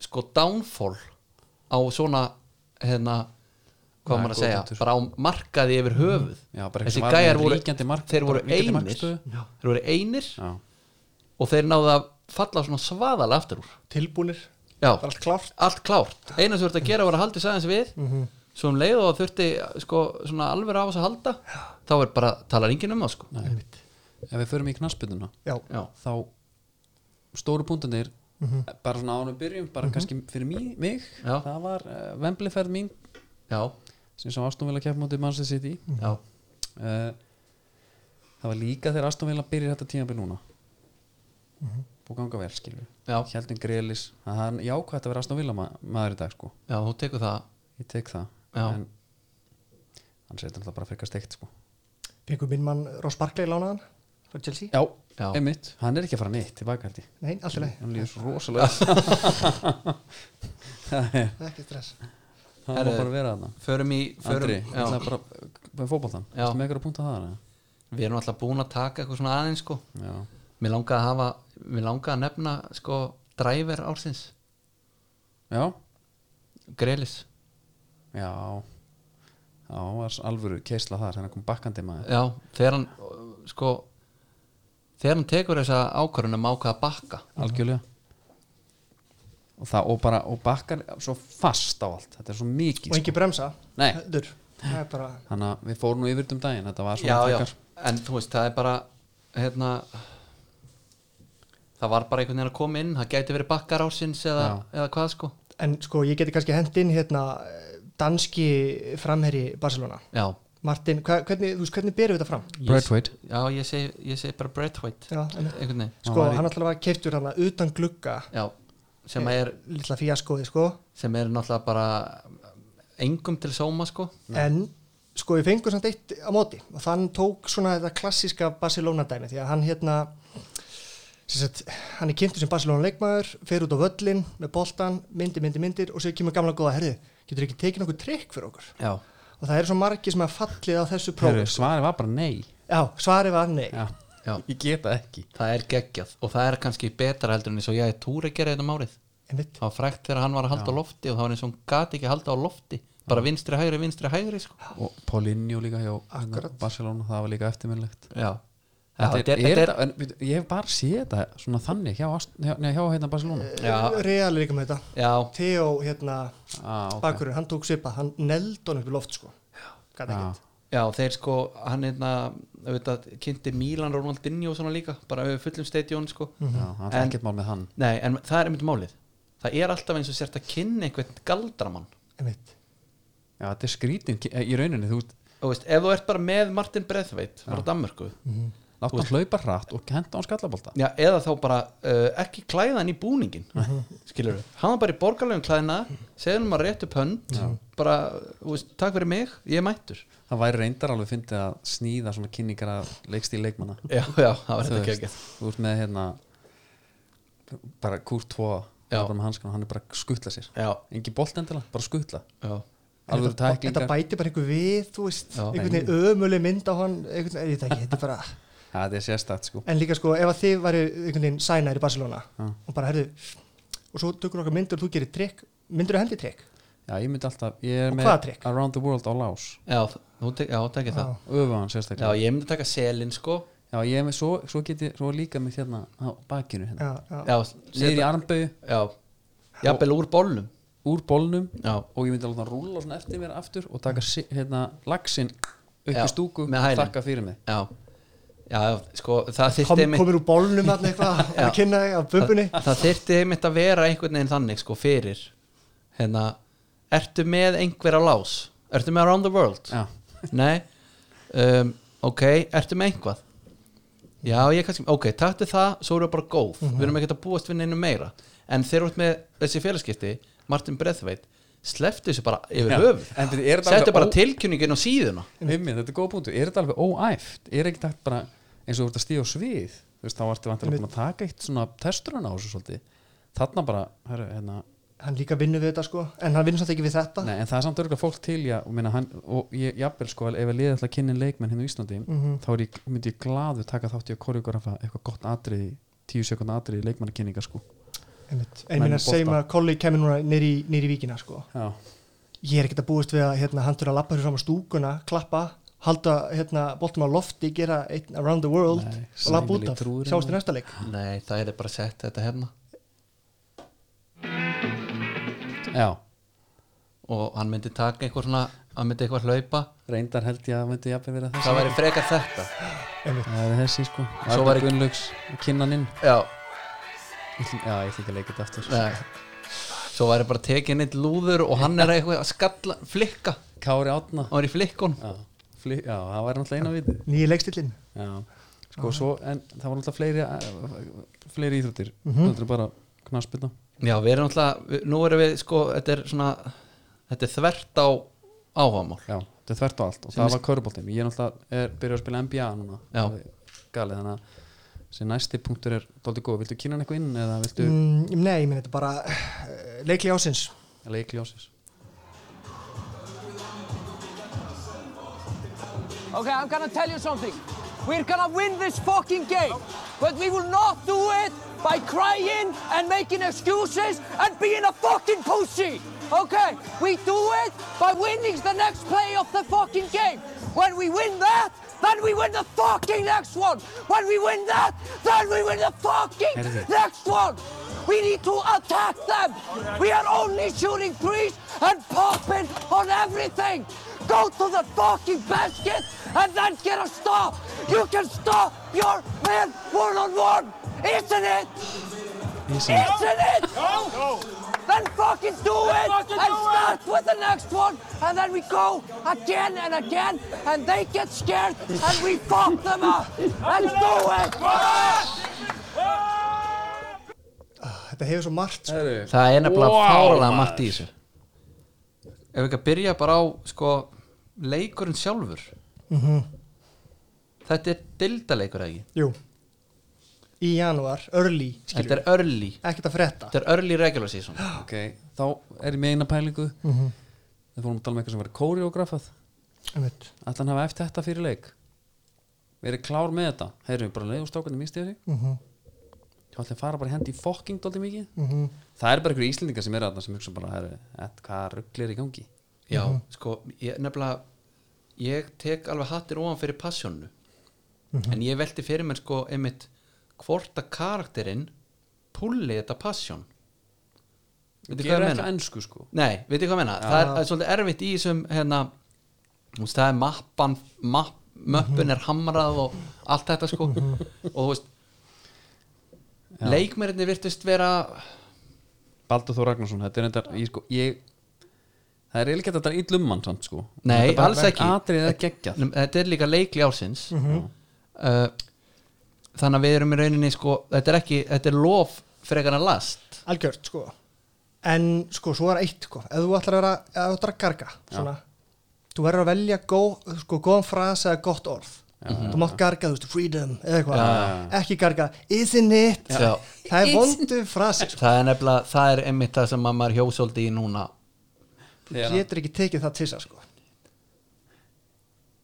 [SPEAKER 2] sko downfall á svona hérna hvað
[SPEAKER 1] Nei,
[SPEAKER 2] á maður að
[SPEAKER 1] góð
[SPEAKER 2] segja,
[SPEAKER 1] punktur.
[SPEAKER 2] bara á markaði yfir höfuð
[SPEAKER 1] Mm. Já, bara eitthvað
[SPEAKER 2] þessi
[SPEAKER 1] sem var
[SPEAKER 2] gæjar
[SPEAKER 1] með
[SPEAKER 2] voru,
[SPEAKER 1] ríkjandi mark-
[SPEAKER 2] þeir voru
[SPEAKER 1] ríkjandi
[SPEAKER 2] einir
[SPEAKER 1] markstöðu.
[SPEAKER 2] þeir voru einir
[SPEAKER 1] já.
[SPEAKER 2] og þeir náðu að falla svona svaðalega aftur úr
[SPEAKER 3] tilbúnir,
[SPEAKER 2] Já,
[SPEAKER 3] það er allt klárt Mhm.
[SPEAKER 2] allt klárt eina sem þú ert að gera var að haldi sæðans við svo um leið og þurfti sko, svona alveg á þess að halda þá er bara, talar enginn um það sko
[SPEAKER 1] ef við förum í knassbytuna
[SPEAKER 3] já,
[SPEAKER 2] Já,
[SPEAKER 1] þá stóru punktunir bara svona ánum byrjum, bara kannski fyrir mig, mig
[SPEAKER 2] Mhm. Já.
[SPEAKER 1] það var uh, vembliferð mín
[SPEAKER 2] já,
[SPEAKER 1] sem sem Aston Villa kepp mútið Manchester City
[SPEAKER 3] Mhm.
[SPEAKER 2] já,
[SPEAKER 1] uh, það var líka þegar Aston Villa byrjir þetta tíma byrjum núna og ganga vel skilur
[SPEAKER 2] Mhm. já,
[SPEAKER 1] Hjeldin Grelis, að það er jákvæmt að vera Aston Villa ma maður í dag sko,
[SPEAKER 2] já, þú tekur það
[SPEAKER 1] ég tek það
[SPEAKER 2] Já.
[SPEAKER 1] en hann segir þetta bara frekar steikt sko
[SPEAKER 3] fengum minn mann Ross Barkley lánaðan frá Chelsea,
[SPEAKER 1] já,
[SPEAKER 2] Já.
[SPEAKER 1] einmitt, hann er ekki að fara neitt tilbaka held ég,
[SPEAKER 3] nei, allt í lagi
[SPEAKER 1] hann líður svo rosalega
[SPEAKER 2] [laughs]
[SPEAKER 1] það er
[SPEAKER 3] það er ekki stress
[SPEAKER 1] Það
[SPEAKER 2] Herru,
[SPEAKER 1] má bara vera þarna
[SPEAKER 2] Förum í, förum,
[SPEAKER 1] Andri, ég ætla
[SPEAKER 2] já,
[SPEAKER 1] bara með fótboltan
[SPEAKER 2] Já.
[SPEAKER 1] Ertu með eitthvað að púnta það eða?
[SPEAKER 2] Við erum alltaf búin að taka eitthvað svona aðeins sko
[SPEAKER 1] Já,
[SPEAKER 2] Mér langaði að hafa, mér langaði að nefna sko dræver ársins,
[SPEAKER 1] já,
[SPEAKER 2] greilis
[SPEAKER 1] já Já, það var alvöru keisla þar hérna kom bakkandi maður
[SPEAKER 2] Já, þegar hann uh, sko þegar hann tekur þessa ákvörunum ákvaða bakka
[SPEAKER 1] algjörlega og það og bara og bakkar svo fast á allt þetta er svo mikið
[SPEAKER 3] og
[SPEAKER 1] sko.
[SPEAKER 3] ekki bremsa,
[SPEAKER 1] Nei.
[SPEAKER 3] heldur það er bara,
[SPEAKER 1] þannig að við fórum nú yfir þetta um daginn þetta var svona
[SPEAKER 2] já, já,
[SPEAKER 1] takkar
[SPEAKER 2] en þú veist, það er bara hérna það var bara einhvern veginn að koma inn það gæti verið bakkar ársins eða, eða hvað sko
[SPEAKER 3] en sko ég geti kannski hend inn hérna eh, danski framherri Barcelona
[SPEAKER 2] já,
[SPEAKER 3] Martin, hva, hvernig, þú veist, hvernig berum við þetta fram?
[SPEAKER 1] Braithwaite
[SPEAKER 2] já ég, seg, ég segi bara Breadwhite
[SPEAKER 3] Já, en,
[SPEAKER 2] einhvern veginn,
[SPEAKER 3] sko,
[SPEAKER 1] var í-
[SPEAKER 3] hann alltaf var keiftur hann utan glugga,
[SPEAKER 2] já sem er,
[SPEAKER 3] lilla fíaskoði, sko
[SPEAKER 2] sem er náttúrulega bara engum til sóma sko
[SPEAKER 1] Mm.
[SPEAKER 3] en, sko, við fengum samt eitt á móti og þann tók svona þetta klassíska Barcelona dæmi, því að hann hérna sem sagt, hann er kynntur sem Barcelona leikmaður, fer út á völlin með boltan, myndir, myndir, myndir og sér kemur gamla góða herði, getur ekki tekið nokkuð trikk fyrir okkur,
[SPEAKER 2] já,
[SPEAKER 3] og það eru svo margi sem að fallið á þessu
[SPEAKER 1] Heru,
[SPEAKER 3] prófum,
[SPEAKER 1] svarið var bara nei
[SPEAKER 3] já, svarið var nei
[SPEAKER 1] já.
[SPEAKER 2] Já.
[SPEAKER 1] ég geta ekki
[SPEAKER 2] það er geggjað og það er kannski betra heldur en eins og ég túr að gera þetta um árið
[SPEAKER 3] einmitt,
[SPEAKER 2] það var frækt þegar hann var að halda á lofti og það var eins og hann gati ekki að halda á lofti bara vinstri hægri, vinstri hægri sko.
[SPEAKER 1] og Paulinho líka hjá hérna,
[SPEAKER 3] Akkurat.
[SPEAKER 1] Barcelona það var líka eftirminnlegt
[SPEAKER 2] já,
[SPEAKER 1] Þetta er, er, þetta- en bíddu, ég hef bara séð þetta svona þannig hjá, Ast- hjá, nei, hjá hérna Barcelona
[SPEAKER 2] já,
[SPEAKER 3] real er líka með þetta
[SPEAKER 2] já,
[SPEAKER 3] Theo, hérna,
[SPEAKER 1] ah,
[SPEAKER 3] okay.
[SPEAKER 1] ok.
[SPEAKER 3] bakurinn, hann tók svipa hann neld honum upp í loft sko Gat
[SPEAKER 1] Já.
[SPEAKER 3] ekkert.
[SPEAKER 2] já, þeir sko hann einna, auðvitað, kynnti Milan Ronaldinho og svona líka, bara við fullum stadion sko.
[SPEAKER 1] Já, það er
[SPEAKER 2] En-
[SPEAKER 1] ekkert mál með hann
[SPEAKER 2] nei, en það er einmitt málið það er alltaf eins og sért að kynna einhvern galdramann
[SPEAKER 3] Einmitt.
[SPEAKER 1] Já, þetta er skrítin í rauninni Þú
[SPEAKER 2] og veist, ef þú ert bara með Martin Breðveit frá Danmörku,
[SPEAKER 1] látt hann hlaupa hratt og henda á skallabolta
[SPEAKER 2] já, eða þá bara uh, ekki klæða hann í búningin
[SPEAKER 1] Mhm.
[SPEAKER 2] skilur við, hann var bara í borgarlegum klæðina segði hann maður rétt upp hönd bara, þú veist, takk fyrir mig, ég er mættur
[SPEAKER 1] Það væri reyndar alveg fyndið að sníða svona kynningar að leikstíl leikmanna
[SPEAKER 2] já, já, það var
[SPEAKER 1] Þú
[SPEAKER 2] þetta
[SPEAKER 1] veist,
[SPEAKER 2] ekki
[SPEAKER 1] Þú ert með hérna bara kúrt tvo
[SPEAKER 2] Já.
[SPEAKER 1] bara með hanskan og hann er bara að skuttla sér
[SPEAKER 2] já,
[SPEAKER 1] Engin bolt endilega, bara skuttla
[SPEAKER 2] já,
[SPEAKER 3] En
[SPEAKER 1] Alvöru
[SPEAKER 3] þetta-
[SPEAKER 1] tæklingar.
[SPEAKER 3] þetta bæti bara einhver við þú veist,
[SPEAKER 2] Já.
[SPEAKER 3] einhvern veginn ömuleg mynd á hann einhvern veginn, ég veit ekki, þetta er bara
[SPEAKER 1] Ja, þetta er sérstætt sko
[SPEAKER 3] en líka sko, ef að þið væri einhvern veginn sænaðir í Barcelona
[SPEAKER 1] Já.
[SPEAKER 3] og bara herðu og svo tökur okkar myndur og þú gerir trikk myndur þú hendi trikk,
[SPEAKER 1] Já, ég myndi alltaf, ég er
[SPEAKER 3] Og
[SPEAKER 1] með
[SPEAKER 3] hvaða trikk?
[SPEAKER 1] Around the World á Lás
[SPEAKER 2] já, þú tek, já, tekja það
[SPEAKER 1] Öfa hann
[SPEAKER 2] já,
[SPEAKER 1] sérstaklega Já,
[SPEAKER 2] ég myndi taka selin sko
[SPEAKER 1] ég er með, svo, svo geti, svo líka með hérna á bakinu hérna
[SPEAKER 3] já, já,
[SPEAKER 2] já,
[SPEAKER 1] Niður í
[SPEAKER 2] seta-
[SPEAKER 1] armbögu,
[SPEAKER 2] já, jafnvel úr bollum
[SPEAKER 1] úr bólnum
[SPEAKER 2] já,
[SPEAKER 1] og ég myndi alveg að rúla svona eftir mér aftur og taka si- hérna, laxinn upp
[SPEAKER 2] Já,
[SPEAKER 1] í stúku
[SPEAKER 2] með hælinn.
[SPEAKER 1] þakka fyrir mig
[SPEAKER 2] já, já, sko það
[SPEAKER 3] Kom,
[SPEAKER 2] þyrfti einmitt
[SPEAKER 3] komir úr bólnum hann eitthvað
[SPEAKER 2] Já.
[SPEAKER 3] að kynna þig af bumbunni
[SPEAKER 2] það þyrfti einmitt að vera einhvern veginn þannig sko fyrir hérna, ertu með einhver á lás ertu með around the world
[SPEAKER 1] já,
[SPEAKER 2] nei, um, ok ertu með einhvað já, ég kannski, ok, taktu það, svo erum við bara góð
[SPEAKER 1] Mhm.
[SPEAKER 2] við erum ekkert að búast við neinu meira en þeir eru út með þessi félagskipti Martin Breðveit, sleftu þessu bara yfir
[SPEAKER 1] Já,
[SPEAKER 2] höfuð,
[SPEAKER 1] en þetta er þetta alveg
[SPEAKER 2] settu bara
[SPEAKER 1] ó-
[SPEAKER 2] tilkynningin á síðuna
[SPEAKER 1] Einmitt, þetta er góð punktu, er þetta alveg óæft er ekki takt bara eins og þú ert að stíða á svið þú veist, þá ertu vantilega búin að taka eitt svona testurinn á þessu svolítið þarna bara, herru, hérna
[SPEAKER 3] hann líka vinnur við þetta sko, en hann vinnur samt ekki við
[SPEAKER 2] Ah.
[SPEAKER 3] þetta
[SPEAKER 1] nei, en það er samt örgulega fólk til já, og, minna, hann, og ég, jafnvel sko, ef ég liði alltaf kynnin leikmenn hérna á Íslandi, þá er ég, myndi ég glaðu taka þátt í að koreografa eitthvað gott atriði, tíu sekundna atriði leikmannakynninga sko.
[SPEAKER 3] Einmitt. en ég minna
[SPEAKER 1] Menn
[SPEAKER 3] að segja
[SPEAKER 1] bolta.
[SPEAKER 3] maður að kolli kemur núna nýri, nýri víkina sko
[SPEAKER 1] já,
[SPEAKER 3] ég er ekkert að búist við að hérna, hann þurfa að lappa hér fram á stúkuna, klappa halda hérna, boltum á lofti, gera einn around the world
[SPEAKER 1] Nei,
[SPEAKER 3] og lappa út
[SPEAKER 1] sæmileg
[SPEAKER 3] af,
[SPEAKER 1] trúður
[SPEAKER 3] sjást í
[SPEAKER 1] innan.
[SPEAKER 3] næsta leik
[SPEAKER 2] nei, það er bara sett þetta hérna
[SPEAKER 1] já
[SPEAKER 2] og hann myndi taka eitthvað svona hann myndi eitthvað hlaupa,
[SPEAKER 1] reyndar held ég að myndi jafnvel vera þessi
[SPEAKER 2] það væri frekar þetta
[SPEAKER 1] það er þessi sko
[SPEAKER 2] Svo
[SPEAKER 1] Arnar
[SPEAKER 2] var ég-
[SPEAKER 1] Gunnlaugs kinnaninn
[SPEAKER 2] já,
[SPEAKER 1] Ég ætla- já ég ætla ekki að leika þetta aftur
[SPEAKER 2] Nei. Svo væri bara tekið neitt lúður og hann er eitthvað að skalla, flikka
[SPEAKER 1] Kári Átna
[SPEAKER 2] hann er í flikkun
[SPEAKER 1] já, fli, já það væri náttúrulega eina viti
[SPEAKER 3] nýja leikstillin
[SPEAKER 1] já sko svo en það var náttúrulega fleiri eh, fleiri íþróttir
[SPEAKER 2] Mhm.
[SPEAKER 1] mm -hmm. bara knaspina
[SPEAKER 2] Já, við erum alltaf, við, nú erum við sko, þetta er svona þetta er þvert á áhagamál
[SPEAKER 1] já þetta er þvert á allt og
[SPEAKER 2] Sem
[SPEAKER 1] það
[SPEAKER 2] er-
[SPEAKER 1] var köruboltin ég er náttúrulega er byrjuð að spila NBA núna
[SPEAKER 2] Já.
[SPEAKER 1] Það er galið þannig að þessi næsti punktur er doldið góð viltu kynna hann eitthvað inn eða viltu mm.
[SPEAKER 3] mm, nei, ég minn þetta er bara eh, leikli ásins
[SPEAKER 1] leikljósis
[SPEAKER 10] Okay, I'm gonna tell you something. We're gonna win this fucking game. But we will not do it by crying and making excuses and being a fucking pussy. Okay? We do it by winning the next play of the fucking game. When we win that, then we win the fucking next one. When we win that, then we win the fucking next one. We need to attack them. We are only shooting threes and popping on everything. Go to the fucking basket and then get a stop. You can stop your man one on one. Isn't it? Isn't it? Isn't it? No. and fucking do it and start with the next one and then we go again and again and they get scared and we fuck them up. Let's do it!
[SPEAKER 3] Þetta hefur svo margt sko.
[SPEAKER 2] Það er nefnilega wow, fáralega margt í þessu Ef við ekki að byrja bara á sko, leikurinn sjálfur
[SPEAKER 3] Mhm.
[SPEAKER 2] Þetta er dildaleikur eða ekki
[SPEAKER 3] Jú Í janúar, early
[SPEAKER 2] Þetta
[SPEAKER 3] skilur
[SPEAKER 2] er early
[SPEAKER 3] Ekkert að frétta
[SPEAKER 2] Þetta er early regular season
[SPEAKER 1] ok, þá er ég með eina pælingu
[SPEAKER 3] Mhm.
[SPEAKER 1] við fórum að tala um eitthvað sem verið kóriógrafað
[SPEAKER 3] Einmitt.
[SPEAKER 1] að hann hafa eftir þetta fyrir leik verið klár með þetta heyrðum við bara leið og strákarnir misti þessi
[SPEAKER 3] Mhm.
[SPEAKER 1] þá ætlum við að fara bara í hendi í fokking dóldi mikið
[SPEAKER 3] Mhm.
[SPEAKER 1] það er bara einhverju íslendingar sem er aðna sem hugsa bara herri, et, hvað rugglir í gangi
[SPEAKER 2] Já, sko, ég, nefnilega ég tek alveg hattir ofan fyrir passjónu en ég velti fyrir mér sko einmitt hvort að karakterinn pulli þetta passjón Veitir hvað
[SPEAKER 1] Gera
[SPEAKER 2] ég
[SPEAKER 1] ekki
[SPEAKER 2] meina?
[SPEAKER 1] á ensku, sko.
[SPEAKER 2] Nei, veitir hvað ég meina? Það er, það er svolítið erfitt í þessum hérna, þú veist, það er mappan mapp, möppun er hamrað og allt þetta sko og þú veist
[SPEAKER 1] Já.
[SPEAKER 2] leikmerinni virtust vera
[SPEAKER 1] Baldur Þór Ragnarsson, þetta er endar ég, sko, ég, það er eiginlega þetta illum mann samt sko
[SPEAKER 2] Nei,
[SPEAKER 1] Þetta er bara
[SPEAKER 2] alls
[SPEAKER 1] verk
[SPEAKER 2] ekki
[SPEAKER 1] atriðið að geggjað
[SPEAKER 2] Nei, Þetta er líka leikli ársins
[SPEAKER 1] Mhm.
[SPEAKER 2] uh, Þannig að við erum í rauninni sko, þetta er ekki, þetta er lof frekar en last
[SPEAKER 3] Algjört sko En sko, svo er eitt sko Ef þú ætlar að, vera- ef þú ætlar að garga svona, Þú verður að velja gó, sko, góðan frasa eða gott orð Þú mátt garga, þú veist, freedom eða eitthvað
[SPEAKER 2] Já, já,
[SPEAKER 3] Ekki garga, isn't it
[SPEAKER 2] Já.
[SPEAKER 3] Það er vondu frasi sko.
[SPEAKER 2] Það er nefnilega, það er einmitt það sem að maður hjósóldi í núna
[SPEAKER 3] Þú getur ekki tekið það til þess sko.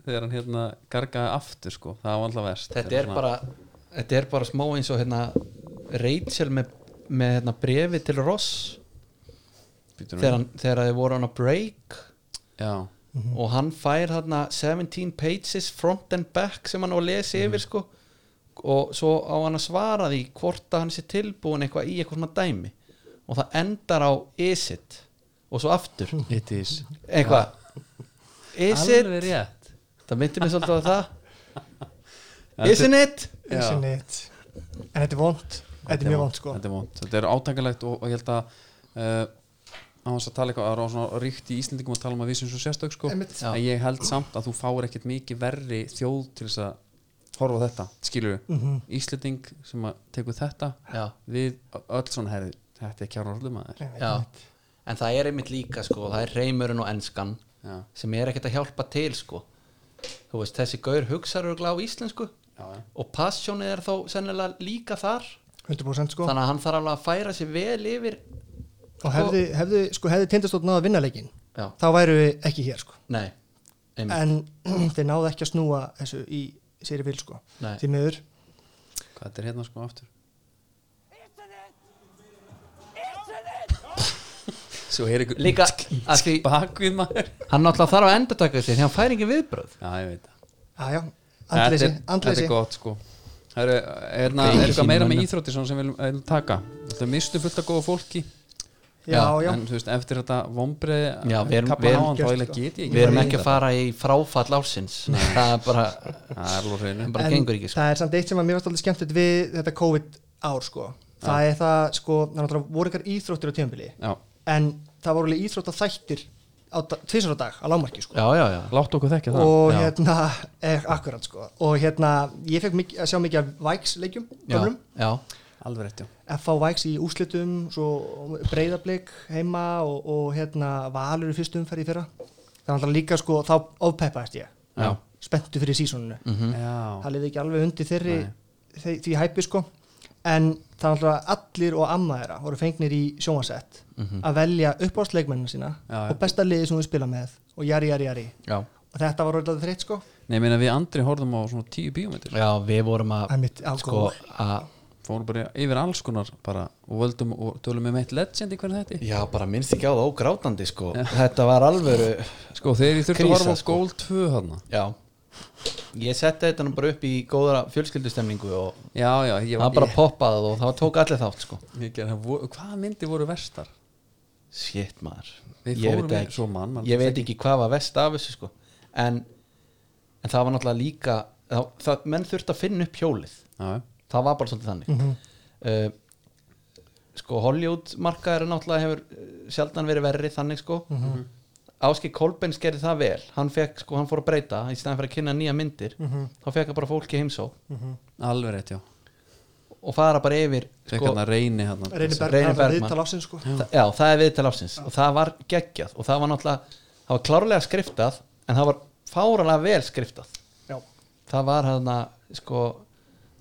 [SPEAKER 1] þegar hann hérna gargaði aftur sko það var alltaf verst
[SPEAKER 2] Þetta er bara, þetta er bara smá eins og hérna Rachel með, með hérna brefi til Ross þegar, hann, þegar þið voru hann að break
[SPEAKER 1] Já.
[SPEAKER 2] og hann fær hérna 17 pages front and back sem hann á að lesa
[SPEAKER 1] Mhm.
[SPEAKER 2] yfir sko og svo á hann að svara því hvort að hann sé tilbúin eitthvað í eitthvað svona dæmi og það endar á is it og svo aftur
[SPEAKER 1] it is [laughs]
[SPEAKER 2] eitthvað is
[SPEAKER 1] Hm. Alveg
[SPEAKER 2] it
[SPEAKER 1] rétt
[SPEAKER 2] það myndi mér svolítið á það
[SPEAKER 1] [laughs] Þetta-
[SPEAKER 2] isn't it
[SPEAKER 3] Isn't it En þetta er vond Þetta er mjög vond sko
[SPEAKER 1] þetta er vond, þetta er átangalegt og, og ég held að uh, á þess að tala eitthvað að ráð svona ríkt í Íslendingum að tala um að við sem svo sérstök sko
[SPEAKER 3] Einmitt. Já.
[SPEAKER 1] en ég held samt að þú fáir ekkert mikið verri þjóð til þess að horfa á þetta skilur við,
[SPEAKER 3] Mhm.
[SPEAKER 1] Íslending sem að tekur þetta
[SPEAKER 2] Já.
[SPEAKER 1] við öll svona herri þetta er kjára orðum að þér
[SPEAKER 2] Já. en það er einmitt líka sko, það er reymurinn og enskan
[SPEAKER 1] Já.
[SPEAKER 2] sem er ekkert að hjálpa til sko. þú veist, þessi gaur hugsar örugglega á íslensku
[SPEAKER 1] Já, já.
[SPEAKER 2] og passjónið er þó sennilega líka þar
[SPEAKER 3] 100% sko
[SPEAKER 2] þannig að hann þarf alveg að færa sér vel yfir
[SPEAKER 3] Og hefði, hefði, sko, hefði tindastótt náða að vinna leikinn
[SPEAKER 2] Já.
[SPEAKER 3] Þá væru við ekki hér sko
[SPEAKER 2] nei, einmitt
[SPEAKER 3] En [clears throat] þeir náðu ekki að snúa þessu í séri vil sko
[SPEAKER 2] Nei.
[SPEAKER 3] Því miður
[SPEAKER 1] hvað þetta er hérna sko aftur svo er ykkur
[SPEAKER 2] líka
[SPEAKER 1] [laughs]
[SPEAKER 2] að því
[SPEAKER 1] bakvið maður
[SPEAKER 2] hann náttúrulega þarf að endartaka sér því hann fær ekki viðbröð
[SPEAKER 1] já ég veit það
[SPEAKER 3] Jájá,
[SPEAKER 1] Þetta
[SPEAKER 3] andleysi,
[SPEAKER 1] er- Þetta
[SPEAKER 3] andleysi
[SPEAKER 1] er gott sko Það eru, hérna,
[SPEAKER 2] Kveikir
[SPEAKER 1] er eitthvað
[SPEAKER 2] sínum
[SPEAKER 1] meira með
[SPEAKER 2] mönnum.
[SPEAKER 1] íþrótti svona sem við viljum- viljum taka Það mistu fullt að góða fólki
[SPEAKER 3] Já, já,
[SPEAKER 1] En þú veist, eftir þetta vombreið
[SPEAKER 2] Já, við erum- við
[SPEAKER 1] Kappan á
[SPEAKER 2] erum-
[SPEAKER 1] hann, þá eiginlega get ég
[SPEAKER 2] við erum ekki að fara í fráfall ársins [laughs] það er bara,
[SPEAKER 1] Það er alveg hreinu
[SPEAKER 2] það bara gengur ekki sko.
[SPEAKER 3] það er samt eitt sem að mér varst alltaf skemmtilegt við þetta COVID ár sko Það er það sko, það er náttúrulega voru ykkar íþróttir á tímabili
[SPEAKER 1] Já,
[SPEAKER 3] En það voru alveg íþrótta þættir á da- tvisvar á dag, á lágmarki sko
[SPEAKER 2] já, já, já,
[SPEAKER 1] láttu okkur þekki það
[SPEAKER 3] og
[SPEAKER 1] Já.
[SPEAKER 3] hérna, eh, akkurat sko og hérna, ég fekk mikið, að sjá mikið af Vikes leikjum,
[SPEAKER 2] já,
[SPEAKER 3] gömlum
[SPEAKER 2] já.
[SPEAKER 1] Alveg rétt, já
[SPEAKER 3] FH Væks í úslitum svo breyðarblik heima og, og hérna valur í fyrstu umferð í fyrra það var alltaf líka sko þá ofpeppaðist ég
[SPEAKER 2] Já.
[SPEAKER 3] spenntu fyrir sísoninu
[SPEAKER 2] Mm.
[SPEAKER 1] Já,
[SPEAKER 3] það liði ekki alveg undir þeirri þe því hæpi sko en það var alltaf allir og amma þeirra voru fengnir í sjónvarsett að velja uppáðsleikmennina sína
[SPEAKER 1] Mhm. Já, já.
[SPEAKER 3] og besta liði sem við spila með og jari jari jari
[SPEAKER 2] já.
[SPEAKER 3] og þetta var orðið þreitt sko
[SPEAKER 1] nei, ég meina við andri horfðum á svona tíu bíómetri
[SPEAKER 2] já við vorum að
[SPEAKER 3] Einmitt,
[SPEAKER 2] sko,
[SPEAKER 3] alkohól.
[SPEAKER 2] að
[SPEAKER 1] Fórum bara yfir alls konar bara Og völdum og tölum um eitt legend í hvernig þetta
[SPEAKER 2] Já, bara minnst ekki á það ógrátandi sko Þetta var alvöru
[SPEAKER 1] Sko, þegar ég þurfti að
[SPEAKER 2] Krísa,
[SPEAKER 1] horfa á
[SPEAKER 2] sko.
[SPEAKER 1] Gold 2 þarna
[SPEAKER 2] Já Ég setti þetta nú bara upp í góðara fjölskyldustemningu og
[SPEAKER 1] Já, já, ég
[SPEAKER 2] það bara poppaði og það tók allir þátt sko
[SPEAKER 1] ég, ég, gerði það. Vo- Hvaða myndi voru verstar?
[SPEAKER 2] Shit maður
[SPEAKER 1] Við
[SPEAKER 2] Ég
[SPEAKER 1] fórum
[SPEAKER 2] veit
[SPEAKER 1] í-
[SPEAKER 2] ekki,
[SPEAKER 1] svo mann, maður
[SPEAKER 2] Ég
[SPEAKER 1] veit
[SPEAKER 2] veit ekki hvað var vest af þessu sko En, en það var náttúrulega líka það, það, menn þurfti að finna upp hjólið
[SPEAKER 1] Já, já
[SPEAKER 3] Mhm.
[SPEAKER 2] það var bara svolítið þannig mm Eh, sko Hollywood markaður náttúrulega hefur eh, sjaldan verið verri þannig sko mm
[SPEAKER 3] Mhm.
[SPEAKER 2] Áski Kolbens gerði það vel hann, fekk, sko, hann fór að breyta í staðan fyrir að kynna nýja myndir
[SPEAKER 3] Mhm.
[SPEAKER 2] þá fekk hann bara fólki í heimsó
[SPEAKER 3] Mhm.
[SPEAKER 1] alveg rétt, já
[SPEAKER 2] Sko- og fara bara yfir sko,
[SPEAKER 1] Fekk hann að reyni hann
[SPEAKER 3] Reyni Bergmann, það var viðtal ársins, sko.
[SPEAKER 2] Þa, já, það er viðtal áfsins og það var geggjað og það var náttúrulega það var klárlega skriftað en það var fáralega vel skriftað
[SPEAKER 3] Já.
[SPEAKER 2] það var hann sko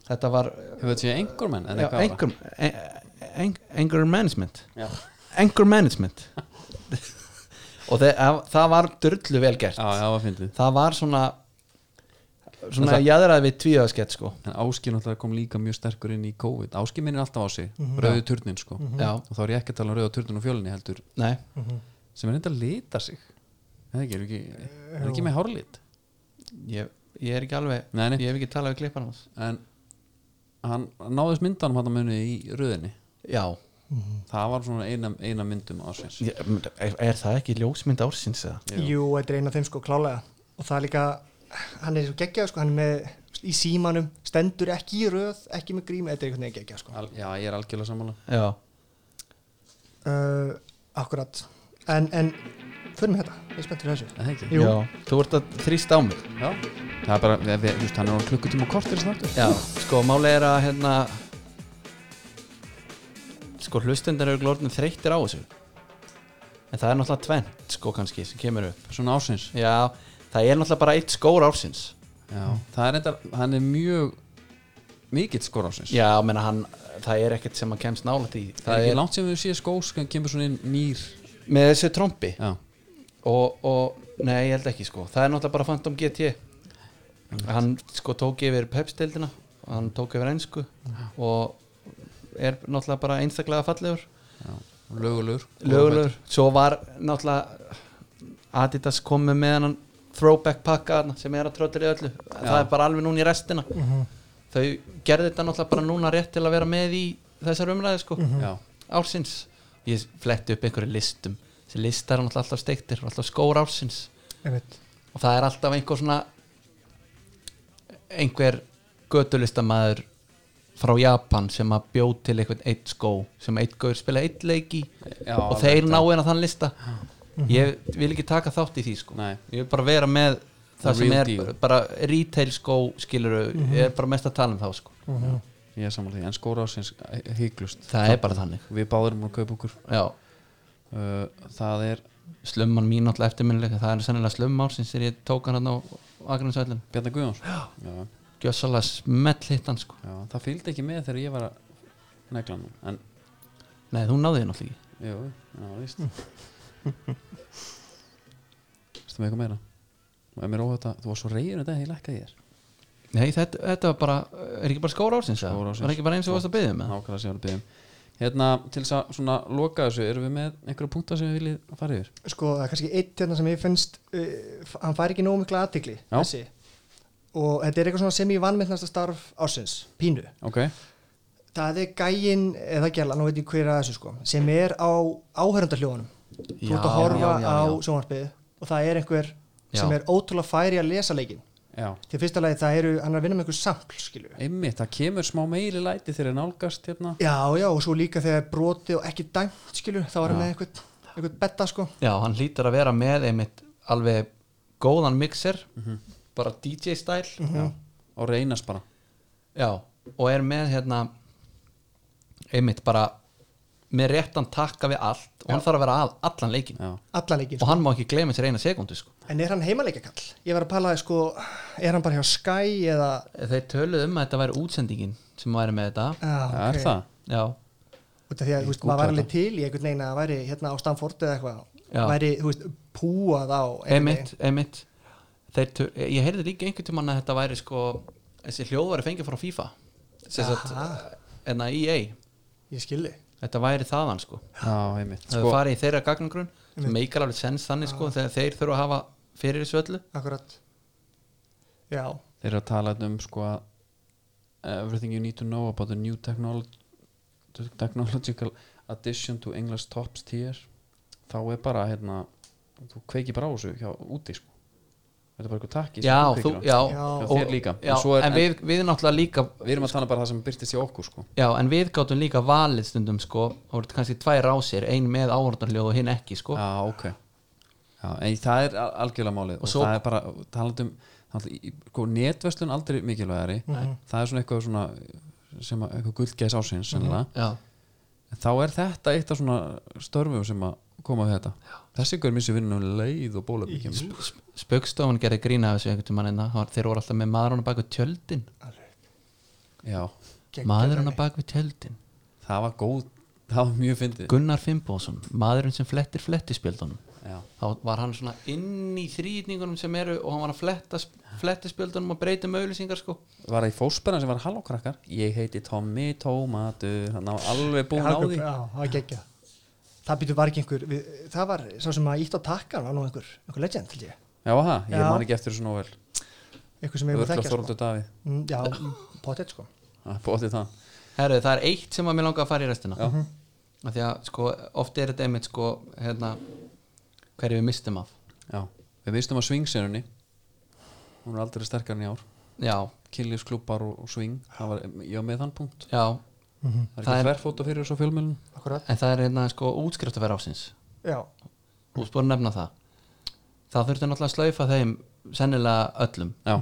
[SPEAKER 2] þetta var
[SPEAKER 1] Hefur þetta séð Anchorman, en
[SPEAKER 2] Já, e-
[SPEAKER 1] eitthvað var
[SPEAKER 2] Anchor- An- An- Anchor Management
[SPEAKER 1] Já.
[SPEAKER 2] Anchor Management og það, það var dörlu vel gert
[SPEAKER 1] Já, já, það var fyndið.
[SPEAKER 2] það var svona svona
[SPEAKER 1] Það-
[SPEAKER 2] jæðraði við tvíðaskett sko
[SPEAKER 1] en Áski náttúrulega kom líka mjög sterkur inn í COVID Áski minnir alltaf á sig,
[SPEAKER 2] Mhm.
[SPEAKER 1] rauðu
[SPEAKER 2] Já.
[SPEAKER 1] turnin sko
[SPEAKER 2] Mhm. Já.
[SPEAKER 1] og þá er ég ekki að tala um rauðu turnin og fjölinni heldur
[SPEAKER 2] Nei.
[SPEAKER 3] Mhm.
[SPEAKER 1] sem er reynda að lita sig eða ekki, er ekki, er ekki
[SPEAKER 2] Jú.
[SPEAKER 1] með hárlit
[SPEAKER 2] ég, ég er ekki alveg
[SPEAKER 1] nei, nei.
[SPEAKER 2] ég hef ekki talað við klippan hans
[SPEAKER 1] en hann hann náðist myndanum hann að muni í rauðinni
[SPEAKER 2] já
[SPEAKER 3] Mhm.
[SPEAKER 1] það var svona eina, eina myndum ásins
[SPEAKER 2] Ég- er, er það ekki ljósmynd ársins eða?
[SPEAKER 3] Jú, þetta er eina af þeim sko klálega og það er líka, hann er svo geggjað sko, hann er með í símanum stendur ekki í röð, ekki með grím þetta er einhvern veginn geggjað sko
[SPEAKER 1] Al, já, ég er algjörlega sammála
[SPEAKER 2] já,
[SPEAKER 3] uh, Akkurat en, en förum við þetta, ég er spennt fyrir þessu
[SPEAKER 1] Eða ekki?
[SPEAKER 3] Jú,
[SPEAKER 2] já. þú ert að þrýsta á mig
[SPEAKER 1] já. það er bara, við, við, þú veist, hann er á klukkutíma og kortir snartur
[SPEAKER 2] Já, sko, máli er að hérna sko, hlustendur eru glórnum þreyttir á þessu en það er náttúrulega tvennt, sko, kannski, sem kemur upp
[SPEAKER 1] svona ársins
[SPEAKER 2] Já, það er náttúrulega bara eitt skór ársins
[SPEAKER 1] já. það er reyndar, hann er mjög mikill skor ársins
[SPEAKER 2] Já, menna hann, það er ekkert sem að kemst nálægt í
[SPEAKER 1] það er ekki langt sem við séð skós hann kemur svona inn nýr
[SPEAKER 2] Með þessu trompi
[SPEAKER 1] Já.
[SPEAKER 2] og, og, nei, ég held ekki, sko það er náttúrulega bara Phantom GT Hann, sko, tók yfir pepstildina hann tók yfir einsku og er náttúrulega bara einstaklega fallegur
[SPEAKER 1] lögulegur
[SPEAKER 2] lögulegur svo var náttúrulega Adidas komið með hennan throwback pakka þarna sem er að tröttir í öllu það er bara alveg núna í restina
[SPEAKER 3] Mhm.
[SPEAKER 2] þau gerði þetta náttúrulega bara núna rétt til að vera með í þessar umræði sko
[SPEAKER 3] Mhm.
[SPEAKER 1] Já.
[SPEAKER 2] ársins ég fletti upp einhverju listum þessi listar er náttúrulega alltaf steiktir alltaf skór ársins
[SPEAKER 3] Einmitt.
[SPEAKER 2] og það er alltaf einhver svona einhver götulistamæður frá Japan sem að bjó til einhvern eitt skó sem eitt gaur spila eitt leiki
[SPEAKER 1] Já,
[SPEAKER 2] og
[SPEAKER 1] alveg,
[SPEAKER 2] þeir
[SPEAKER 1] já.
[SPEAKER 2] ná en að þann lista ég vil ekki taka þátt í því sko.
[SPEAKER 1] Nei.
[SPEAKER 2] ég vil bara vera með
[SPEAKER 1] The
[SPEAKER 2] það sem
[SPEAKER 1] real
[SPEAKER 2] er
[SPEAKER 1] deal.
[SPEAKER 2] bara retail skó skilur,
[SPEAKER 1] Mhm.
[SPEAKER 2] ég er bara mest að tala um þá sko.
[SPEAKER 3] Mhm.
[SPEAKER 1] ég er sammála því, en skóra ásins hygglust
[SPEAKER 2] Það er bara þannig.
[SPEAKER 1] við báðum um að kaupa okkur
[SPEAKER 2] Já.
[SPEAKER 1] uh, það er
[SPEAKER 2] slumman mín alltaf eftirminnilega það er sennilega slum ársins þegar ég tók hann þarna á Akransvælun
[SPEAKER 1] Bjarnar Guðjóns
[SPEAKER 2] já.
[SPEAKER 1] Já.
[SPEAKER 2] gjössalega smell hitt hann sko.
[SPEAKER 1] já, það fylgdi ekki með þegar ég var að negla hann en,
[SPEAKER 2] nei þú náði þið náttúrulega ekki
[SPEAKER 1] jú, já, víst veistu með eitthvað meira og ef mér óhætt að þú var svo reyður þetta ég lækkaði þér
[SPEAKER 2] nei þetta, þetta var bara, er ekki bara skóra ársins eða?
[SPEAKER 1] Skór ársins.
[SPEAKER 2] var ekki bara eins og varst að byggja með
[SPEAKER 1] nákvæmlega sem ég var að byggja um hérna, til þess að svona loka þessu erum við með einhverja punkta sem við viljið fara yfir
[SPEAKER 3] sko, það er kannski eitt hérna sem ég finnst uh, f- hann fær ekki nógu mikla aðtikli
[SPEAKER 1] Já.
[SPEAKER 3] þessi og þetta er eitthvað svona sem ég vannmyndnasta starf ársins, pínu
[SPEAKER 1] ok,
[SPEAKER 3] það er gæin, eða gæla, nú veit ég hver að þessu sko sem er á áhörundarhljóðanum þú
[SPEAKER 2] Já,
[SPEAKER 3] ert að horfa
[SPEAKER 2] já, já,
[SPEAKER 3] á
[SPEAKER 2] já.
[SPEAKER 3] sjónvarpið og það er einhver
[SPEAKER 1] Já.
[SPEAKER 3] sem er ótrúlega færi að lesa leikin
[SPEAKER 1] já
[SPEAKER 3] til fyrsta lagi það eru, hann er að vinna með einhver sampl skilju
[SPEAKER 1] einmitt, það kemur smá meiri læti þegar ég nálgast hérna
[SPEAKER 3] já, já, og svo líka þegar broti og ekki dæmt skilju, þá var
[SPEAKER 1] Já.
[SPEAKER 3] hann með einhvern, einhvern betta sko
[SPEAKER 2] já hann hlýtur að vera með einmitt alveg góðan mixer bara DJ stæl
[SPEAKER 1] Mhm. Já. og reynast bara
[SPEAKER 2] já og er með hérna einmitt bara með réttan takka við allt og hann þarf að vera að allan leikin
[SPEAKER 1] já.
[SPEAKER 3] allan leikin
[SPEAKER 2] og hann má ekki gleyma sér eina sekundu sko.
[SPEAKER 3] En er hann heimaleikakall? Ég var að pala, sko, er hann bara hjá Sky eða...
[SPEAKER 2] þeir töluðu um að þetta væri útsendingin sem væri með þetta
[SPEAKER 3] Já, ok.
[SPEAKER 1] er það?
[SPEAKER 2] já,
[SPEAKER 3] Út af því að, þú veist,
[SPEAKER 1] googla
[SPEAKER 3] maður var
[SPEAKER 1] þetta.
[SPEAKER 3] alveg til í einhvern veginn að það væri hérna á Stanford eða eitthvað.
[SPEAKER 2] Já.
[SPEAKER 3] Væri, þú veist, púað á... einhvern
[SPEAKER 2] emitt,
[SPEAKER 3] veginn.
[SPEAKER 2] emitt þeir, töl- ég heyrði líka einhvern tímann að þetta væri sko, þessi hljóð væri fengið frá FIFA sem sagt, eh,
[SPEAKER 3] Aha.
[SPEAKER 2] en að EA
[SPEAKER 3] Ég skildi.
[SPEAKER 2] þetta væri þaðan sko
[SPEAKER 1] já, einmitt
[SPEAKER 2] það
[SPEAKER 1] Sko-
[SPEAKER 2] farið í þeirra gagnagrun sem meikar alveg sens þannig sko þegar þeir þurfa að hafa fyrir þessu öllu
[SPEAKER 3] Akkurat. Já.
[SPEAKER 1] þeir eru að tala um sko að everything you need to know about the new technology, technological addition to English tops tier þá er bara hérna þú kveiki bara á þessu hjá úti sko þetta er bara eitthvað takki
[SPEAKER 2] já, þú, já,
[SPEAKER 1] þér líka
[SPEAKER 2] já,
[SPEAKER 1] svo
[SPEAKER 2] en, við, við náttúrulega líka
[SPEAKER 1] við erum að tala bara um það sem byrtist í okkur sko.
[SPEAKER 2] já, en við gátum líka valið stundum sko, og voru kannski tvær rásir, ein með áhornarljóð og hinn ekki sko.
[SPEAKER 1] já, ok já, en það er al- algjörlega málið og,
[SPEAKER 2] svo-
[SPEAKER 1] það er bara talandum sko, netverslun aldrei mikilvægari
[SPEAKER 2] Nei.
[SPEAKER 1] það er svona eitthvað svona sem að, eitthvað gullgæs ásins mm
[SPEAKER 2] já.
[SPEAKER 1] en þá er þetta eitt af svona störfum sem að koma við þetta þessi gaur missi vinnum leið og bólöfni kemur
[SPEAKER 2] Spaukstofan gerði grína af þessu einhvern tímann einna þeir voru alltaf með maðurinn að baka tjöldin
[SPEAKER 1] já,
[SPEAKER 2] maðurinn að baka tjöldin
[SPEAKER 1] það var góð það var mjög fyndið
[SPEAKER 2] Gunnar Fimboðsson, maðurinn sem flettir flettispjöldunum
[SPEAKER 1] Já.
[SPEAKER 2] þá var hann svona inn í þrýtningunum sem eru og hann var að fletta flettispjöldunum og breyta um auðlýsingar sko
[SPEAKER 1] var það í fóspennan sem var hallókrakkar ég heiti Tommy Tómatur hann var alveg búin á
[SPEAKER 3] Algjör-
[SPEAKER 1] því
[SPEAKER 3] já, það var geggja það býtur var ekki einhver við, það var sá sem að ítt á takkan var nú einhver, einhver legend held ég
[SPEAKER 1] já, það, ég
[SPEAKER 3] Já.
[SPEAKER 1] man ekki eftir þessu nóvel
[SPEAKER 3] einhver sem hefur
[SPEAKER 1] örgla
[SPEAKER 3] þekkja sko.
[SPEAKER 1] Þorvaldur Davíð
[SPEAKER 3] Mm, já, potið sko
[SPEAKER 1] Það er bótið það
[SPEAKER 2] Herru, það er eitt sem að mér langa að fara í restina af því að sko, oft er þetta einmitt sko, hérna hverju við mistum af
[SPEAKER 1] já. við mistum að svingsennunni hún er aldrei sterkar en í ár
[SPEAKER 2] já,
[SPEAKER 1] killisklubbar og, og sving það var, ég var með þann punkt
[SPEAKER 2] já,
[SPEAKER 1] það er
[SPEAKER 2] Það
[SPEAKER 1] ekki
[SPEAKER 2] er-
[SPEAKER 1] þverfóta fyrir þessu fjölmjölun
[SPEAKER 3] akkurat,
[SPEAKER 2] en það er hérna sko útskriftafæra ásins
[SPEAKER 3] já,
[SPEAKER 2] og spór að nefna það það þurfti náttúrulega að slaufa þeim sennilega öllum
[SPEAKER 1] já,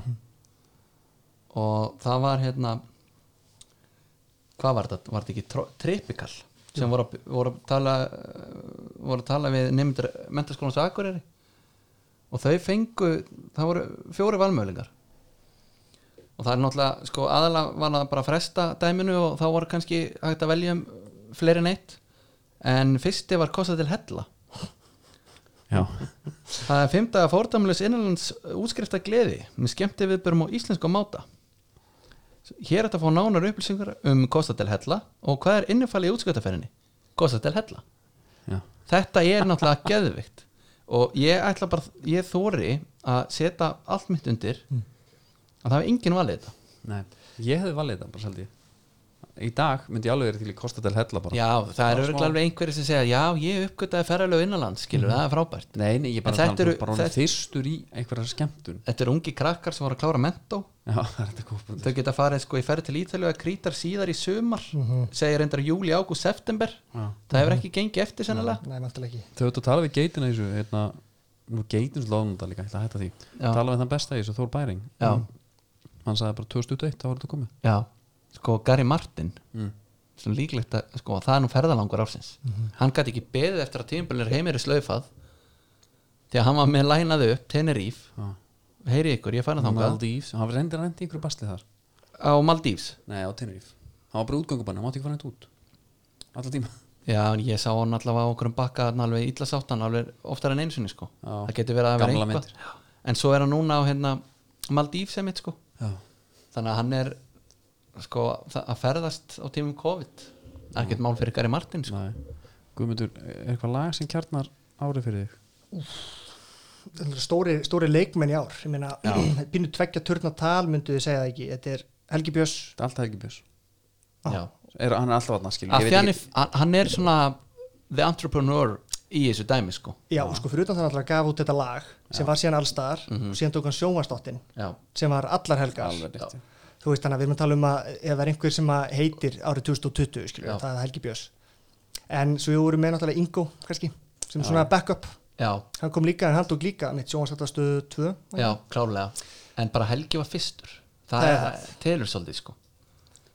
[SPEAKER 2] og það var hérna hvað var þetta, var þetta ekki tro- Tropical sem voru að, voru að tala eh, voru að tala við nefndir mentaskólans Akureyri og þau fengu, það voru fjóri valmöðlingar og það er náttúrulega, sko aðalega var það bara að fresta dæminu og þá voru kannski hægt að velja um fleiri en eitt en fyrsti var kostað til hella
[SPEAKER 1] já.
[SPEAKER 2] Það er fymtaða fórdamlis innanlands útskrifta gleði með skemmti viðbörum á íslensku máta. Hér er þetta að fá nánar upplýsingar um Kostatel Hella og hvað er innifalið í útskriftaferinni? Kostatel Hella.
[SPEAKER 1] Já.
[SPEAKER 2] Þetta er náttúrulega [laughs] geðvikt og ég ætla bara, ég þóri að setja allt mitt undir
[SPEAKER 1] Mm.
[SPEAKER 2] að það er enginn valið þetta.
[SPEAKER 1] Nei, ég hefði valið þetta bara seldi ég í dag myndi ég alveg verið til í Kostatel Hella bara
[SPEAKER 2] Já, það
[SPEAKER 1] smá.
[SPEAKER 2] eru alveg einhverjir sem segja já, ég uppgötaði ferðalög innanlands, skilur,
[SPEAKER 1] Mm.
[SPEAKER 2] það er frábært.
[SPEAKER 1] Nei, nei, ég bara
[SPEAKER 2] En
[SPEAKER 1] tala
[SPEAKER 2] þetta
[SPEAKER 1] um
[SPEAKER 2] eru-
[SPEAKER 1] bara hún
[SPEAKER 2] þetta-
[SPEAKER 1] þyrstur í einhverjar skemmtun
[SPEAKER 2] Þetta eru ungi krakkar sem voru að klára mentó
[SPEAKER 1] Já, það er þetta góð
[SPEAKER 2] þau geta farið sko í ferð til Ítalíu að krítar síðar í sumar segir reyndar júli, ágúst, september
[SPEAKER 1] Já.
[SPEAKER 2] það hefur ekki gengið eftir sennilega
[SPEAKER 3] nei, vantilega ekki
[SPEAKER 1] Þau ert að tala við geitina í þessu hérna, Nú geitin svo loðum þetta líka, ég ætla að hætta því
[SPEAKER 2] Já.
[SPEAKER 1] Tala við þann besta í þessu, Þór Bæring
[SPEAKER 2] Já.
[SPEAKER 1] Hann sagði bara 2001, þá var þetta komið
[SPEAKER 2] já, sko Gary Martin
[SPEAKER 1] Mm.
[SPEAKER 2] sem líklegt að, sko, það er nú ferðalangur ársins
[SPEAKER 1] Mhm.
[SPEAKER 2] hann gæti ekki beðið eftir að tímabölin heimir er slaufað því að hann var með lænaðu upp Tenerife,
[SPEAKER 1] Já.
[SPEAKER 2] heyri ykkur, ég fann að þangað
[SPEAKER 1] Maldífs, hann var reyndir að reynda í ykkur basli þar
[SPEAKER 2] á Maldífs
[SPEAKER 1] Nei, á Tenerife Hann var bara útgöngubann, hann mátti ekki fara neitt út Alla tíma
[SPEAKER 2] já, en ég sá hann allavega á okkur um bakka þarna alveg illa sáttan, alveg oftar en einsunni sko.
[SPEAKER 1] Já.
[SPEAKER 2] það getur verið að vera
[SPEAKER 1] Gamla
[SPEAKER 2] eitthvað
[SPEAKER 1] myndir.
[SPEAKER 2] en svo er hann núna á hérna, Maldífs emitt sko
[SPEAKER 1] Já,
[SPEAKER 2] þannig að hann er sko, þa- að ferðast á tímum COVID ekkert mál fyrir Gary Martin sko.
[SPEAKER 1] nei Guðmundur, er eitthvað lag sem kjarnar árið fyrir þig?
[SPEAKER 3] Þetta eru stóri, stóri leikmenn í ár ég meina, pínu tveggja turna tal myndu þið segja það ekki, þetta er Helgi Björns
[SPEAKER 1] Þetta er alltaf ekki björs
[SPEAKER 2] Já.
[SPEAKER 1] er, Hann er alltaf vatna,
[SPEAKER 2] Af
[SPEAKER 1] skilur
[SPEAKER 2] því hann, er, hann- hann er svona the entrepreneur í þessu dæmi sko.
[SPEAKER 3] já, og sko, fyrir utan þannig að hann gaf út þetta lag sem var síðan allstar og síðan tók hann sjónvastáttin
[SPEAKER 2] já,
[SPEAKER 3] sem var allar helgar
[SPEAKER 1] Alveg rétt.
[SPEAKER 3] þú veist þannig að við erum að tala um að ef það er einhver sem að heitir árið 2020 skilur,
[SPEAKER 2] Já.
[SPEAKER 3] við, það er Helgi Björns en svo við vorum með náttúrulega Ingo kannski, sem svona backup
[SPEAKER 2] já,
[SPEAKER 3] hann kom líka en hann tók líka mitt sjónvastáttastöðu 2
[SPEAKER 2] já, klálega en bara Helgi var fyrstur það,
[SPEAKER 3] Það
[SPEAKER 2] það
[SPEAKER 3] er
[SPEAKER 2] er, telur svolítið sko.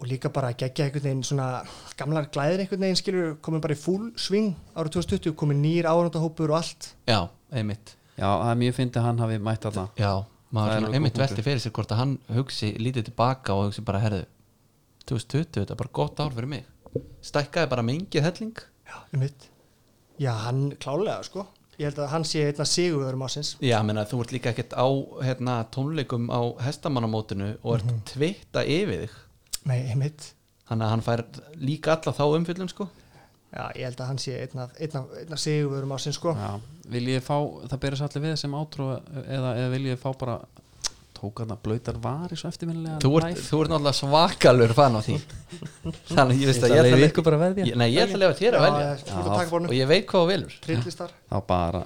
[SPEAKER 3] og líka bara að gegja einhvern veginn svona gamlar glæðir einhvern veginn skilur komin bara í full sving árið 2020 komin nýr áhundahópur og allt
[SPEAKER 2] já, einmitt
[SPEAKER 1] Já, það er mjög fyndið að hann hafi mætt þarna
[SPEAKER 2] já,
[SPEAKER 1] Það er
[SPEAKER 2] maður
[SPEAKER 1] alveg
[SPEAKER 2] svona, einmitt
[SPEAKER 1] góð punktur.
[SPEAKER 2] velti fyrir sér hvort að hann hugsi lítið tilbaka og hugsi bara herðu 2020, þetta er bara gott ár fyrir mig stækkaði bara mengið helling
[SPEAKER 3] já, um mitt já, hann klálega sko ég held að hann sé einna sigurverðum ásins
[SPEAKER 2] Já, ég meina, þú ert líka ekkert á hérna, tónleikum á hestamannamótinu og ert mm tvitta yfir þig
[SPEAKER 3] nei, um mitt
[SPEAKER 2] þannig að hann fær líka alla þá umfyllum sko.
[SPEAKER 3] já, ég held að hann sé einna, einna, einna sigurverðum ásins sko
[SPEAKER 1] Já, viljið þið fá, það berið allir við sem átrú eða, eða viljið þið fá bara tók hann að blöytar var í svo eftirminnilega
[SPEAKER 2] þú, ert, þú ert náttúrulega svakalur fann á því þannig að ég
[SPEAKER 1] Ég
[SPEAKER 2] veist að
[SPEAKER 1] ætla að
[SPEAKER 2] ég
[SPEAKER 1] leyfa
[SPEAKER 2] le-
[SPEAKER 1] ykkur bara að veðja.
[SPEAKER 2] Ég- Nei, ég ætla að lefa þér að
[SPEAKER 3] Já,
[SPEAKER 2] velja
[SPEAKER 3] ég ætla að taka bara
[SPEAKER 2] og
[SPEAKER 3] honum.
[SPEAKER 2] ég veit hvað þú velur
[SPEAKER 3] trillistar
[SPEAKER 1] þá bara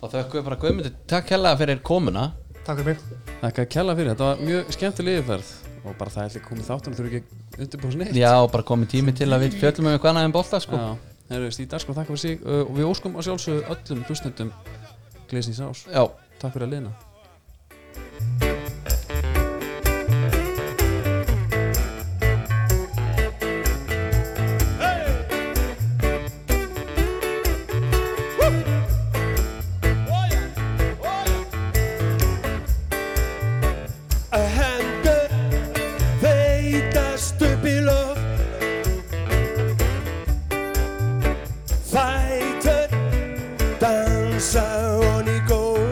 [SPEAKER 2] og Þá þökkum við bara Guðmundur Takk hella fyrir komuna
[SPEAKER 3] Takk fyrir mig
[SPEAKER 1] Takk að kella fyrir, þetta var mjög skemmtileg yfirferð og bara það ætli komið þáttunum þurfi ekki að undirbúa sér neitt
[SPEAKER 2] Já, bara komið tími til að við fjöllum um eitthvað annað en bolta sko.
[SPEAKER 1] Já, herru, Stíð Darskóð, takk fyrir sig uh, og við óskum að sjálfsögðu öllum hlustendum Gleisins ás
[SPEAKER 2] Já.
[SPEAKER 1] Takk fyrir að liðna
[SPEAKER 11] að hengur veitast upp í loft Fætur dansa hon í góð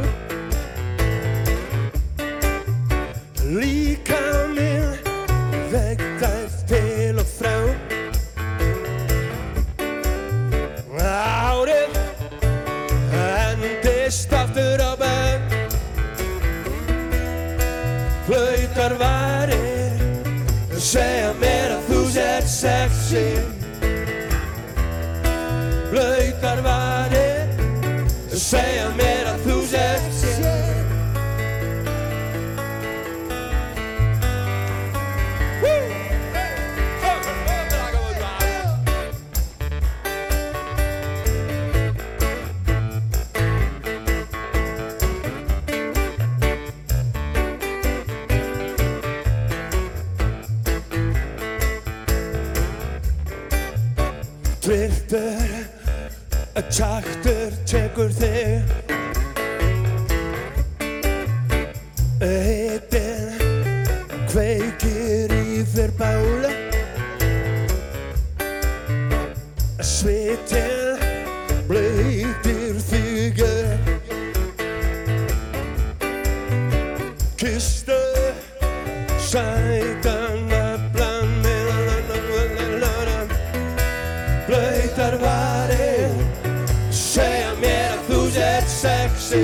[SPEAKER 11] Líka minn vegtæft til og frá Árið endist aftur á bæk flautar varir segja mér að þú sér sexy flautar varir segja mér að þú sér sexy Tvirtur Tjaktur tekur þig Hittir Kveikir í þér bála Svitin Blöytir þigur Kistu Sætan Naflan Naflan blöytar varir segja mér að þú sér sexy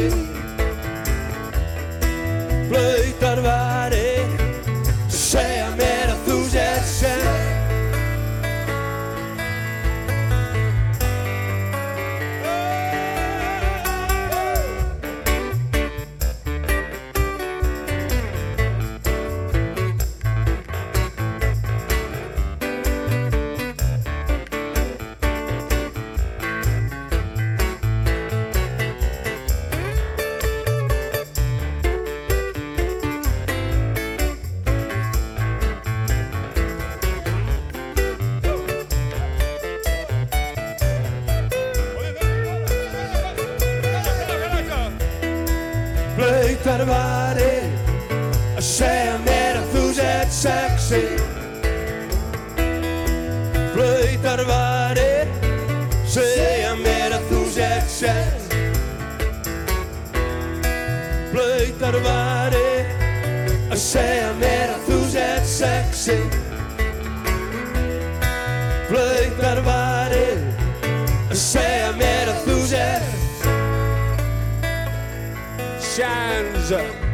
[SPEAKER 11] blöytar varir segja mér að þú sér sexy blöytar varir að segja mér að þú sér sexy blöytar varir segja mér að þú sér sexy blöytar varir að segja mér að þú sér sexy blöytar varir að segja mér að þú sér Shines up.